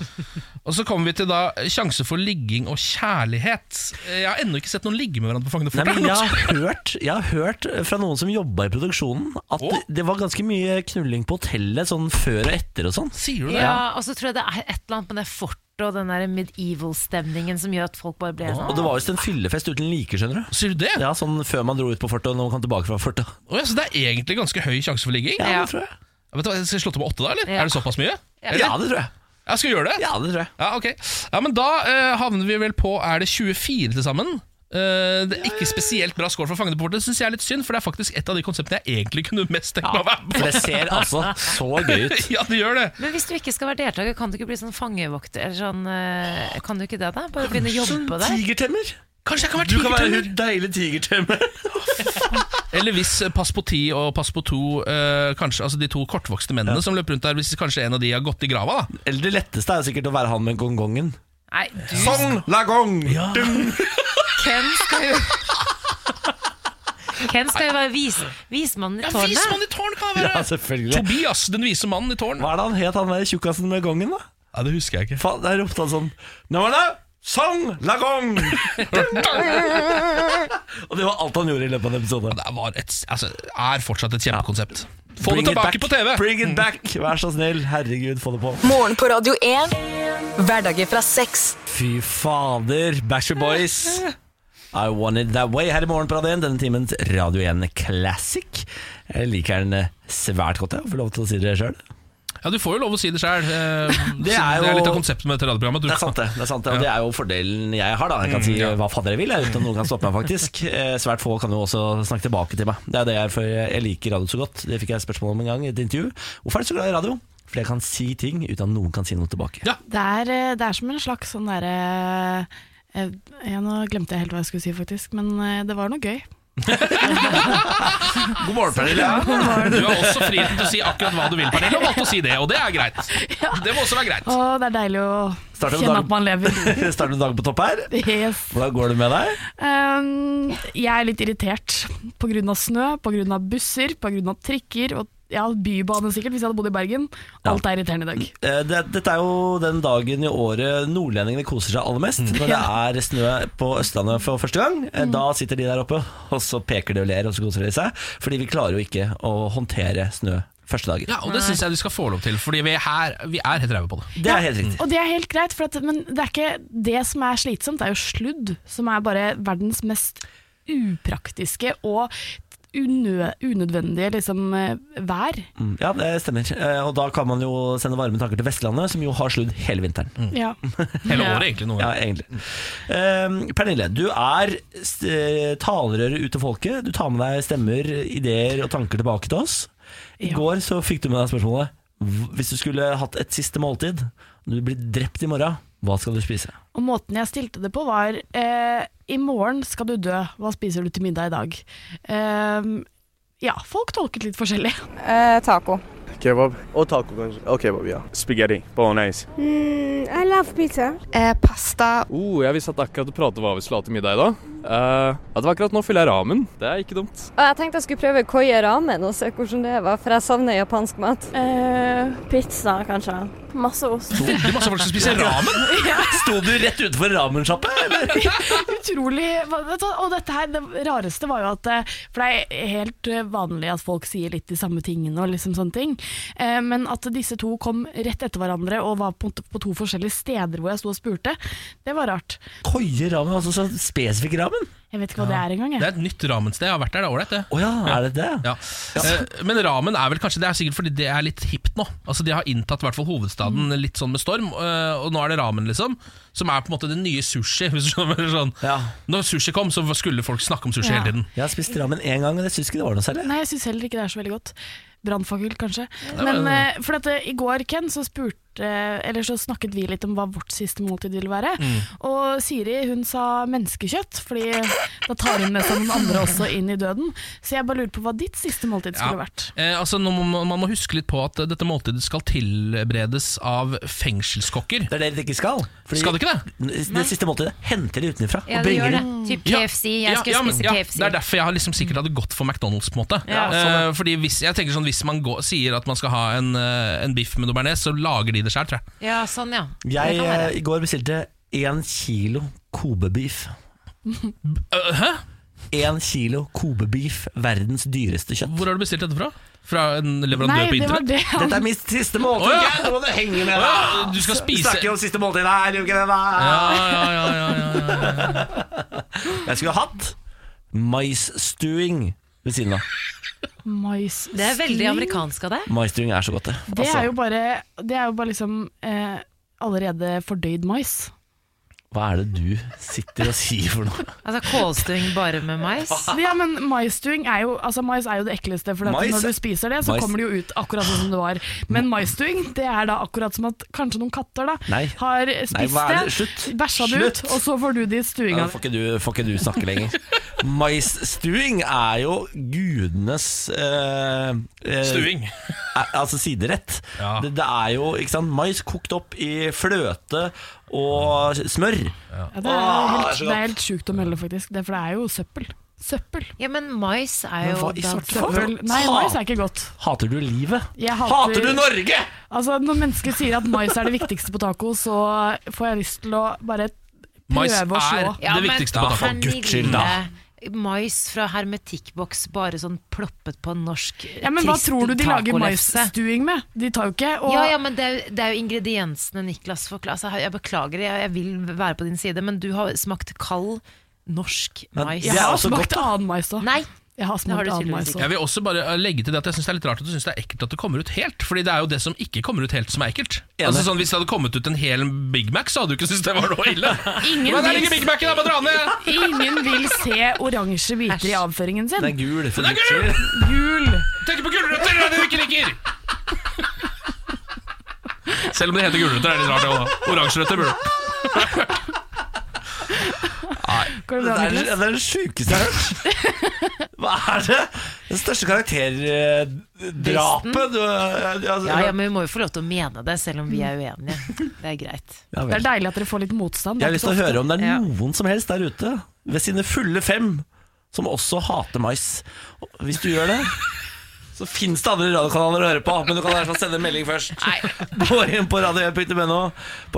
S3: Og så kommer vi til da sjanse for ligging og kjærlighet. Eh, Jeg har ennå ikke sett noen ligge med hverandre på
S1: Nei,
S3: Frognerfortet.
S1: men jeg, har hørt, jeg har hørt fra noen som jobba i produksjonen, at det, det var ganske mye knulling på hotellet sånn før og etter og sånn.
S3: *laughs* Sier
S2: Ja, og så tror jeg det er et eller annet med det fortet og den der medieval-stemningen som gjør at folk bare ble sånn
S1: Og det var visst en fyllefest uten like, skjønner du.
S3: Sier du det?
S1: Ja, Sånn før man dro ut på fortet, og når man kom tilbake fra fortet.
S3: Å ja, så det er egentlig ganske høy sjanse for ligging?
S1: Ja, det tror jeg.
S3: Ja, vet du hva, Skal jeg slå til på åtte, da? eller?
S1: Ja.
S3: Er det såpass mye?
S1: Ja.
S3: Eller?
S1: Ja, det tror jeg.
S3: Ja, skal vi gjøre det?
S1: Ja, det tror jeg.
S3: Ja, ok. Ja, men da eh, havner vi vel på Er det 24 til sammen? Eh, det er ikke spesielt bra score for Fangene syns jeg er litt synd, for det er faktisk et av de konseptene jeg egentlig kunne mest tenkt meg å være med på. *laughs*
S1: For det ser altså så gøy ut.
S3: ja, det gjør det.
S2: Men hvis du ikke skal være deltaker, kan du ikke bli sånn fangevokter? Eller sånn, eh, kan du ikke det, da? Bare begynne å
S3: sånn
S2: jobbe der?
S1: tigertemmer?
S3: Kanskje jeg kan være
S1: Du kan være
S3: tigertemmer?
S1: hun deilige tigertemmer.
S3: Eller hvis eh, Pass på ti og Pass på to eh, Kanskje altså de to kortvokste mennene som løper rundt der, hvis kanskje en av de har gått i grava, da.
S1: Eller det letteste er jo sikkert å være han med gongongen.
S2: Nei, du
S1: Sånn lagong! Ja. *laughs*
S2: Ken skal jo Ken skal jo være vis, vismannen i
S3: Ja,
S2: tårnet.
S3: vismannen i tårnet kan
S1: ja, selvfølgelig.
S3: Tobias, den vise mannen i tårn.
S1: Hva er det han het, han der tjukkasen med gongen, da?
S3: Ja, Det husker jeg ikke.
S1: Faen, Der ropte han sånn Nå var det sang
S3: *laughs*
S1: lagong! Og det var alt han gjorde i løpet av en episode.
S3: Det var et, altså, er fortsatt et kjempekonsept. Få
S1: Bring
S3: det
S1: it
S3: tilbake
S1: back.
S3: på Mm. TV!
S1: Bring it back! Vær så snill. Herregud, få det på.
S4: Morgen på Radio 1. Hverdager fra seks.
S1: Fy fader, Backstreet Boys. I want it that way her i morgen på Radio 1. Denne timens Radio 1 Classic. Jeg liker den eh, svært godt, jeg. Får lov til å si det sjøl.
S3: Ja, du får jo lov å si det Eh, sjøl.
S1: *laughs* Det er jo-
S3: litt av konseptet med dette radioprogrammet. Du
S1: Det er sant, det. det, er sant, det. Og
S3: Ja.
S1: det er jo fordelen jeg har. da Jeg kan
S3: Mm,
S1: si
S3: ja.
S1: hva fader jeg vil, jeg, uten at noen kan stoppe meg,
S20: *laughs*
S1: faktisk. Eh, Svært få kan jo også snakke tilbake til meg. Det er det jeg, for jeg liker radio så godt. Det fikk jeg et spørsmål om en gang i et intervju. Hvorfor er du så glad i radio? Fordi jeg kan si ting uten at noen kan si noe tilbake.
S20: Det er, eh, det er som en slags sånn derre ja, Nå glemte jeg helt hva jeg skulle si, faktisk, men eh, det var noe gøy.
S3: God morgen, Pernille. Du har også friheten til å si akkurat hva du vil, Pernille, og valgte å si det, og det er greit. Det må også være greit.
S20: Å, det er deilig å
S1: Starter med
S20: kjenne
S1: dag-
S20: at man
S1: *laughs*
S20: lever.
S1: Starter du dagen på topp her?
S20: Yes.
S1: Hvordan går det med deg?
S20: Um, jeg er litt irritert pga. snø, pga. busser, pga. trikker og ja, bybane sikkert, hvis jeg hadde bodd i Bergen. Alt er irriterende i dag.
S1: Eh, Det, dette er jo den dagen i året nordlendingene koser seg aller mest. Når det er snø på Østlandet for første gang. Eh, Da sitter de der oppe, og så peker de og ler, og så koser de seg. Fordi vi klarer jo ikke å håndtere snø første dagen.
S3: Ja, og det syns jeg du skal få lov til, Fordi vi er, her, vi er helt ræve på det.
S1: Det er helt riktig.
S20: Og det er helt greit, for at, men det er ikke det som er slitsomt, det er jo sludd, som er bare verdens mest upraktiske og unø unødvendige liksom, eh, vær.
S1: Mm, Ja, det stemmer. Eh, Og da kan man jo sende varme tanker til Vestlandet, som jo har sludd hele vinteren.
S20: Ja.
S3: Hele året, egentlig. Noe.
S1: Ja, egentlig. Eh, Pernille, du er st- eh, talerøret ut til folket. Du tar med deg stemmer, ideer og tanker tilbake til oss. I går så fikk du med deg spørsmålet "Hv- Hvis du skulle hatt et siste måltid, og du blir drept i morgen, hva skal du spise?
S20: Og måten jeg stilte det på var eh, I morgen skal du dø, hva spiser du til middag i dag? Ehm, ja, folk tolket litt forskjellig.
S21: taco.
S22: Kebab. Og taco, kanskje. Og kebab, ja. Spaghetti. Bolognese.
S21: Mm, I love pizza. pasta.
S22: Oh, jeg visste at akkurat å prate hva vi skulle ha til middag i dag. Eh, at det var akkurat nå fyller jeg ramen. Det er ikke dumt.
S23: Og jeg tenkte jeg skulle prøve koie ramen og se hvordan det var, for jeg savner japansk mat. Eh, pizza, kanskje. Masse ost.
S3: Det er masse folk som spiser ramen!
S1: Sto du rett utenfor ramensjappe?
S20: Utrolig. hva- vet du hva, Og dette her, det rareste var jo at eh, For det er helt eh, vanlig at folk sier litt de samme tingene og liksom sånne ting. Eh, Men at disse to kom rett etter hverandre og var på, på to forskjellige steder hvor jeg sto og spurte, det var rart.
S1: Koie ramen, altså så spesifikk ramen?
S20: Jeg vet ikke hva det er engang. jeg.
S3: Det er et nytt ramensted. Jeg har vært der, det er ålreit, det.
S1: Å ja, er det det?
S3: Ja. Eh, Men ramen er vel kanskje Det er sikkert fordi det er litt hipt nå. Altså De har inntatt i hvert fall hovedstaden litt sånn med storm, eh, og nå er det ramen, liksom. Som er på en måte det nye sushi. *laughs* Hvis du skjønner, eller sånn. Når sushi kom, så skulle folk snakke om sushi
S20: Ja.
S3: hele tiden.
S1: Jeg har spist ramen én gang, og jeg syns ikke det var noe særlig.
S20: Nei, jeg syns heller ikke det er så veldig godt. Brannfakkel, kanskje.
S1: Nei,
S20: Men
S1: nei, nei.
S20: eh, for dette, i går, Ken, så spurte eller så snakket vi litt om hva vårt siste måltid ville være.
S24: Mm.
S20: Og Siri hun sa menneskekjøtt, Fordi da tar hun med seg noen andre også inn i døden. Så jeg bare lurer på hva ditt siste måltid skulle vært.
S3: Eh, altså, nå må, man- man må huske litt på at eh, dette måltidet skal tilberedes av fengselskokker.
S1: Det er det det ikke skal.
S3: skal det ikke det?
S1: Det siste måltidet henter de utenfra
S2: Ja,
S1: og
S2: det
S1: bringer
S2: gjør
S1: de.
S2: det. Typ KFC. Jeg skulle
S3: men-
S2: spise KFC.
S3: Det er derfor jeg har liksom sikkert hadde gått for McDonald's. på en måte
S2: Ja,
S3: Eh,
S2: sånn,
S3: Fordi Hvis jeg tenker sånn Hvis man går, sier at man skal ha en, eh, en biff med noe bearnés, så lager de det sjøl, tror jeg.
S2: Ja, sånn, ja.
S1: Jeg
S2: Det kan
S1: eh,
S2: være.
S1: i går bestilte én kilo kobebeef.
S3: Hæ?
S1: Én kilo kobebeef, verdens dyreste kjøtt.
S3: Hvor har du bestilt dette fra? Fra en leverandør
S1: Nei,
S3: på
S1: det var
S3: internett?
S1: det han- Dette er mitt siste måltid,
S3: Å,
S1: Geir, nå må du henge med,
S3: Å,
S1: da.
S3: ja, Du skal
S1: Vi
S3: spise
S1: snakker jo om siste måltid her, gjør vi ikke det? da?
S3: ja, ja, ja,
S20: *laughs*
S3: ja, ja.
S1: Jeg skulle hatt maisstuing ved siden av.
S20: Mais.
S2: Det er veldig amerikansk av deg.
S1: Maisstuing er så godt, det. Altså,
S20: Det er jo bare, det er jo bare liksom eh, allerede fordøyd mais.
S1: Hva er det du sitter og sier for noe?
S2: Altså kålstuing bare med mais.
S20: Ja, men maisstuing er jo Altså mais er jo det ekleste, for at
S2: Mais-
S20: når du spiser det, så
S2: mais-
S20: kommer det jo ut akkurat sånn som det var.
S1: *laughs*
S20: Men maisstuing, det er da akkurat som at kanskje noen katter da
S1: Nei.
S20: har
S1: Nei,
S20: spist
S1: hva er det?
S20: det,
S1: Slutt.
S20: bæsja det ut,
S1: Slutt.
S20: og så får du det i
S1: Ja,
S20: stuinga.
S1: da får ikke, du, får ikke du snakke lenger. Maisstuing er jo gudenes eh, eh,
S3: Stuing.
S1: eh, altså siderett. Det, det er jo ikke sant, mais kokt opp i fløte og smør.
S20: Ja, det, er jo
S1: Åh,
S20: helt,
S1: så
S20: det er helt sjukt å melde, faktisk. Det, for det er jo søppel. Søppel.
S2: Ja, men mais er
S20: Men
S2: jo
S20: hva i
S2: da
S20: svarte
S2: søppel.
S20: faen? Nei, mais er ikke godt.
S1: Hater du livet?
S20: Jeg
S1: Hater du Norge?!
S20: Altså, når mennesker sier at mais er det viktigste på taco, så får jeg lyst til å bare
S3: Mais
S20: prøve å slå.
S3: er det viktigste på taco.
S2: Mais fra hermetikkboks, bare sånn ploppet på en norsk
S20: Ja, men Hva
S2: trist
S20: tror du de lager
S2: tacolefse?
S20: maisstuing med? De tar jo ikke og
S2: Ja, ja, men det er, jo, det er jo ingrediensene Niklas forklarer. Altså, jeg beklager, jeg, jeg vil være på din side, men du har smakt kald norsk
S3: Men
S2: mais.
S3: det Jeg er har også smakt godt,
S20: da. annen mais òg.
S2: Nei.
S20: Jeg har smakt
S2: det har du
S20: annen
S2: tydeligvis
S20: mais
S2: ikke.
S3: Jeg vil også bare eh, legge til det at jeg synes det er litt rart at du syns det er ekkelt at det kommer ut helt. Fordi det er jo det som ikke kommer ut helt, som er ekkelt.
S1: Enig.
S3: Altså sånn Hvis det hadde kommet ut en hel Big Mac, så hadde du ikke syntes det var noe ille.
S20: *laughs* Ingen
S3: Men der
S20: vil-
S3: ligger Big Mac-en, jeg må dra ned!
S20: Ingen *laughs* vil se oransje biter i avføringen sin.
S1: Den er gul. for
S3: Den er
S1: guds skyld.
S20: Gul!
S3: Tenk på gulrøtter, det er det du ikke liker! Selv om det heter gulrøtter, er det litt rart. det også, da. Oransjerøtter burde
S20: Går
S1: Det
S20: det bra,
S1: er det
S20: Niklas?
S1: er det sjukeste jeg har hørt.
S20: *laughs*
S1: Hva er det? Det største karakterdrapet du altså-
S2: Ja, ja, men vi må jo få lov til å mene det, selv om vi er uenige. Det er greit.
S1: Ja, vel.
S20: Det er deilig at dere får litt motstand.
S1: Jeg har lyst til å høre om det
S20: Ja.
S1: er noen som helst der ute ved sine fulle fem som også hater mais. Og Hvis du
S20: *laughs*
S1: gjør det, så fins det andre radiokanaler å høre på, men du kan i hvert fall sende en melding først. *laughs* Gå inn på radio1.no på
S2: Det er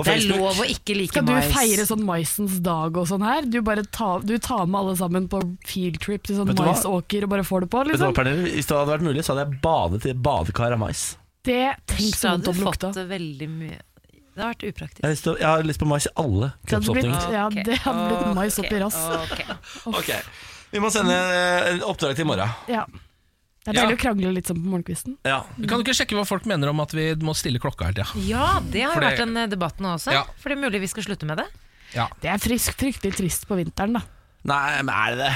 S1: Facebook.
S2: lov å ikke like
S20: Skal du
S2: mais.
S20: feire sånn maisens dag og sånn her? Du bare tar, du tar med alle sammen på fieldtrip til sånn
S1: Vet du hva?
S20: maisåker og bare får det på,
S1: Vet du hva,
S20: liksom?
S1: Pernille? Hvis det hadde vært mulig, så hadde jeg badet i et badekar av mais.
S20: Det tenk så vondt
S2: hadde
S20: om
S2: du
S20: lukta.
S2: fått det veldig mye. Det har vært upraktisk.
S1: Jeg har lyst, til, å- jeg har lyst på mais i alle
S20: Det hadde blitt,
S1: kroppsåpninger.
S20: ja, det hadde blitt mais
S2: Ok,
S20: oppi rass.
S2: ok.
S20: Uff.
S1: Ok. Vi må sende eh, et oppdrag til i morgen.
S20: Ja. Det
S3: Ja.
S20: er deilig å krangle litt sånn på morgenkvisten.
S1: Ja.
S3: Kan du ikke sjekke hva folk mener om at vi må stille klokka hele tida?
S2: Ja, det har
S3: For
S2: jo
S3: det-
S2: vært en eh, debatt nå også.
S3: Ja.
S2: For det er mulig vi skal slutte med det.
S20: Det er frisk, fryktelig trist på vinteren, da.
S1: Nei, men er det det?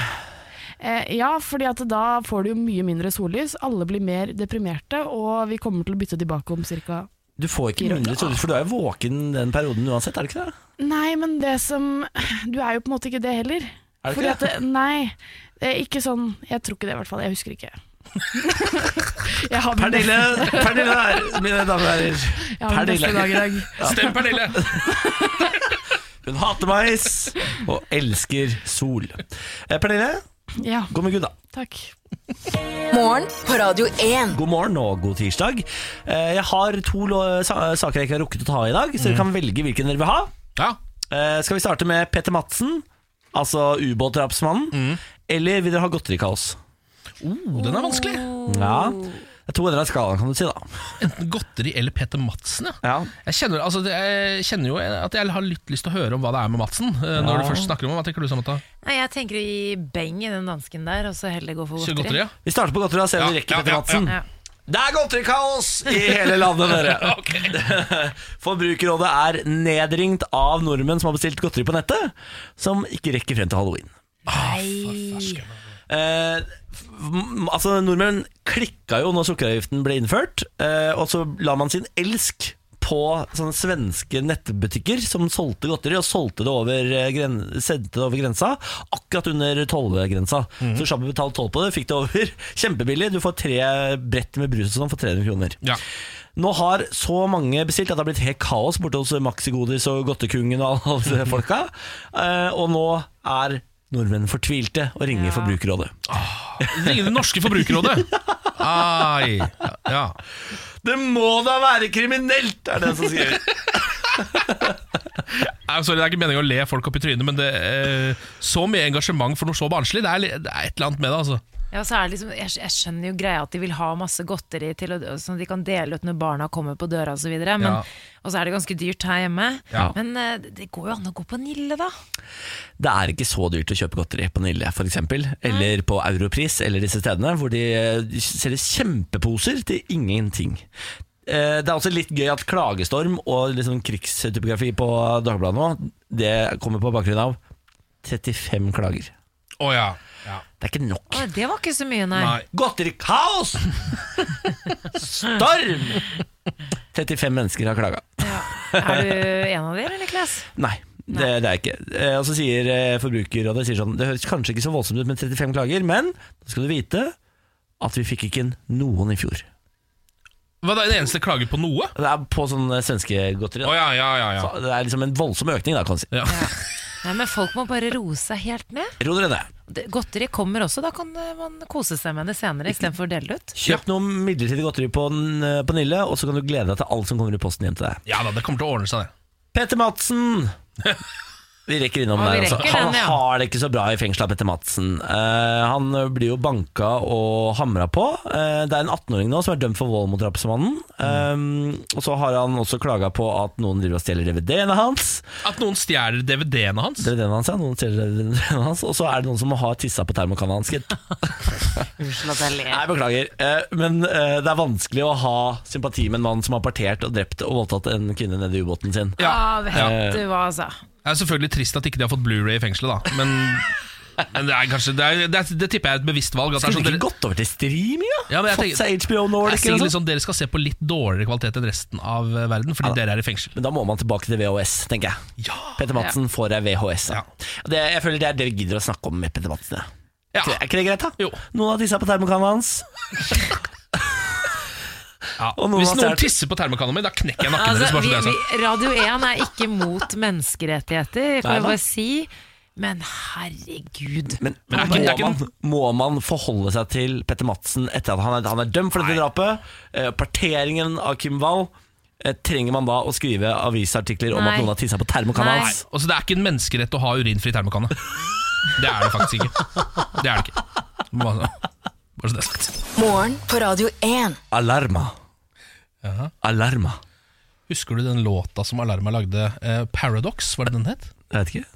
S20: Eh, ja, fordi at da får du jo mye mindre sollys, alle blir mer deprimerte, og vi kommer til å bytte tilbake om ca.
S1: Du får ikke
S20: Fire.
S1: munnlig sollys, for du er jo våken den perioden uansett, er det ikke det?
S20: Nei, men det som Du er jo på en måte ikke det heller.
S1: Er du
S20: Fordi
S1: ikke det?
S20: At, nei, eh, ikke sånn Jeg tror ikke det, i hvert fall. Jeg husker
S1: *laughs*
S20: ikke. jeg har mine-
S1: Pernille, Pernille her, mine damer og herrer.
S20: Ja, men beste dag
S3: *laughs*
S20: i dag. Stem
S3: Pernille!
S1: *laughs* Hun hater mais og elsker sol. Eh, Pernille,
S20: Ja,
S1: gå med Gud, da.
S20: takk.
S4: Morgen på Radio 1.
S1: God morgen og god tirsdag. Eh, Jeg har to lo- sa- saker jeg ikke har rukket å ta i dag,
S20: Mm.
S1: så dere kan velge hvilken dere vil ha. Eh, Skal vi starte med Petter Madsen, altså ubåtdrapsmannen, eller vil dere ha godterikaos?
S3: Oh, den er vanskelig.
S1: Ja. Det er to ender av skalaen, kan du si, da.
S3: Enten godteri eller Peter Madsen, ja.
S1: Ja.
S3: Jeg kjenner, altså, det- jeg kjenner jo at jeg har litt lyst til å høre om hva det er med Madsen. eh, Når du
S1: Ja.
S3: først snakker om ham, Hva tenker du, Samantha?
S2: Nei, Jeg tenker å gi beng i den dansken der, og så heller gå for
S3: Kjør
S2: godteri.
S3: godteri, ja.
S1: Vi starter på godteri og ser om vi rekker Petter Madsen.
S2: Ja.
S1: Det er godterikaos i hele landet,
S2: *laughs*
S1: dere. Forbrukerrådet er nedringt av nordmenn som har bestilt godteri på nettet, som ikke rekker frem til halloween. Eh, f- m- altså Nordmenn klikka jo når sukkeravgiften ble innført, eh, og så la man sin elsk på sånne svenske nettbutikker som solgte godteri, og solgte det over, eh, gren sendte det over grensa, akkurat under tollgrensa. Så slapp å betale toll på det, fikk det over *laughs* kjempebillig. Du får tre brett med brus og sånn for 300 kroner. Nå har så mange bestilt at det har blitt helt kaos borte hos Maxigodis og Godtekungen og alle disse folka, eh, og nå er nordmenn fortvilte og ringer Forbrukerrådet.
S3: Ringe Det norske forbrukerrådet! Ai, ja.
S1: Det må da være kriminelt, er det den som skriver.
S3: Nei, sorry, Det er ikke meningen å le folk opp i trynet, men det, eh, så mye engasjement for noe så barnslig, det er, li- det er et eller annet med det. altså
S2: Ja, så er det liksom, jeg, jeg skjønner jo greia at de vil ha masse godteri til å, som de kan dele ut når barna kommer på døra osv.
S1: Ja.
S2: Og så er det ganske dyrt her hjemme.
S1: Ja.
S2: Men eh, det går jo an å gå på Nille, da.
S1: *laughs* Det er ikke så dyrt å kjøpe godteri på Nille for eksempel, eller på Europris eller disse stedene, hvor de eh, selger kjempeposer til ingenting. Eh, Det er også litt gøy at klagestorm og liksom krigstypografi på Dagbladet nå, det kommer på bakgrunn av 35 klager.
S3: Å ja.
S1: Det er ikke nok.
S2: Å, det var ikke så mye, nei.
S1: Godterikaos! Storm! 35 mennesker har klaga.
S2: Er du en av dere, eller, Kles?
S1: Nei, det, det er ikke. Eh, Og så sier eh, Forbrukerrådet sier sånn, det høres kanskje ikke så voldsomt ut med 35 klager, men da skal du vite at vi fikk ikke inn noen i fjor.
S3: Hva, det er En eneste klage på noe?
S1: Det er på sånn eh, svenske godteri. da.
S3: Å ja, ja, ja, ja.
S1: Så det er liksom en voldsom økning, da, kan man si.
S2: Nei, men folk må bare roe seg helt ned.
S1: Ro dere ned.
S2: Det- Godteri kommer også, da kan eh, man kose seg med det senere istedenfor å dele det ut.
S1: Kjøp noe midlertidig godteri på, n- eh, på Nille, og så kan du glede deg til alt som kommer i posten hjem til deg.
S3: Ja da, det kommer til å ordne seg, det.
S1: Petter Madsen! Vi rekker innom
S3: Ja, vi
S1: der. Altså.
S3: rekker
S1: Han
S3: den, ja.
S1: har det ikke så bra i fengselet, Petter Madsen. Eh, han blir jo banka og hamra på. Eh, det er en 18-åring nå som er dømt for vold mot drapsmannen. Eh, og så har han også klaga på at noen driver og stjeler DVD-ene hans.
S3: At noen stjeler DVD-ene hans?
S1: DVD-ene hans, ja, noen stjeler DVD-ene hans Og så er det noen som har tissa på termokanna hans, gitt.
S2: Unnskyld at jeg ler.
S1: Nei, beklager. Eh, men eh, det er vanskelig å ha sympati med en mann som har partert og drept og voldtatt en kvinne nede i ubåten sin.
S2: Ja, vet du hva, altså.
S3: Det er selvfølgelig trist at ikke de har fått Blu-ray i fengselet, da.
S2: *laughs*
S3: Men, men det er kanskje det, er, det, er, det tipper jeg er et bevisst valg.
S1: Skulle det ikke gått over til streaming, da?
S3: Ja, men jeg
S1: Fått
S3: tenker-
S1: seg HBO Nordic
S3: Jeg sier
S1: eller noe
S3: liksom, Dere skal se på litt dårligere kvalitet enn resten av eh, verden, fordi dere er i fengsel.
S1: Men da må man tilbake til VHS, tenker jeg. Petter Madsen får ei VHS. da. Det, jeg føler det er det vi gidder å snakke om med Petter Madsen. ja. Er ikke det greit, da? Noen har tissa på termokanna hans. Og noen
S3: Hvis
S1: har
S3: noen
S1: stjålet-
S3: tisser på termokanna mi, da knekker jeg nakken
S2: Altså,
S3: deres. Bare
S2: vi,
S3: så det er sagt.
S2: vi, Radio 1 er ikke mot menneskerettigheter, får
S1: Nei
S2: jeg
S1: da.
S2: bare si. Men herregud.
S3: *laughs*
S1: Men,
S2: Men er
S1: må,
S2: ikke- er ikke-
S1: man, må man forholde seg til Petter Madsen etter at han er, han er dømt for dette drapet? Eh, parteringen av Kim Wall. Eh, trenger man da å skrive avisartikler om
S3: Nei.
S1: at noen har tissa på termokanna
S3: Nei.
S1: hans?
S3: Altså, det er ikke en menneskerett å ha urinfri termokanne. Det er det faktisk ikke. Det er det ikke. Bare, bare så det er sagt.
S4: Morgen på Radio 1.
S1: Alarma. Alarma.
S3: Husker du den låta som Alarma lagde? Eh, Paradox, var det den het?
S1: Jeg vet ikke.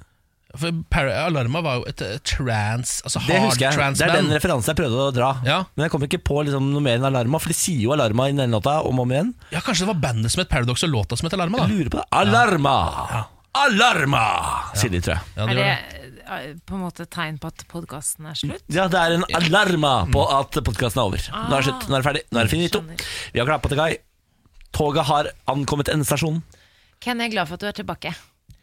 S3: For Par Alarma var jo et eh, trans Altså
S1: Det
S3: hard
S1: husker jeg. Det er den
S3: trans-band.
S1: referansen jeg prøvde å dra. Men jeg kom ikke på liksom, noe mer enn Alarma, for de sier jo Alarma i den låta om og om igjen.
S3: Ja, kanskje det var bandet som het Paradox og låta som het Alarma? da
S1: Jeg lurer på det Alarma! Alarma! Sier de, tror jeg.
S2: er det eh, på en måte et tegn på at podkasten er slutt?
S1: Ja, det er en alarma på at podkasten er over. Nå er det slutt. Nå er det ferdig. Nå er det finito. Vi har klappa til kai. Toget har ankommet endestasjonen.
S2: Ken, jeg er glad for at du er tilbake.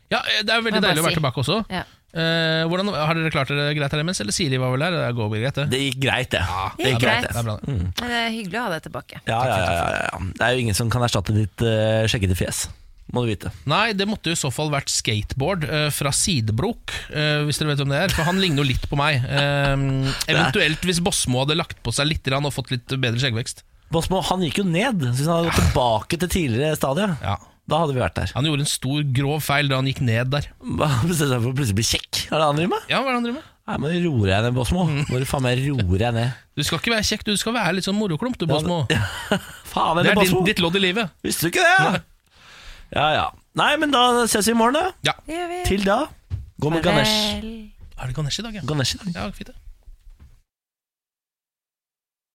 S3: Ja, eh, Det er
S2: Må jeg
S3: veldig
S2: bare
S3: deilig å være
S2: si.
S3: tilbake også.
S2: Ja.
S3: Eh, hvordan, har dere klart dere greit her imens? Eller Siri var vel her? Det går vel greit, det.
S1: Det gikk greit, det.
S2: Det gikk
S3: er bra,
S2: greit.
S3: Det er bra.
S1: Mm.
S2: Men det er Eh, hyggelig å ha deg tilbake.
S1: Ja, ja, ja, ja, ja. Det er jo ingen som kan erstatte ditt uh, sjekkete fjes, må du vite.
S3: Nei, det måtte jo i så fall vært skateboard eh, fra Sidebrok, eh, hvis dere vet hvem det er. For han ligner jo litt på meg.
S1: *laughs*
S3: Eh, eventuelt hvis Bosmo hadde lagt på seg litt grann og fått litt bedre skjeggvekst.
S1: Bosmo han gikk jo ned, så hvis han hadde gått tilbake til tidligere stadie, da hadde vi vært der.
S3: Han gjorde en stor, grov feil da han gikk ned der.
S1: Bestemte seg for å plutselig bli kjekk. Er det han driver med? Mm.
S3: Ja, hva er det han driver med?
S1: Nei, men roer jeg ned, Bosmo. Bare faen meg roer jeg ned.
S3: Du skal ikke være kjekk, du skal være litt sånn moroklump, du, Bosmo.
S1: Faen,
S3: det
S1: eller
S3: er
S1: Bosmo.
S3: din, ditt lodd i livet.
S1: Visste du ikke det? Ja, ja. Nei, men da ses vi i morgen,
S3: Ja.
S1: da. Til da, gå med Ganesh.
S3: Er det Ganesh i dag, ja?
S1: Ganesh i dag.
S3: Ja, fint det.